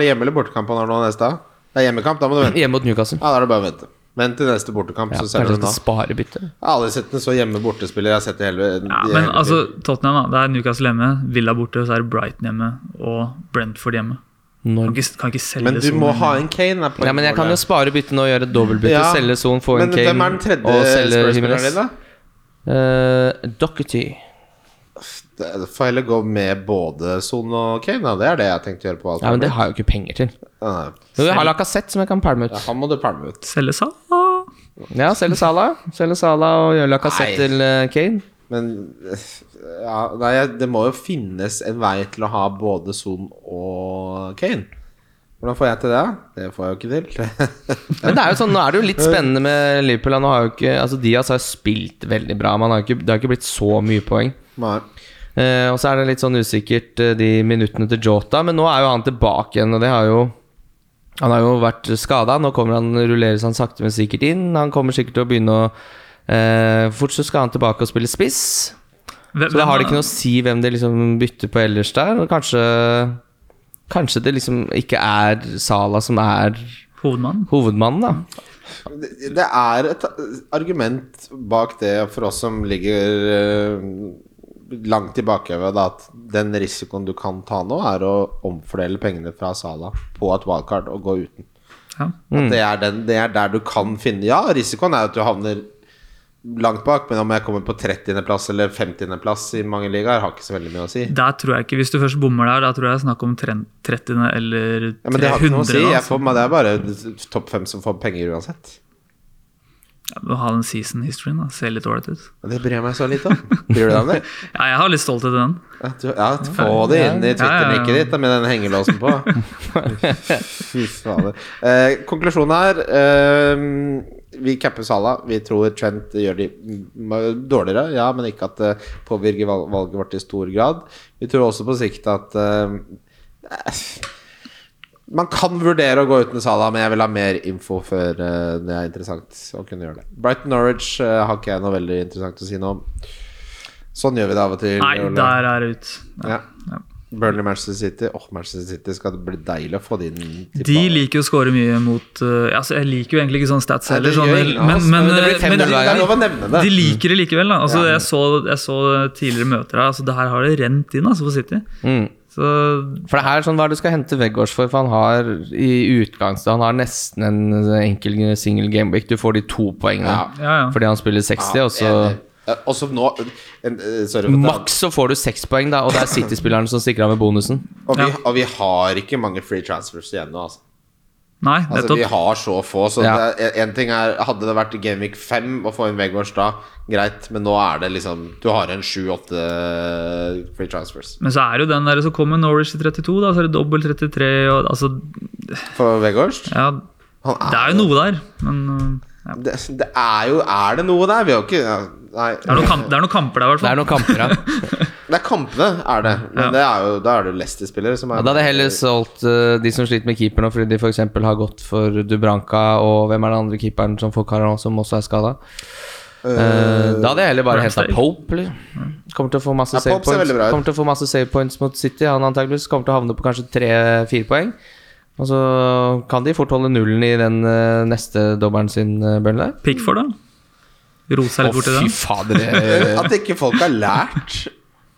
[SPEAKER 3] hjemme- eller bortekamp han har nå neste? Det er hjemmekamp, da må du vente.
[SPEAKER 4] Hjemme mot Newcastle.
[SPEAKER 3] Ja, da er det bare å vente. Vent til neste bortekamp,
[SPEAKER 4] Ja,
[SPEAKER 3] så ser
[SPEAKER 4] kanskje
[SPEAKER 3] du den
[SPEAKER 4] jeg
[SPEAKER 3] da.
[SPEAKER 4] skal spare byttet.
[SPEAKER 3] Jeg har aldri sett en så hjemme bortespiller jeg har sett i hele
[SPEAKER 5] Ja,
[SPEAKER 3] i
[SPEAKER 5] men
[SPEAKER 3] hele
[SPEAKER 5] altså,
[SPEAKER 3] tiden.
[SPEAKER 5] Tottenham, da. Det er Newcastle hjemme, Villa borte, så er det Brighton hjemme og Brentford hjemme. Kan
[SPEAKER 4] Når...
[SPEAKER 5] ikke, kan ikke selge
[SPEAKER 3] Men du
[SPEAKER 5] Son
[SPEAKER 3] må
[SPEAKER 5] hjemme.
[SPEAKER 3] ha en Kane. er poenget
[SPEAKER 4] Ja, men jeg kan
[SPEAKER 3] vårt.
[SPEAKER 4] jo spare byttet nå og gjøre et dobbeltbytte.
[SPEAKER 3] Ja,
[SPEAKER 4] Selge Son, få
[SPEAKER 3] Men
[SPEAKER 4] en Kane
[SPEAKER 3] hvem er den
[SPEAKER 4] og
[SPEAKER 3] tredje
[SPEAKER 4] selge
[SPEAKER 3] spørsmåleren
[SPEAKER 4] Jimenez.
[SPEAKER 3] din, da?
[SPEAKER 4] Uh, Doherty.
[SPEAKER 3] Det- Får heller gå med både Son og Kane, da. Det er det jeg har tenkt å gjøre på alt.
[SPEAKER 4] Ja, men det har jeg jo ikke penger til.
[SPEAKER 3] Nei,
[SPEAKER 4] Jo, jeg har Lacassette som jeg kan pælme
[SPEAKER 3] ja,
[SPEAKER 4] ut.
[SPEAKER 3] han må du palme ut.
[SPEAKER 5] Selge Salah?
[SPEAKER 4] Ja, selge Salah. Selge Salah og gjøre
[SPEAKER 3] Nei.
[SPEAKER 4] Lacassette til uh, Kane.
[SPEAKER 3] Men ja, nei, jeg- det må jo finnes en vei til å ha både Son og Kane. Hvordan får jeg til det? da? Det får jeg jo ikke til.
[SPEAKER 4] Men det er jo sånn, nå er det jo litt spennende med Liverpool. da. Nå har jo ikke, altså Diaz har spilt veldig bra, men han har jo ikke, det har ikke blitt så mye poeng.
[SPEAKER 3] Nei.
[SPEAKER 4] Eh, og så er det litt sånn usikkert eh, de minuttene til Jota, men nå er jo han tilbake igjen, og det har jo Han har jo vært skada, nå kommer han, rulleres han sakte, men sikkert inn. Han kommer sikkert til å begynne å eh, Fort så skal han tilbake og spille spiss.
[SPEAKER 5] Hvem-
[SPEAKER 4] Så da har
[SPEAKER 5] hvem
[SPEAKER 4] det ikke noe å si hvem det liksom bytter på ellers der. Og kanskje Kanskje det liksom ikke er Sala som er
[SPEAKER 5] Hovedmannen?
[SPEAKER 4] hovedmannen, da.
[SPEAKER 3] Det det er et argument bak det for oss som ligger eh, langt tilbake ved da, at den risikoen du kan ta nå, er å omfordele pengene fra Sala på et wildcard og gå uten.
[SPEAKER 5] Ja.
[SPEAKER 3] At det, er den, det er der du kan finne Ja, risikoen er at du havner langt bak, men om jeg kommer på 30.-plass eller 50.-plass i mange ligaer, har ikke så veldig mye å si.
[SPEAKER 5] Der tror jeg ikke, Hvis du først bommer der, da tror jeg det er snakk om tren- 30. eller 300.
[SPEAKER 3] Ja, men det har ikke noe å si. Jeg
[SPEAKER 5] altså.
[SPEAKER 3] får, men det er bare topp fem som får penger uansett.
[SPEAKER 5] Ja, men Ha den season historyen, da. Ser litt ålreit ut.
[SPEAKER 3] Og det bryr jeg meg så litt om. Bryr du deg om det?
[SPEAKER 5] Ja, jeg har litt stolthet i den.
[SPEAKER 3] Ja, du- ja, få det inn i Twitter-nikket
[SPEAKER 5] Ja, ja, ja.
[SPEAKER 3] ditt da, med den hengelåsen på. Fy fader. Eh, konklusjonen her eh, Vi capper Sala. Vi tror Trent gjør de m- dårligere, ja, men ikke at det påvirker val- valget vårt i stor grad. Vi tror også på sikt at eh, man kan vurdere å gå uten Salah, men jeg vil ha mer info før eh, det er interessant å kunne gjøre det. Brighton Norwich eh, har ikke jeg noe veldig interessant å si noe om. Sånn gjør vi det av og til.
[SPEAKER 5] Nei,
[SPEAKER 3] Ole.
[SPEAKER 5] der er det ut. Ja.
[SPEAKER 3] Ja. Burnley Manchester City. Åh, Manchester City skal det bli deilig å få de inn. til
[SPEAKER 5] De
[SPEAKER 3] banen.
[SPEAKER 5] liker jo å score mye mot eh, altså Jeg liker jo egentlig ikke sånne stats
[SPEAKER 3] Nei,
[SPEAKER 5] heller,
[SPEAKER 3] det
[SPEAKER 5] sånn,
[SPEAKER 3] gjør
[SPEAKER 5] men,
[SPEAKER 3] ingen av oss,
[SPEAKER 5] men,
[SPEAKER 4] men det blir
[SPEAKER 5] eh,
[SPEAKER 4] 5-0
[SPEAKER 5] men
[SPEAKER 4] hver
[SPEAKER 3] Det er
[SPEAKER 5] de,
[SPEAKER 3] lov å nevne det.
[SPEAKER 5] de liker det likevel. da altså,
[SPEAKER 3] Ja.
[SPEAKER 5] jeg, så, jeg så tidligere møter her, altså, det her har det rent inn altså, for City.
[SPEAKER 4] Mm.
[SPEAKER 5] Så
[SPEAKER 4] For det her er sånn, Hva er det du skal hente Weggårds for? For han har i utgangspunktet Han har nesten en eh, enkel single gameweek. Du får de to poengene
[SPEAKER 3] Ja.
[SPEAKER 5] ja, ja.
[SPEAKER 4] fordi han spiller 60, og så
[SPEAKER 3] Enig. Eh, Også nå en, eh, Sorry. for at-
[SPEAKER 4] Maks så får du seks poeng, da, og det er City-spilleren som stikker av med bonusen.
[SPEAKER 3] Og vi,
[SPEAKER 5] Ja.
[SPEAKER 3] og vi har ikke mange free transfers igjen nå, altså.
[SPEAKER 5] Nei,
[SPEAKER 3] altså
[SPEAKER 5] nettopp.
[SPEAKER 3] vi har så få, så
[SPEAKER 4] Ja.
[SPEAKER 3] det er- en ting er Hadde det vært i Gameweek 5 å få inn Vegårs da, greit, men nå er det liksom Du har en sju-åtte free transfers.
[SPEAKER 5] Men så er det jo den der som kommer Norwich i 32, da, så er det dobbel 33 og altså
[SPEAKER 3] For Vegårs?
[SPEAKER 5] Ja,
[SPEAKER 3] Han
[SPEAKER 5] det er jo noe der, men eh, ja.
[SPEAKER 3] det, det er jo Er det noe der? Vi har jo ikke ja, Nei.
[SPEAKER 5] det, er noen kamp, det er noen kamper der, i hvert
[SPEAKER 4] Det er
[SPEAKER 5] fall.
[SPEAKER 4] noen kamper, ja.
[SPEAKER 3] Det er kampene, er det. Men
[SPEAKER 5] Ja.
[SPEAKER 3] det er jo, da er det jo Leicester-spillere som er
[SPEAKER 4] Ja, da hadde jeg heller solgt eh, de som sliter med keeper nå, fordi de f.eks. har gått for Dubranka, og hvem er den andre keeperen som får Caron, som også er skada? da hadde jeg heller bare henta
[SPEAKER 5] Ramsdale.
[SPEAKER 4] Pope. Eller? Kommer til å få masse
[SPEAKER 3] Ja,
[SPEAKER 4] save
[SPEAKER 3] Pope ser
[SPEAKER 4] points
[SPEAKER 3] veldig bra ut.
[SPEAKER 4] Kommer til å få masse save points mot City. Han antageligvis kommer til å havne på kanskje tre-fire poeng. Og så kan de fort holde nullen i den eh, neste dobbelen sin, uh, Burnley.
[SPEAKER 5] Pickford, da. Rote
[SPEAKER 4] Å,
[SPEAKER 5] seg litt borti det.
[SPEAKER 4] fy fader. eh,
[SPEAKER 3] Eh, At ikke folk har lært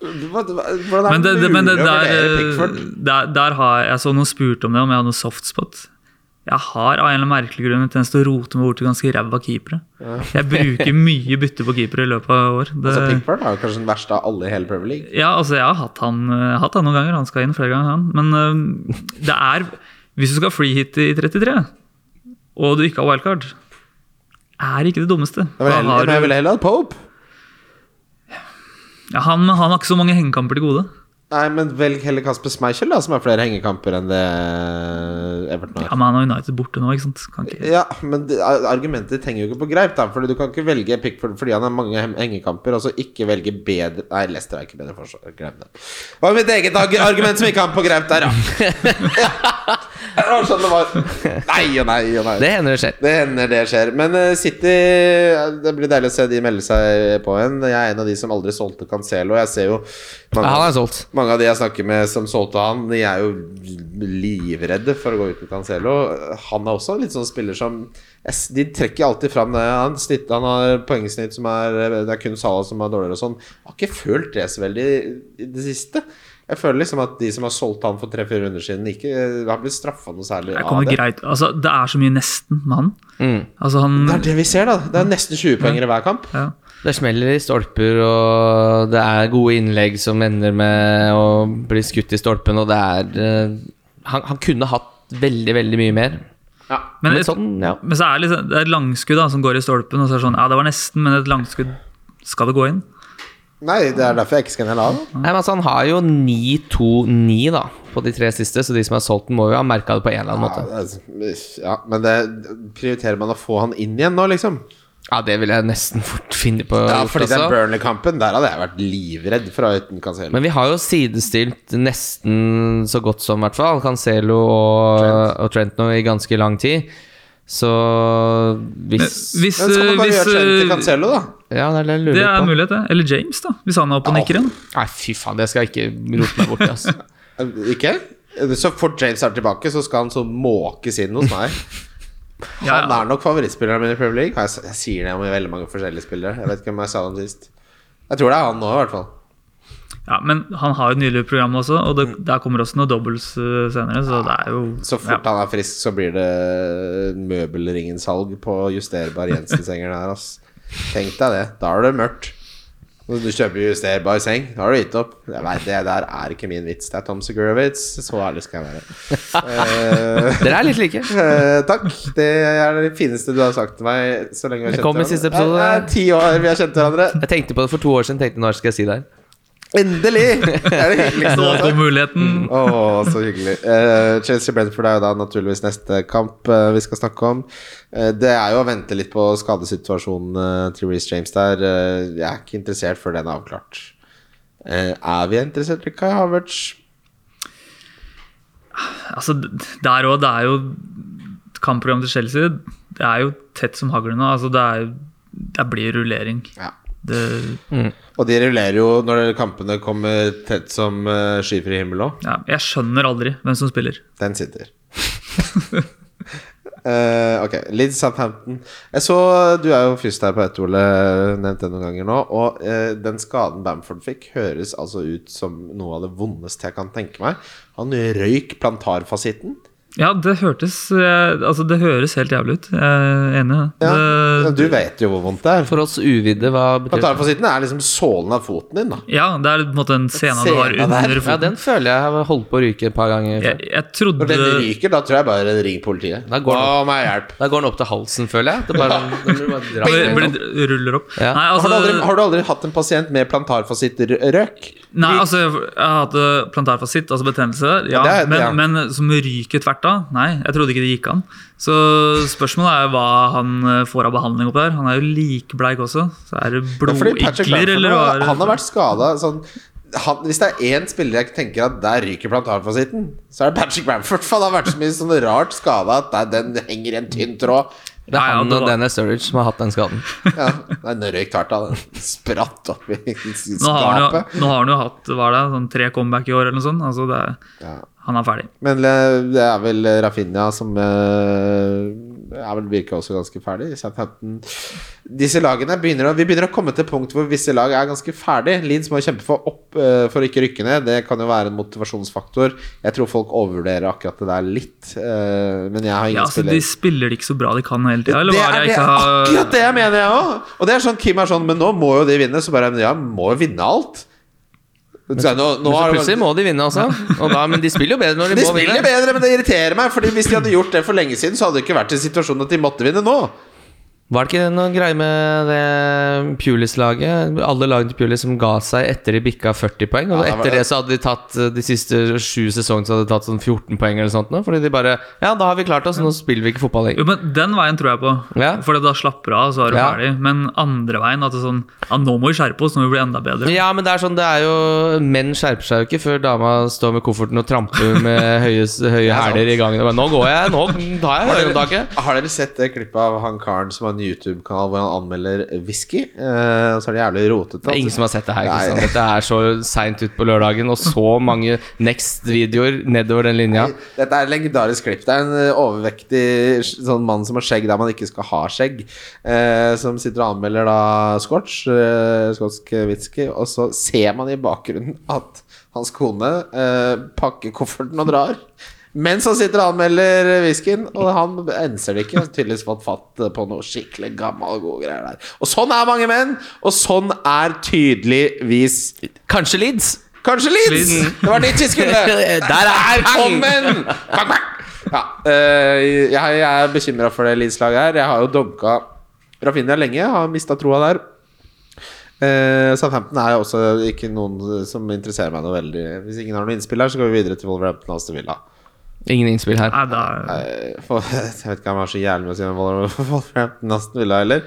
[SPEAKER 3] Hva- hva- Hvordan er
[SPEAKER 5] Men
[SPEAKER 3] det,
[SPEAKER 5] det, det, men det
[SPEAKER 3] mulig å
[SPEAKER 5] der,
[SPEAKER 3] vurdere
[SPEAKER 5] eh,
[SPEAKER 3] Pickford?
[SPEAKER 5] der, der har jeg så noen spurte om det, om jeg hadde noe softspot. Jeg har av en eller annen merkelig grunn en tendens til å rote meg bort til ganske ræva keepere. Jeg bruker mye bytte på keepere i løpet av år. Det,
[SPEAKER 3] Altså, Pickford er jo kanskje den verste av alle i hele Premier League.
[SPEAKER 5] ja, altså, jeg har hatt han, eh, hatt han noen ganger. Han skal inn flere ganger, han. Men eh, det er Hvis du skal free hit i 33, og du ikke har wildcard, er ikke det dummeste.
[SPEAKER 3] Jeg ville
[SPEAKER 5] Da
[SPEAKER 3] heller,
[SPEAKER 5] har
[SPEAKER 3] men jeg
[SPEAKER 5] du-
[SPEAKER 3] ville heller hatt Pope.
[SPEAKER 5] Ja, han, han har ikke så mange hengekamper til gode.
[SPEAKER 3] Nei, men velg heller Kasper Schmeichel, da, som har flere hengekamper enn det Everton
[SPEAKER 5] Ja,
[SPEAKER 3] har.
[SPEAKER 5] men han har United borte nå, ikke sant? Kan ikke...
[SPEAKER 3] Ja, men det- argumentet ditt henger jo ikke på greip, da. Fordi du kan ikke velge Pickford fordi han har mange hem- hengekamper, og så ikke velge bedre Nei, Leicester er ikke bedre forsvar. Glem det. Det var mitt eget arg- argument som ikke hang på greip der, ja. ja. Det var sånn det var. Nei og nei og nei.
[SPEAKER 4] Det hender det skjer.
[SPEAKER 3] Det hender det skjer. Men eh, City eh, Det blir deilig å se de melde seg på igjen. Jeg er en av de som aldri solgte Cancelo. Jeg ser jo
[SPEAKER 4] Ja,
[SPEAKER 3] mange,
[SPEAKER 4] han er solgt.
[SPEAKER 3] mange av de jeg snakker med som solgte han, de er jo livredde for å gå uten Cancelo. Han er også en litt sånn spiller som jeg s- De trekker alltid fram det. Han, snitt, han har poengsnitt som er Det er kun Salah som er dårligere og sånn. Jeg har ikke følt det så veldig i det siste. Jeg føler liksom at de som har solgt han for tre-fire runder siden, ikke eh, har blitt straffa noe særlig
[SPEAKER 5] Jeg
[SPEAKER 3] av
[SPEAKER 5] kommer
[SPEAKER 3] det.
[SPEAKER 5] greit Altså, det er så mye nesten med han.
[SPEAKER 4] Mm.
[SPEAKER 5] Altså, han
[SPEAKER 3] Det er det vi ser, da. Det er nesten 20 poenger i hver kamp.
[SPEAKER 5] ja.
[SPEAKER 4] Det smeller i stolper, og det er gode innlegg som ender med å bli skutt i stolpen, og det er eh, han, han kunne hatt veldig, veldig mye mer.
[SPEAKER 5] Men,
[SPEAKER 4] Men
[SPEAKER 5] et,
[SPEAKER 4] sånn, ja.
[SPEAKER 5] men så er det, liksom, det er et langskudd da, som går i stolpen, og så er det sånn Ja, det var nesten, men et langskudd skal det gå inn?
[SPEAKER 3] Nei, det er derfor jeg ikke skal ned av.
[SPEAKER 4] Nei, men altså, han har jo 9-2-9 da, på de tre siste, så de som har solgt den, må jo ha merka det på en eller annen
[SPEAKER 3] Ja,
[SPEAKER 4] måte.
[SPEAKER 3] det er- ja, men det prioriterer man å få han inn igjen nå, liksom?
[SPEAKER 4] Ja, det vil jeg nesten fort finne på.
[SPEAKER 3] Ja,
[SPEAKER 4] gjort
[SPEAKER 3] fordi
[SPEAKER 4] også.
[SPEAKER 3] den Burnley-kampen, der hadde jeg vært livredd for å ha uten Cancelo.
[SPEAKER 4] Men vi har jo sidestilt nesten så godt som, i hvert fall, Cancelo og Trent, og Trent nå i ganske lang tid. Så
[SPEAKER 5] Men
[SPEAKER 4] hvis
[SPEAKER 5] Hvis,
[SPEAKER 3] Men skal man bare
[SPEAKER 5] hvis,
[SPEAKER 3] gjøre Trent til
[SPEAKER 5] eh,
[SPEAKER 3] Cancelo, da?
[SPEAKER 4] Ja, det er det jeg lurer
[SPEAKER 5] det er
[SPEAKER 4] på.
[SPEAKER 5] en mulighet, det. Eller James, da. Hvis han er oppe og nikker igjen.
[SPEAKER 4] Nei, fy faen, det skal jeg ikke rote meg borti, altså.
[SPEAKER 3] Eh, Ikke? Så fort James er tilbake, så skal han så måkes inn hos meg.
[SPEAKER 5] Ja,
[SPEAKER 3] Han
[SPEAKER 5] ja.
[SPEAKER 3] er nok favorittspilleren min i Premier League. Jeg, s- jeg sier det om veldig mange forskjellige spillere. Jeg vet ikke om jeg sa det sist. Jeg tror det er han nå, i hvert fall.
[SPEAKER 5] ja, Men han har jo et nydelig program også, og det, der kommer også noe doubles eh, senere, så det er jo
[SPEAKER 3] Mm. Så fort han er frisk, så blir det møbelringensalg på justerbar Jensen-senger der, ass. Tenk deg det. Da er det mørkt. Når du kjøper justerbar seng, da har du gitt opp. Jeg vet, det der er ikke min vits. Det er Tom Segura-vits. Så ærlig skal jeg være. Eh,
[SPEAKER 4] Dere er litt like.
[SPEAKER 3] eh, takk. Det er det fineste du har sagt til meg så lenge vi har
[SPEAKER 4] Det
[SPEAKER 3] kjent
[SPEAKER 4] kom i
[SPEAKER 3] hverandre.
[SPEAKER 4] siste episode.
[SPEAKER 3] Det er ti år vi har kjent hverandre.
[SPEAKER 4] Jeg tenkte på det for to år siden. tenkte Når skal jeg si det her?
[SPEAKER 3] Endelig! Det er det hyggeligste. du
[SPEAKER 5] Nå
[SPEAKER 3] har sagt.
[SPEAKER 5] kom muligheten.
[SPEAKER 3] Å, så hyggelig. Eh, Chelsea Brentford er jo da naturligvis neste kamp eh, vi skal snakke om. Eh, det er jo å vente litt på skadesituasjonen eh, til Reece James der. Eh, jeg er ikke interessert før den er avklart. Eh, er vi interessert i Kai Havertz?
[SPEAKER 5] Altså, d- der òg, det er jo kampprogrammet til Chelsea. Det er jo tett som hagl nå. Altså, det, er, det blir rullering.
[SPEAKER 3] Ja.
[SPEAKER 5] Det,
[SPEAKER 3] Og de rullerer jo når kampene kommer tett som uh, skyfri himmel òg.
[SPEAKER 5] ja, jeg skjønner aldri hvem som spiller.
[SPEAKER 3] Den sitter. Eh, ok, Leeds Southampton. Jeg så, Du er jo først her på ett, Ole. Nevnt det noen ganger nå. Og eh, den skaden Bamford fikk, høres altså ut som noe av det vondeste jeg kan tenke meg. Han røyk plantarfasitten.
[SPEAKER 5] Ja, det hørtes eh, Altså, det høres helt jævlig ut. Jeg er enig. i
[SPEAKER 3] Ja,
[SPEAKER 4] Eh,
[SPEAKER 5] det.
[SPEAKER 3] Du vet jo hvor vondt det er.
[SPEAKER 4] For oss uvide, hva betyr det?
[SPEAKER 3] Plantarfasitten er liksom sålen av foten din, da.
[SPEAKER 5] Ja, det er på en måte en scene du har
[SPEAKER 3] Scena
[SPEAKER 5] under
[SPEAKER 3] der.
[SPEAKER 4] Ja,
[SPEAKER 5] foten.
[SPEAKER 4] den føler jeg har holdt på å ryke et par ganger. før.
[SPEAKER 5] Jeg, jeg trodde
[SPEAKER 3] Når den ryker, da tror jeg bare ring politiet.
[SPEAKER 4] Da går det.
[SPEAKER 3] Å, meg hjelp.
[SPEAKER 4] Da går den opp til halsen, føler jeg. Det er bare, sånn- den blir bare dratt
[SPEAKER 5] Blir-
[SPEAKER 4] inn.
[SPEAKER 5] blir- ruller opp.
[SPEAKER 4] Ja.
[SPEAKER 5] Nei, altså,
[SPEAKER 3] har, du aldri, har du aldri hatt en pasient med plantarfasittrøk?
[SPEAKER 5] nei, altså jeg, jeg hadde plantarfasitt, altså betennelse, ja,
[SPEAKER 3] Ja, det er-
[SPEAKER 5] men,
[SPEAKER 3] ja.
[SPEAKER 5] men som ryker tvert av? Nei, jeg trodde ikke det gikk an. Så spørsmålet er hva han eh, får av behandling oppi der. Han er jo likbleik også. Så er det
[SPEAKER 3] Ja, fordi Patrick
[SPEAKER 5] blodigler,
[SPEAKER 3] Bamford
[SPEAKER 5] eller hva? er
[SPEAKER 3] nå,
[SPEAKER 5] det?
[SPEAKER 3] Han har vært skada sånn han, Hvis det er én spiller jeg tenker at der ryker plantarfasitten, så er det Patrick Bamford. For han har vært så mye sånn rart skada at der, den henger i en tynn tråd.
[SPEAKER 4] Det er
[SPEAKER 5] Nei, ja,
[SPEAKER 4] han
[SPEAKER 5] det
[SPEAKER 4] og
[SPEAKER 5] var-
[SPEAKER 4] Dennis Sturridge som har hatt den skaden.
[SPEAKER 3] Ja, nei, den røyk hardt av. Den spratt opp i
[SPEAKER 5] Nå har, han jo,
[SPEAKER 3] skapet.
[SPEAKER 5] nå har han jo hatt hva er det, sånn tre comeback i år, eller noe sånt. Altså det er,
[SPEAKER 3] Ja.
[SPEAKER 5] han er ferdig.
[SPEAKER 3] Men eh, det er vel Rafinha som eh, er vel virker også ganske ferdig. Southampton Disse lagene begynner å, Vi begynner å komme til et punkt hvor visse lag er ganske ferdig. Leeds må kjempe for, opp, eh, for å ikke rykke ned. Det kan jo være en motivasjonsfaktor. Jeg tror folk overvurderer akkurat det der litt. eh, men jeg har ingen
[SPEAKER 5] Ja, altså, de
[SPEAKER 3] spillere
[SPEAKER 5] spiller ikke så bra de kan hele tida. Eller
[SPEAKER 3] det
[SPEAKER 5] hva
[SPEAKER 3] er
[SPEAKER 5] er det
[SPEAKER 3] det,
[SPEAKER 5] jeg ikke
[SPEAKER 3] akkurat
[SPEAKER 5] har
[SPEAKER 3] det jeg mener, jeg òg! Og det er sånn Kim er sånn Men nå må jo de vinne. Så bare Ja, må jo vinne alt. Så, nå, nå
[SPEAKER 4] Men så
[SPEAKER 3] har-
[SPEAKER 4] plutselig må de vinne, altså. Og da, men de spiller jo bedre når de,
[SPEAKER 3] De
[SPEAKER 4] må
[SPEAKER 3] spiller
[SPEAKER 4] vinne.
[SPEAKER 3] bedre, men det irriterer meg. Fordi Hvis de hadde gjort det for lenge siden, så hadde det ikke vært i situasjonen at de måtte vinne nå.
[SPEAKER 4] Var det ikke noen greie med det Pulis-laget? Alle lagene til Pulis som ga seg etter de bikka 40 poeng. Og
[SPEAKER 3] Ja, det var-
[SPEAKER 4] etter det så hadde de tatt eh, de siste sju sesongene så hadde de tatt sånn 14 poeng eller sånt nå. Fordi de bare Ja, da har vi klart oss, nå spiller vi ikke fotball lenger.
[SPEAKER 5] Jo, men Den veien tror jeg på.
[SPEAKER 4] Ja.
[SPEAKER 5] Fordi da slapper du av, så er du
[SPEAKER 4] Ja.
[SPEAKER 5] ferdig. Men andre veien, at det er sånn Ja, nå må vi skjerpe oss, nå må vi bli enda bedre.
[SPEAKER 4] Ja, men det er sånn, det er jo Menn skjerper seg jo ikke før dama står med kofferten og tramper med høye, høye
[SPEAKER 3] sant.
[SPEAKER 4] hæler i gangen. Og bare, 'Nå går jeg, nå tar jeg høyhåndtaket'.
[SPEAKER 3] Har dere sett det klippet av han karen som har en YouTube-kanal hvor han anmelder whisky? Eh, og så er det jævlig rotete. altså.
[SPEAKER 4] Det er ingen som har sett det her.
[SPEAKER 3] Nei.
[SPEAKER 4] Kristian. Dette er så seint ut på lørdagen, og så mange next-videoer nedover den linja.
[SPEAKER 3] Dette er et legendarisk klipp. Det er en eh, overvektig sj- sånn mann som har skjegg der man ikke skal ha skjegg, eh, som sitter og anmelder da scotch, eh, skotsk whisky, og så ser man i bakgrunnen at hans kone eh, pakker kofferten og drar. Mens han sitter og anmelder whiskyen, og han enser det ikke. Han har Tydeligvis fått fatt på noe skikkelig gammel, gode greier der. Og sånn er mange menn! Og sånn er tydeligvis
[SPEAKER 4] Kanskje Leeds?
[SPEAKER 3] Kanskje Leeds!
[SPEAKER 5] Leeds.
[SPEAKER 3] Det var dit vi skulle!
[SPEAKER 4] Der er
[SPEAKER 3] Kom igjen! Bang, bang! Ja, eh, jeg, jeg er bekymra for det Leeds-laget her. Jeg har jo dunka Rafinha lenge, har mista troa der. Eh, Southampton er jo også ikke noen som interesserer meg noe veldig. Hvis ingen har noe innspill her, så går vi videre til Wolverhampton og Aston Villa.
[SPEAKER 4] Ingen innspill her.
[SPEAKER 5] Nei, da er
[SPEAKER 3] Eh, for, jeg vet ikke om jeg har så jævlig med å si om Wol- Wolverhampton og Aston Villa heller.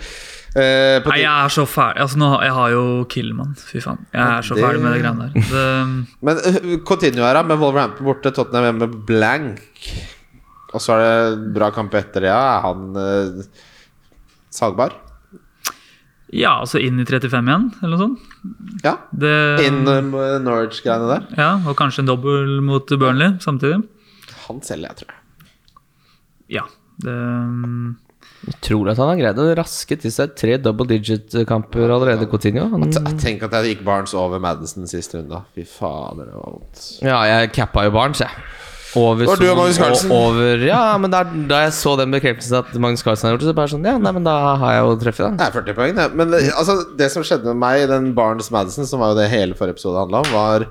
[SPEAKER 3] Eh, på
[SPEAKER 5] Nei,
[SPEAKER 3] ti-
[SPEAKER 5] jeg er så ferdig. Altså, nå, har- jeg har jo Killman. Fy faen. Jeg er så
[SPEAKER 3] det-
[SPEAKER 5] ferdig med det greiene der. Det,
[SPEAKER 3] Men eh, continue her, da, med Wolverhampton borte, Tottenham hjemme, blank. Og så er det bra kamp etter det. Ja. Er han eh, sagbar?
[SPEAKER 5] ja, altså inn i 35 igjen, eller noe sånt.
[SPEAKER 3] Ja.
[SPEAKER 5] Det,
[SPEAKER 3] Inn eh, Norwich-greiene der.
[SPEAKER 5] Ja, Og kanskje en dobbel mot Burnley samtidig.
[SPEAKER 3] Han selger jeg, tror jeg.
[SPEAKER 5] Ja. Det,
[SPEAKER 4] Utrolig at han har greid å raske til seg tre double digit-kamper allerede, Coutinho. Han,
[SPEAKER 3] T- Tenk at jeg gikk Barnes over Madison siste runde. Fy fader, det var vondt.
[SPEAKER 4] ja, jeg cappa jo Barnes, jeg. Over
[SPEAKER 3] Det var du og
[SPEAKER 4] Son
[SPEAKER 3] Magnus Carlsen.
[SPEAKER 4] over Ja, men da, da jeg så den bekreftelsen at Magnus Carlsen har gjort det, så bare sånn Ja, nei, men da har jeg jo treffet, da.
[SPEAKER 3] Det er 40 poeng, det. Men eh, altså, det som skjedde med meg i den Barnes-Madison, som var jo det hele forrige episode handla om, var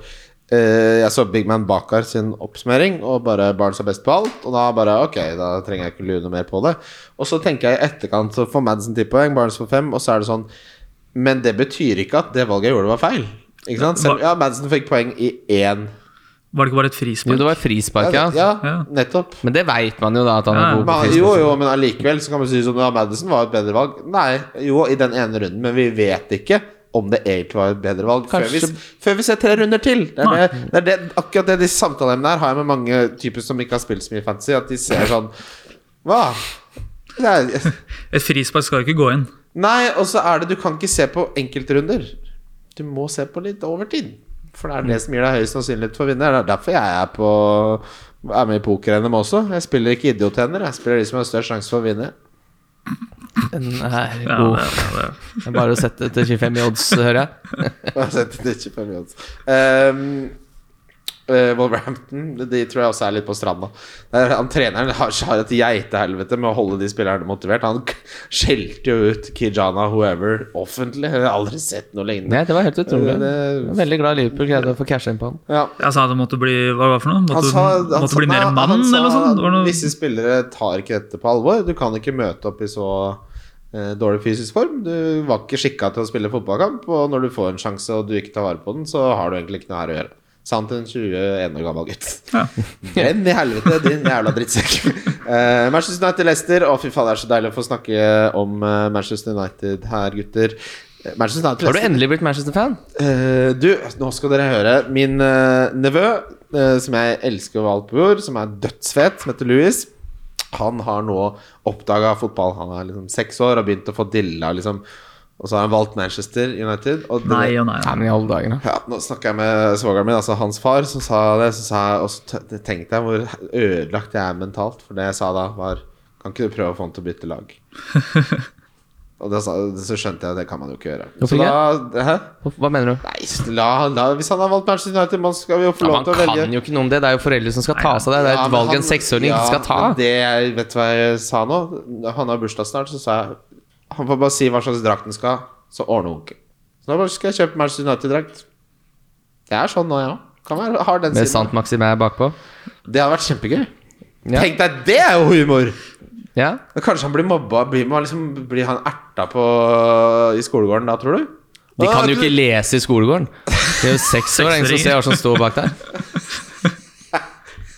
[SPEAKER 3] eh, Jeg så Big Man Bakar sin oppsummering, og bare Barnes er best på alt. Og da bare Ok, da trenger jeg ikke lure noe mer på det. Og så tenker jeg i etterkant så får Madison 10 poeng, Barnes får 5, og så er det sånn Men det betyr ikke at det valget jeg gjorde, var feil. Ikke sant? Selv, ja, Madison fikk poeng i én.
[SPEAKER 5] var det ikke bare et
[SPEAKER 4] Jo,
[SPEAKER 5] frispark?
[SPEAKER 4] det var frispark,
[SPEAKER 3] Ja,
[SPEAKER 4] ja.
[SPEAKER 3] ja,
[SPEAKER 5] Ja.
[SPEAKER 3] nettopp.
[SPEAKER 4] Men det veit man jo da, at han
[SPEAKER 5] Ja,
[SPEAKER 4] er
[SPEAKER 5] ja.
[SPEAKER 4] god på
[SPEAKER 3] Men,
[SPEAKER 4] frispark.
[SPEAKER 3] jo, jo, men allikevel så kan man si sånn ja, Madison var et bedre valg. Nei, jo, i den ene runden, men vi vet ikke om det egentlig var et bedre valg før vi,
[SPEAKER 4] Kanskje-
[SPEAKER 3] før vi ser tre runder til. Det
[SPEAKER 5] Nei.
[SPEAKER 3] er det, det er det, akkurat det de samtaleemnene her har jeg med mange typer som ikke har spilt så mye fantasy, at de ser sånn Hva? Det er,
[SPEAKER 5] Et frispark skal jo ikke gå inn.
[SPEAKER 3] nei, og så er det Du kan ikke se på enkeltrunder. Du må se på litt over tid. For det er det som gir deg høyest sannsynlighet for å vinne. Det er derfor jeg er på er med i poker-NM også. Jeg spiller ikke idiot-hender. Jeg spiller de som har størst sjanse for å vinne.
[SPEAKER 4] Nei,
[SPEAKER 5] Ja,
[SPEAKER 4] god.
[SPEAKER 5] det, ja, det.
[SPEAKER 4] Det er Bare å sette til 25 i odds, hører jeg.
[SPEAKER 3] altså, Jeg har sett det ikke på en måte. Ehm, eh, Wolverhampton De tror jeg også er litt på stranda. Der, han Treneren har, har et geitehelvete med å holde de spillerne motivert. Han k- skjelte jo ut Kijana whoever offentlig. Jeg har aldri sett noe lignende.
[SPEAKER 4] Nei, det var helt utrolig.
[SPEAKER 3] Det-
[SPEAKER 4] Jeg er veldig glad Liverpool greide å få casha inn på han.
[SPEAKER 3] Ja.
[SPEAKER 5] Jeg sa det måtte bli Hva var det for noe? Måtte,
[SPEAKER 3] Han sa, han
[SPEAKER 5] måtte
[SPEAKER 3] sa-
[SPEAKER 5] bli
[SPEAKER 3] nei,
[SPEAKER 5] mer
[SPEAKER 3] han
[SPEAKER 5] mann,
[SPEAKER 3] sa
[SPEAKER 5] eller noe sånt? Det var
[SPEAKER 3] at
[SPEAKER 5] noe,
[SPEAKER 3] Visse spillere tar ikke dette på alvor. Du kan ikke møte opp i så eh, dårlig fysisk form. Du var ikke skikka til å spille fotballkamp, og når du får en sjanse og du ikke tar vare på den, så har du egentlig ikke noe her å gjøre. Sa han til en 21 år gammel gutt.
[SPEAKER 5] Ja.
[SPEAKER 3] Brenn i helvete, din jævla drittsekk. Eh, Manchester United-Leicester. Å, fy faen, det er så deilig å få snakke om eh, Manchester United her, gutter. Eh, Manchester United
[SPEAKER 4] Har du endelig blitt Manchester-fan?
[SPEAKER 3] Eh, du, nå skal dere høre. Min eh, nevø, eh, som jeg elsker over alt på jord, som er dødsfet, som heter Louis, han har nå oppdaga fotball. Han er liksom seks år og har begynt å få dilla, liksom. Og så har han valgt Manchester United. Og det,
[SPEAKER 5] nei og nei.
[SPEAKER 4] Nei, men i alle dager, da.
[SPEAKER 3] ja, nå snakka jeg med svogeren min, altså hans far, som sa det. Så sa jeg, og så t- tenkte jeg hvor ødelagt jeg er mentalt. For det jeg sa da, var Kan ikke du prøve å få han til å bytte lag? og da sa, så skjønte jeg at det kan man jo ikke gjøre.
[SPEAKER 4] Hvorfor
[SPEAKER 3] Så da Hæ?
[SPEAKER 4] Hva mener du?
[SPEAKER 3] Nei, la, la, hvis han har valgt Manchester United, man skal vi jo få
[SPEAKER 4] Ja,
[SPEAKER 3] lov
[SPEAKER 4] man
[SPEAKER 3] til å velge.
[SPEAKER 4] kan jo ikke noe om det. Det er jo foreldre som skal ta seg av det. Det er
[SPEAKER 3] Ja,
[SPEAKER 4] et
[SPEAKER 3] men
[SPEAKER 4] valg
[SPEAKER 3] han-
[SPEAKER 4] en seksåring ikke
[SPEAKER 3] Ja,
[SPEAKER 4] skal
[SPEAKER 3] men
[SPEAKER 4] ta.
[SPEAKER 3] det jeg, vet du hva jeg sa nå? Han har bursdag snart, så sa jeg Han får bare si hva slags drakt han skal ha, så ordner onkel. Så da bare skal jeg kjøpe Manchester United-drakt. Det er sånn nå, ja. Kan være, har den siden.
[SPEAKER 4] Med Sant Maxime er bakpå.
[SPEAKER 3] Det hadde vært kjempegøy.
[SPEAKER 4] Ja.
[SPEAKER 3] Tenk deg, det er jo humor!
[SPEAKER 4] Ja?
[SPEAKER 3] Men Kanskje han blir mobba? Blir, man liksom, blir han erta på i skolegården da, tror du?
[SPEAKER 4] De
[SPEAKER 3] Ah,
[SPEAKER 4] kan jo
[SPEAKER 3] du-
[SPEAKER 4] ikke lese i skolegården. De er jo seks år, ingen som ser hva som står bak der.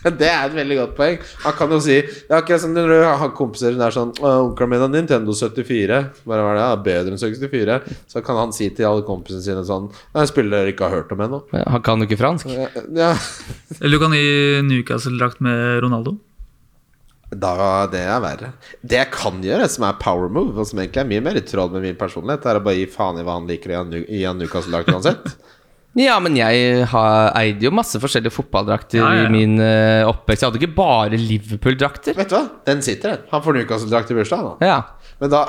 [SPEAKER 3] Det er et veldig godt poeng. Han kan jo si Det er akkurat som når du har kompiser som er sånn 'Onkelen min har Nintendo 74.' Bare var det, ja, bedre enn 64. Så kan han si til alle kompisene sine sånn 'Nei, spillet dere ikke har hørt om ennå'.
[SPEAKER 4] Ja, Han kan jo ikke fransk.
[SPEAKER 3] Ja.
[SPEAKER 5] Eller du kan gi Newcastle-drakt med Ronaldo.
[SPEAKER 3] Da, det er verre. Det jeg kan gjøre, som er power move, og som egentlig er mye mer i tråd med min personlighet, er å bare gi faen i hva han liker i han nu- i han Newcastle-lag uansett.
[SPEAKER 4] Ja, men jeg har, eide jo masse forskjellige fotballdrakter
[SPEAKER 5] Ja, ja, ja.
[SPEAKER 4] i min eh, oppvekst. Jeg hadde ikke bare Liverpool-drakter.
[SPEAKER 3] Vet du hva? Den sitter, den. Han får Newcastle-drakt i bursdagen. han.
[SPEAKER 4] Ja.
[SPEAKER 3] Men da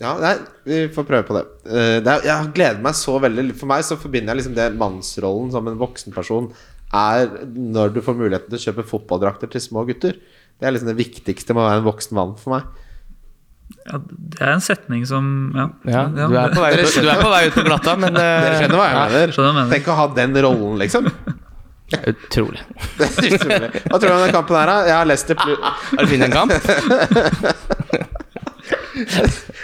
[SPEAKER 3] Ja, nei, vi får prøve på det. Eh, det er, jeg gleder meg så veldig. For meg så forbinder jeg liksom det mannsrollen som en voksen person er når du får muligheten til å kjøpe fotballdrakter til små gutter. Det er liksom det viktigste med å være en voksen mann for meg.
[SPEAKER 5] Ja, det er en setning som Ja,
[SPEAKER 4] ja.
[SPEAKER 5] ja,
[SPEAKER 4] Du, er på vei,
[SPEAKER 3] Dere
[SPEAKER 4] ut- du er på vei ut på glatta, men eh,
[SPEAKER 3] Dere skjønner hva jeg mener?
[SPEAKER 5] jeg skjønner hva jeg mener.
[SPEAKER 3] Tenk å ha den rollen, liksom.
[SPEAKER 4] Utrolig.
[SPEAKER 3] Det er utrolig. Hva tror du om den kampen her, da? Jeg har Leicester plu-
[SPEAKER 4] Har du funnet en kamp?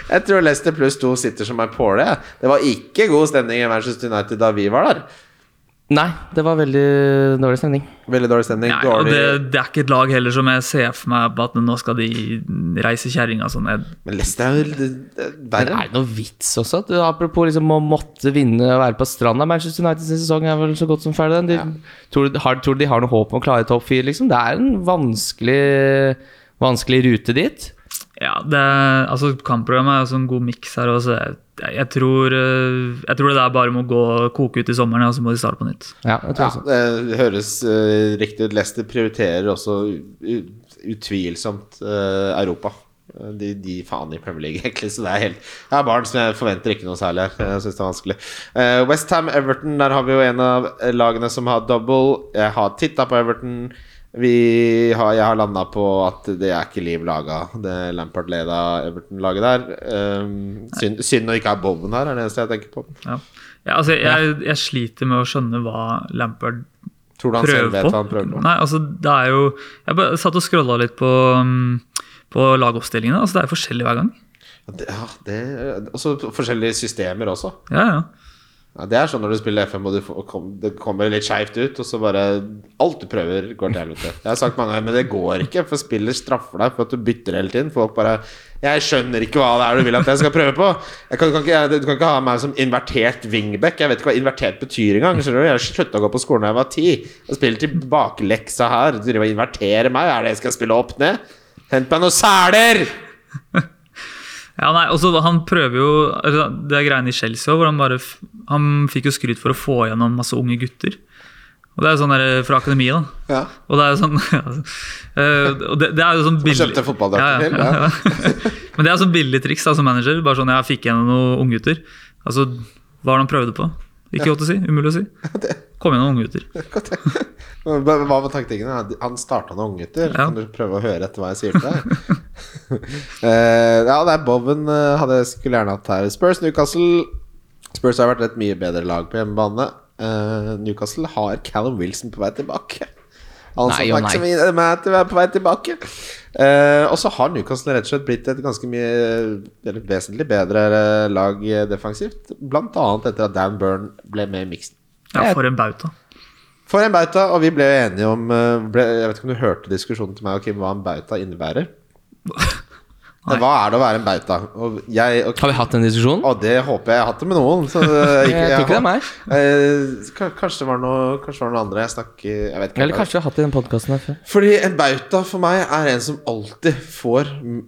[SPEAKER 3] Jeg tror Leicester pluss to sitter som ei påle. jeg. Det var ikke god stemning i Manchester United da vi var der.
[SPEAKER 4] Nei, det var veldig dårlig stemning.
[SPEAKER 3] Veldig dårlig stemning.
[SPEAKER 5] Nei, og
[SPEAKER 3] Dårlig
[SPEAKER 5] det, det er ikke et lag heller som jeg ser for meg på at nå skal de reise kjerringa sånn ned.
[SPEAKER 3] Men Leicester er jo det- det er
[SPEAKER 4] Men
[SPEAKER 3] verre.
[SPEAKER 4] er det noe vits også? Du, apropos liksom å måtte vinne og være på stranda. Manchester United sin sesong er vel så godt som ferdig. den. De, tror, du, har, tror du de har noe håp om å klare topp fire? Liksom? Det er en vanskelig, vanskelig rute dit.
[SPEAKER 5] Ja, det, er- altså Kampprogrammet er jo sånn god miks her. Også. Jeg, jeg, tror, eh, jeg tror det der bare må gå koke ut i sommeren, og så må de starte på nytt.
[SPEAKER 4] Ja, jeg tror
[SPEAKER 3] Ja,
[SPEAKER 4] også.
[SPEAKER 3] det høres eh, riktig ut. Leicester prioriterer også u- utvilsomt eh, Europa. Eh, De, de faen i Premier League, egentlig. Så det er helt Jeg har barn som jeg forventer ikke noe særlig her. Jeg synes det er vanskelig. Eh, West Ham, Everton, der har vi jo en av lagene som har double. Jeg har titta på Everton. Vi har, jeg har landa på at det er ikke liv laga, det Lampard leda Everton-laget der. Eh, synd, synd å ikke ha Bowen her, er det eneste jeg tenker på.
[SPEAKER 5] Ja. Ja, altså, jeg, jeg sliter med å skjønne hva Lampard
[SPEAKER 3] Tror du han
[SPEAKER 5] prøver
[SPEAKER 3] selv vet
[SPEAKER 5] på.
[SPEAKER 3] hva han prøver på?
[SPEAKER 5] Nei, altså, det er jo Jeg bare satt og scrolla litt på, um, på lagoppstillingene. Altså, det er jo forskjellig hver gang.
[SPEAKER 3] Ja, Det, ja, det, og så forskjellige systemer også.
[SPEAKER 5] Ja, ja.
[SPEAKER 3] Ja, det er sånn når du spiller FM og du får, kom, det kommer litt skeivt ut, og så bare Alt du prøver, går til helvete. Jeg har sagt mange ganger, men det går ikke, for spiller straffer deg for at du bytter hele tiden. Folk bare Jeg skjønner ikke hva det er du vil at jeg skal prøve på. Jeg kan, kan ikke, jeg, du kan ikke ha meg som invertert wingback. Jeg vet ikke hva invertert betyr engang. Skjønner du? Jeg slutta å gå på skolen da jeg var ti. Jeg spiller tilbakeleksa her. Du driver og inverterer meg. Er det jeg skal spille opp ned? Hent meg noen seler!
[SPEAKER 5] Ja, nei, også, Han prøver jo altså, Det er greiene i Chelsea òg, hvor han bare f- Han fikk jo skryt for å få igjennom masse unge gutter. Og det er jo sånn der, fra akademiet, da.
[SPEAKER 3] Ja.
[SPEAKER 5] Og det er jo sånn eh, og det, det er jo sånn billig
[SPEAKER 3] kjøpte fotballdrakter
[SPEAKER 5] ja. Men det er sånn billig triks da, som manager. Bare sånn, jeg fikk igjennom noen unggutter. Altså, hva var det han prøvde på? Ikke godt å si. Umulig å si. Kom igjennom unggutter.
[SPEAKER 3] Hva hva var taktikken? Han- Han starta noen unggutter.
[SPEAKER 5] Ja.
[SPEAKER 3] Kan du prøve å høre etter hva jeg sier til deg? Eh, ja, det er Bowen eh, hadde jeg skulle gjerne hatt her. Spurs Newcastle. Spurs har vært et mye bedre lag på hjemmebane. Eh, Newcastle har Callum Wilson på vei tilbake. Han som
[SPEAKER 4] Nei og nei.
[SPEAKER 3] Maximilian Matthew er på vei tilbake. Eh, og så har Newcastle rett og slett blitt et ganske mye eller vesentlig bedre eh, lag eh, defensivt. Blant annet etter at Dan Byrne ble med i miksen.
[SPEAKER 5] Ja, for en bauta.
[SPEAKER 3] For en bauta, og vi ble jo enige om eh, ble, Jeg vet ikke om du hørte diskusjonen til meg og Kim, hva en bauta innebærer?
[SPEAKER 5] Nei.
[SPEAKER 3] Hva er det å være en bauta? Og jeg og
[SPEAKER 4] Har vi hatt den diskusjonen?
[SPEAKER 3] og det håper jeg jeg har hatt det med noen. Så eh,
[SPEAKER 4] Jeg tror ikke det er meg.
[SPEAKER 3] Eh, ka- kanskje det var noe Kanskje det var noen andre. Jeg snakker Jeg vet ikke.
[SPEAKER 4] Eller kanskje vi har hatt det i den podkasten her før.
[SPEAKER 3] Fordi en bauta for meg er en som alltid får mm,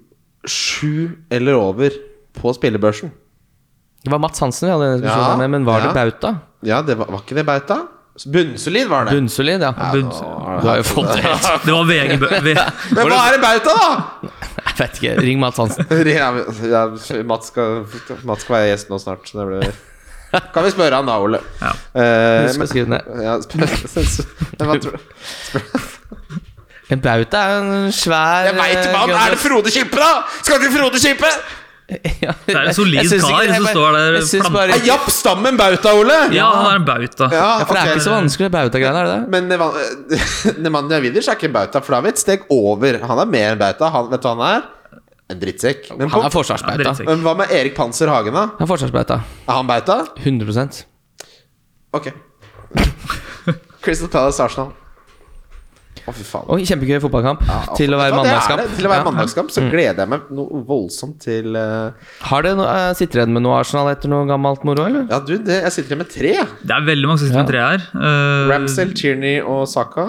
[SPEAKER 3] sju eller over på spillebørsen.
[SPEAKER 4] Det var Mats Hansen vi hadde den
[SPEAKER 3] Ja,
[SPEAKER 4] diskusjonen med, men var
[SPEAKER 3] ja.
[SPEAKER 4] det bauta?
[SPEAKER 3] Ja, det var, var ikke det bauta? Bunnsolid var det.
[SPEAKER 4] Bunnsolid, ja.
[SPEAKER 5] Bunn-
[SPEAKER 4] Du har jo fått det helt
[SPEAKER 5] Det var VG bø- V-
[SPEAKER 3] Men hva er en bauta, da?
[SPEAKER 4] Jeg vet ikke. Ring Mats Hansen.
[SPEAKER 3] Ja, men- ja, Mats, skal, Mats skal være gjest nå snart. Så det blir... Kan vi spørre han da, Ole?
[SPEAKER 5] Ja.
[SPEAKER 3] Eh,
[SPEAKER 4] Husk å
[SPEAKER 3] men,
[SPEAKER 4] skrive det ned.
[SPEAKER 3] ja, spør, men hva tror,
[SPEAKER 4] En bauta er jo en svær eh,
[SPEAKER 3] jeg veit hva han er! det Frode Kippe, da! Skal til Frode Kippe!
[SPEAKER 5] Det er en solid kar som står der
[SPEAKER 4] Jeg syns
[SPEAKER 5] flam-
[SPEAKER 4] bare
[SPEAKER 3] Er Japp Stammen bauta, Ole?
[SPEAKER 5] Ja, han er en bauta.
[SPEAKER 4] Ja, For det er
[SPEAKER 3] ok.
[SPEAKER 4] ikke så vanskelig, det bauta-greiene, er det det?
[SPEAKER 3] Men Nevan- Nemanja Vidic er ikke en bauta, for da er vi et steg over. Han er mer en bauta. Han, vet du hva han er? En drittsekk. Men,
[SPEAKER 4] Han
[SPEAKER 3] på,
[SPEAKER 4] er forsvarsbeita.
[SPEAKER 5] drittsekk.
[SPEAKER 3] men hva med Erik Panser Hagen, da?
[SPEAKER 4] Han er forsvarsbeita.
[SPEAKER 3] Er han bauta?
[SPEAKER 4] 100
[SPEAKER 3] Ok. Crystal Palace Arsenal. Å, fy faen.
[SPEAKER 4] Oi, kjempegøy fotballkamp.
[SPEAKER 3] Ja,
[SPEAKER 4] til å
[SPEAKER 3] vet
[SPEAKER 4] være
[SPEAKER 3] du hva, det er
[SPEAKER 4] mandagskamp.
[SPEAKER 3] det. Til å være
[SPEAKER 4] Ja. Mm.
[SPEAKER 3] mandagskamp så gleder jeg meg noe voldsomt til eh,
[SPEAKER 4] Har det no, eh, Sitter dere igjen med noe Arsenal etter noe gammelt moro, eller?
[SPEAKER 3] Ja, du, det, jeg sitter igjen med tre.
[SPEAKER 4] Mm.
[SPEAKER 3] jeg.
[SPEAKER 5] Det er veldig mange som sitter med tre her. Eh,
[SPEAKER 3] Ramsdale, Tierney og Saka.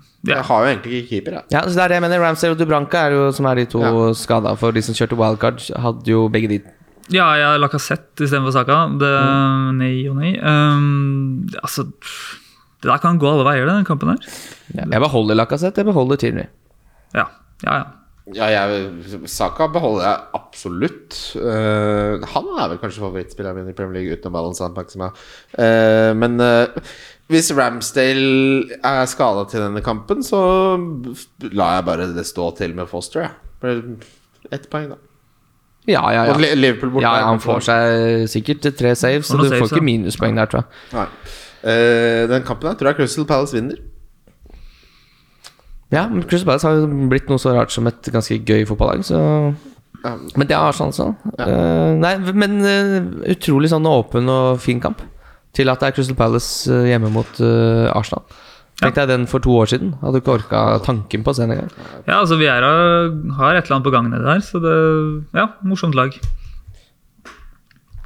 [SPEAKER 5] Ja.
[SPEAKER 3] Jeg har jo egentlig ikke keeper, jeg.
[SPEAKER 4] Ja, så det er det jeg mener. Ramsay og Dubranka er jo som er de to
[SPEAKER 3] Ja.
[SPEAKER 4] skada for de som kjørte wildcard. Hadde jo begge de
[SPEAKER 5] Ja, jeg har Lacassette istedenfor Saka. Det,
[SPEAKER 3] Mm.
[SPEAKER 5] Nei og nei. Ehm, altså pff, Det der kan gå alle veier, den kampen her.
[SPEAKER 4] Jeg beholder Lacassette, jeg beholder Tierney.
[SPEAKER 5] Ja, ja, ja.
[SPEAKER 3] Ja, jeg Saka beholder jeg absolutt. Eh, han er vel kanskje favorittspilleren min i Premier League utenom Alan Sandbach, som jeg Eh, Men eh, hvis Ramsdale er skada til denne kampen, så lar jeg bare det stå til med Foster, jeg. Bare Ett poeng, da.
[SPEAKER 4] Ja, ja,
[SPEAKER 3] Og
[SPEAKER 4] ja.
[SPEAKER 3] Le- Liverpool borte.
[SPEAKER 4] ja, ja han får seg sikkert tre saves, så
[SPEAKER 5] Får
[SPEAKER 4] du
[SPEAKER 5] noen
[SPEAKER 4] får
[SPEAKER 5] saves,
[SPEAKER 4] ikke
[SPEAKER 5] ja.
[SPEAKER 4] minuspoeng der, tror jeg.
[SPEAKER 3] Nei. Eh, den kampen her tror jeg Crystal Palace vinner.
[SPEAKER 4] Ja, men Crystal Palace har jo blitt noe så rart som et ganske gøy fotballag, så
[SPEAKER 3] Ja.
[SPEAKER 4] Men det er Arsenal, altså. Eh, nei, men eh, utrolig sånn åpen og fin kamp. Til at det er Crystal Palace eh, hjemme mot eh, Arsenal. Tenkte jeg den for to år siden. Hadde ikke orka tanken på å se den engang.
[SPEAKER 5] Ja, altså vi er, har et eller annet på gang nedi der, så det Ja, morsomt lag.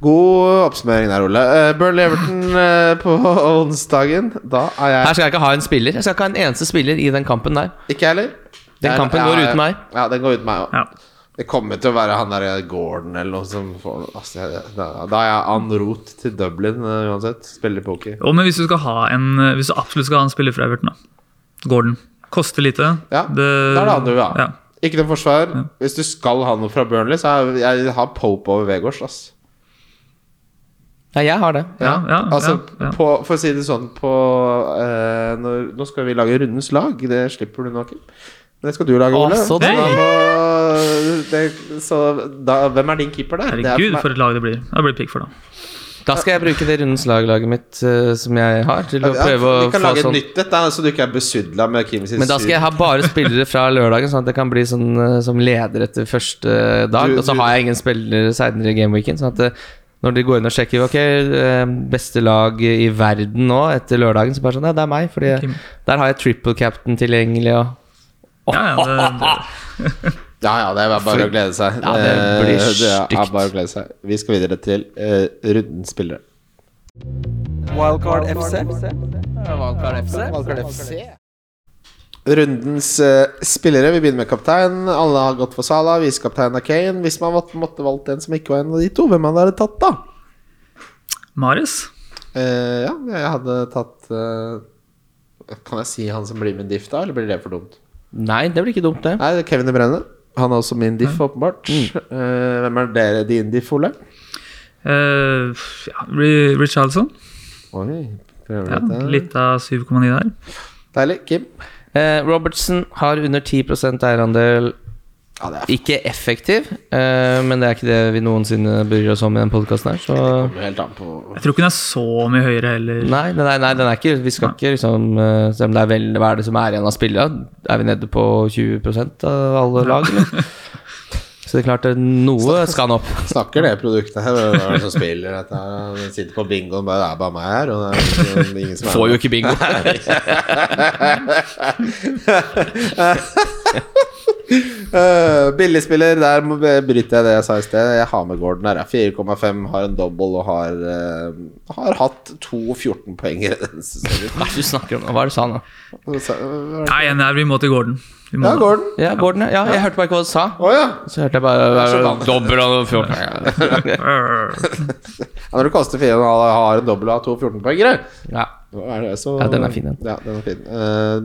[SPEAKER 3] God oppsummering der, Ole. Eh, Burnley Everton eh, på onsdagen. Da er
[SPEAKER 4] Her
[SPEAKER 3] jeg
[SPEAKER 4] skal jeg ikke ha en spiller. Jeg skal ikke ha en eneste spiller i den kampen der.
[SPEAKER 3] ikke jeg heller.
[SPEAKER 4] Den
[SPEAKER 3] Jeg-
[SPEAKER 4] kampen
[SPEAKER 3] jeg-
[SPEAKER 4] går uten meg.
[SPEAKER 3] Ja, den går uten meg òg.
[SPEAKER 5] Ja.
[SPEAKER 3] Det kommer til å være han der Gordon eller noe som får altså, jeg- da, da er jeg en rot til Dublin eh, uansett. Spiller poker.
[SPEAKER 5] Og men hvis du, skal ha en, hvis du absolutt skal ha en spiller fra Everton, da. Gordon. Koster lite.
[SPEAKER 3] Ja, det, er det andre vi har.
[SPEAKER 5] Ja.
[SPEAKER 3] Ikke noe forsvar. Hvis du skal ha noe fra Burnley, så er, jeg har Pope over Vegårs. Ass.
[SPEAKER 4] Ja, jeg har det.
[SPEAKER 3] Ja,
[SPEAKER 5] Ja, ja,
[SPEAKER 3] altså
[SPEAKER 5] ja, ja.
[SPEAKER 3] På, For å si det sånn på, eh, når, Nå skal vi lage rundens lag. Det slipper du nå, Kim. Men Det skal du lage,
[SPEAKER 4] Å,
[SPEAKER 3] Ole.
[SPEAKER 4] så
[SPEAKER 3] Så da
[SPEAKER 4] deilig.
[SPEAKER 3] må- det, så da, hvem er din keeper der? Det er
[SPEAKER 5] Herregud,
[SPEAKER 3] meg.
[SPEAKER 5] for et lag det blir. Da blir det Pickford, da.
[SPEAKER 4] Da skal jeg bruke det rundens lag-laget mitt eh, som jeg har, til å
[SPEAKER 3] Ja,
[SPEAKER 4] prøve
[SPEAKER 3] vi
[SPEAKER 4] å
[SPEAKER 3] kan
[SPEAKER 4] få
[SPEAKER 3] lage et
[SPEAKER 4] sånn
[SPEAKER 3] nytt et, da, så du ikke er besudla med Kim sin
[SPEAKER 4] Men da skal jeg ha bare spillere fra lørdagen, sånn at jeg kan bli sånn, eh, som leder etter første dag.
[SPEAKER 3] Du-
[SPEAKER 4] Og så
[SPEAKER 3] du-
[SPEAKER 4] har jeg ingen spillere seinere i gameweeken. Sånn at eh, når de går inn og sjekker Ok, eh, beste lag i verden nå etter lørdagen, så bare sånn Ja, det er meg, Fordi
[SPEAKER 5] Kim.
[SPEAKER 4] der har jeg triple captain tilgjengelig og
[SPEAKER 5] Ja, ja, det, det,
[SPEAKER 3] Ja, ja, det er bare å glede seg.
[SPEAKER 4] Ja, det blir
[SPEAKER 3] Eh, det er
[SPEAKER 4] stygt.
[SPEAKER 3] bare å glede seg. Vi skal videre til eh, rundens spillere.
[SPEAKER 1] Wildcard FC.
[SPEAKER 3] Rundens eh, spillere. Vi begynner med kaptein. Alle har gått for Salah. Visekaptein er Kane. Hvis man måtte, måtte valgt en som ikke var en av de to, hvem hadde dere tatt, da?
[SPEAKER 5] Mares?
[SPEAKER 3] Eh, ja, jeg hadde tatt eh, Kan jeg si han som blir min diff, da? Eller blir det for dumt?
[SPEAKER 4] Nei, det blir ikke dumt, det.
[SPEAKER 3] Nei, det er Kevin De Bruyne. Han er også min diff, åpenbart. Eh, hvem er dere din diff, Ole?
[SPEAKER 5] Uh, ja, Ri- Richarlison.
[SPEAKER 3] Oi, prøver eh.
[SPEAKER 5] Ja,
[SPEAKER 3] dette.
[SPEAKER 5] litt av 7,9 der.
[SPEAKER 3] Deilig. Kim?
[SPEAKER 4] Eh, Robertson har under 10 eierandel.
[SPEAKER 3] Ja, det er
[SPEAKER 4] Ikke effektiv, eh, men det er ikke det vi noensinne bryr oss om i den podkasten her. Så
[SPEAKER 3] kommer jo helt an på
[SPEAKER 5] Jeg tror ikke den er så mye høyere heller.
[SPEAKER 4] Nei, nei, nei, nei den er ikke Vi skal ikke liksom eh, Selv om det er vel Hva er det som er igjen av spillere? Er vi nede på 20 av alle lag, eller? Så det er klart, det er noe skal han opp.
[SPEAKER 3] Snakker det produktet her? Hvem er det som spiller dette? her? Den sitter på bingoen, bare det er bare meg her. Og det er liksom ingen som er
[SPEAKER 4] Får
[SPEAKER 3] med.
[SPEAKER 4] jo ikke bingo.
[SPEAKER 3] Øh, Billigspiller, der må- bryter jeg det jeg sa i sted. Jeg har med Gordon her. jeg. 4,5, har en dobbel og har, øh, har hatt to 14 poenger denne sesongen.
[SPEAKER 4] Hva er det du snakker om? nå? Hva er det du sa nå?
[SPEAKER 3] Så, øh,
[SPEAKER 5] Nei, en der, vi må til Gordon. Vi må
[SPEAKER 3] Ja,
[SPEAKER 5] da.
[SPEAKER 3] Gordon.
[SPEAKER 4] Ja, Gordon, ja. Jeg hørte bare ikke hva du sa.
[SPEAKER 3] Å ja.
[SPEAKER 4] Så hørte jeg bare
[SPEAKER 3] er så vanlig.
[SPEAKER 4] Dobbel og fjorten.
[SPEAKER 5] Arr.
[SPEAKER 3] ja. Når det koster 4,5 og har en dobbel og har to 14-poengere
[SPEAKER 4] Ja.
[SPEAKER 3] Ja,
[SPEAKER 4] Ja, den er fin, den.
[SPEAKER 3] Ja, den er fin. Øh,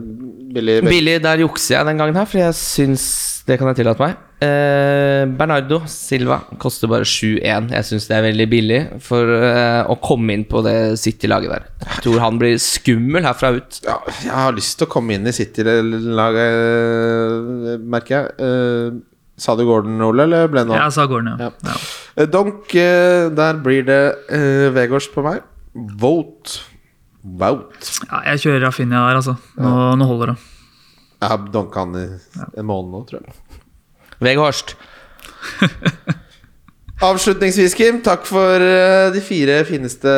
[SPEAKER 3] billig
[SPEAKER 4] Billig, der jukser jeg den gangen her, for jeg syns Det kan jeg tillate meg. Eh, Bernardo Silva koster bare 7-1. Jeg syns det er veldig billig for eh, å komme inn på det City-laget der. Jeg tror han blir skummel herfra ut.
[SPEAKER 3] ja, jeg har lyst til å komme inn i City-laget, merker jeg. Eh, sa du Gordon, Ole, eller ble det noe?
[SPEAKER 5] Jeg sa Gordon, ja.
[SPEAKER 3] Ja.
[SPEAKER 5] ja.
[SPEAKER 3] Eh, Donk, eh, der blir det eh, Vegårs på meg. Vote. Vote.
[SPEAKER 5] ja jeg kjører Rafinha der, altså. Nå, nå holder det.
[SPEAKER 3] Jeg har donka han i en måned nå, tror jeg.
[SPEAKER 4] Vegårst.
[SPEAKER 3] Avslutningsvis, Kim, takk for eh, de fire fineste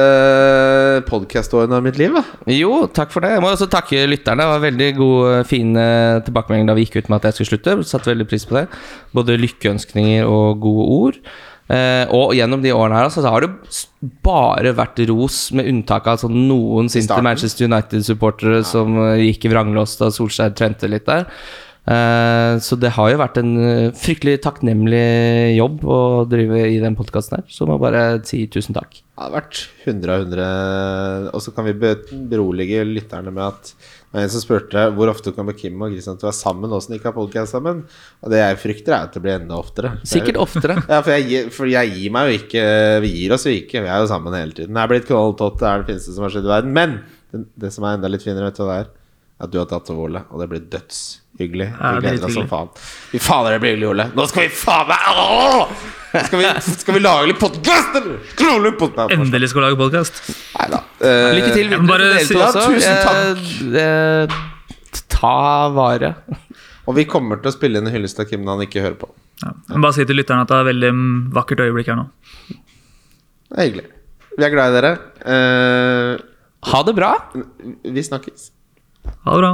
[SPEAKER 3] podkastårene av mitt liv. Da.
[SPEAKER 4] Jo, takk for det. Jeg må også takke lytterne. Det var veldig eh, gode, fine tilbakemeldinger da vi gikk ut med at jeg skulle slutte. Jeg Satte veldig pris på det. Både lykkeønskninger og gode ord. Eh, og gjennom de årene her altså, så har det s- bare vært ros, med unntak av sånn noen sinte
[SPEAKER 3] starten.
[SPEAKER 4] Manchester United-supportere som eh, gikk i vranglås da Solskjær trente litt der. Eh, så det har jo vært en eh, fryktelig takknemlig jobb å drive i den podkasten her. Så må jeg bare si tusen takk.
[SPEAKER 3] Det har vært 100 av 100. Og så kan vi be- berolige lytterne med at det var en som spurte hvor ofte kommer Kim og Christian til å være sammen nå som de ikke har podkast sammen. Og det jeg frykter, er at det blir enda oftere. Det er jo-
[SPEAKER 4] Sikkert oftere.
[SPEAKER 3] Ja, for jeg, gir- for jeg gir meg jo ikke. Vi gir oss jo ikke. Vi er jo sammen hele tiden. Jeg er blitt knalltott. Det er det fineste som har skjedd i verden. Men det, det som er enda litt finere, vet du hva det er? At du har tatt over, Ole. Og det blir dødshyggelig. Vi
[SPEAKER 5] Ja, det
[SPEAKER 3] gleder
[SPEAKER 5] blir
[SPEAKER 3] oss som
[SPEAKER 5] hyggelig.
[SPEAKER 3] faen. Fy fader, det blir hyggelig, Ole. Nå skal vi faen meg Åh! Nå skal vi, skal vi lage litt podkast, eller? Klole podkast.
[SPEAKER 5] Endelig skal du lage podkast.
[SPEAKER 3] Nei da. Eh,
[SPEAKER 4] Lykke til
[SPEAKER 5] Jeg må
[SPEAKER 4] videre
[SPEAKER 5] bare
[SPEAKER 4] til dere
[SPEAKER 5] si-
[SPEAKER 4] to
[SPEAKER 5] Ja,
[SPEAKER 4] også.
[SPEAKER 3] tusen
[SPEAKER 4] Eh, eh, ta vare.
[SPEAKER 3] Og vi kommer til å spille inn en hyllest av Kim når han ikke hører på.
[SPEAKER 5] Ja. Jeg må Bare si til lytterne at det er et veldig mm, vakkert øyeblikk her nå.
[SPEAKER 3] Det er hyggelig. Vi er glad i dere. Eh,
[SPEAKER 4] Ha det bra.
[SPEAKER 3] vi snakkes.
[SPEAKER 5] Ha det bra.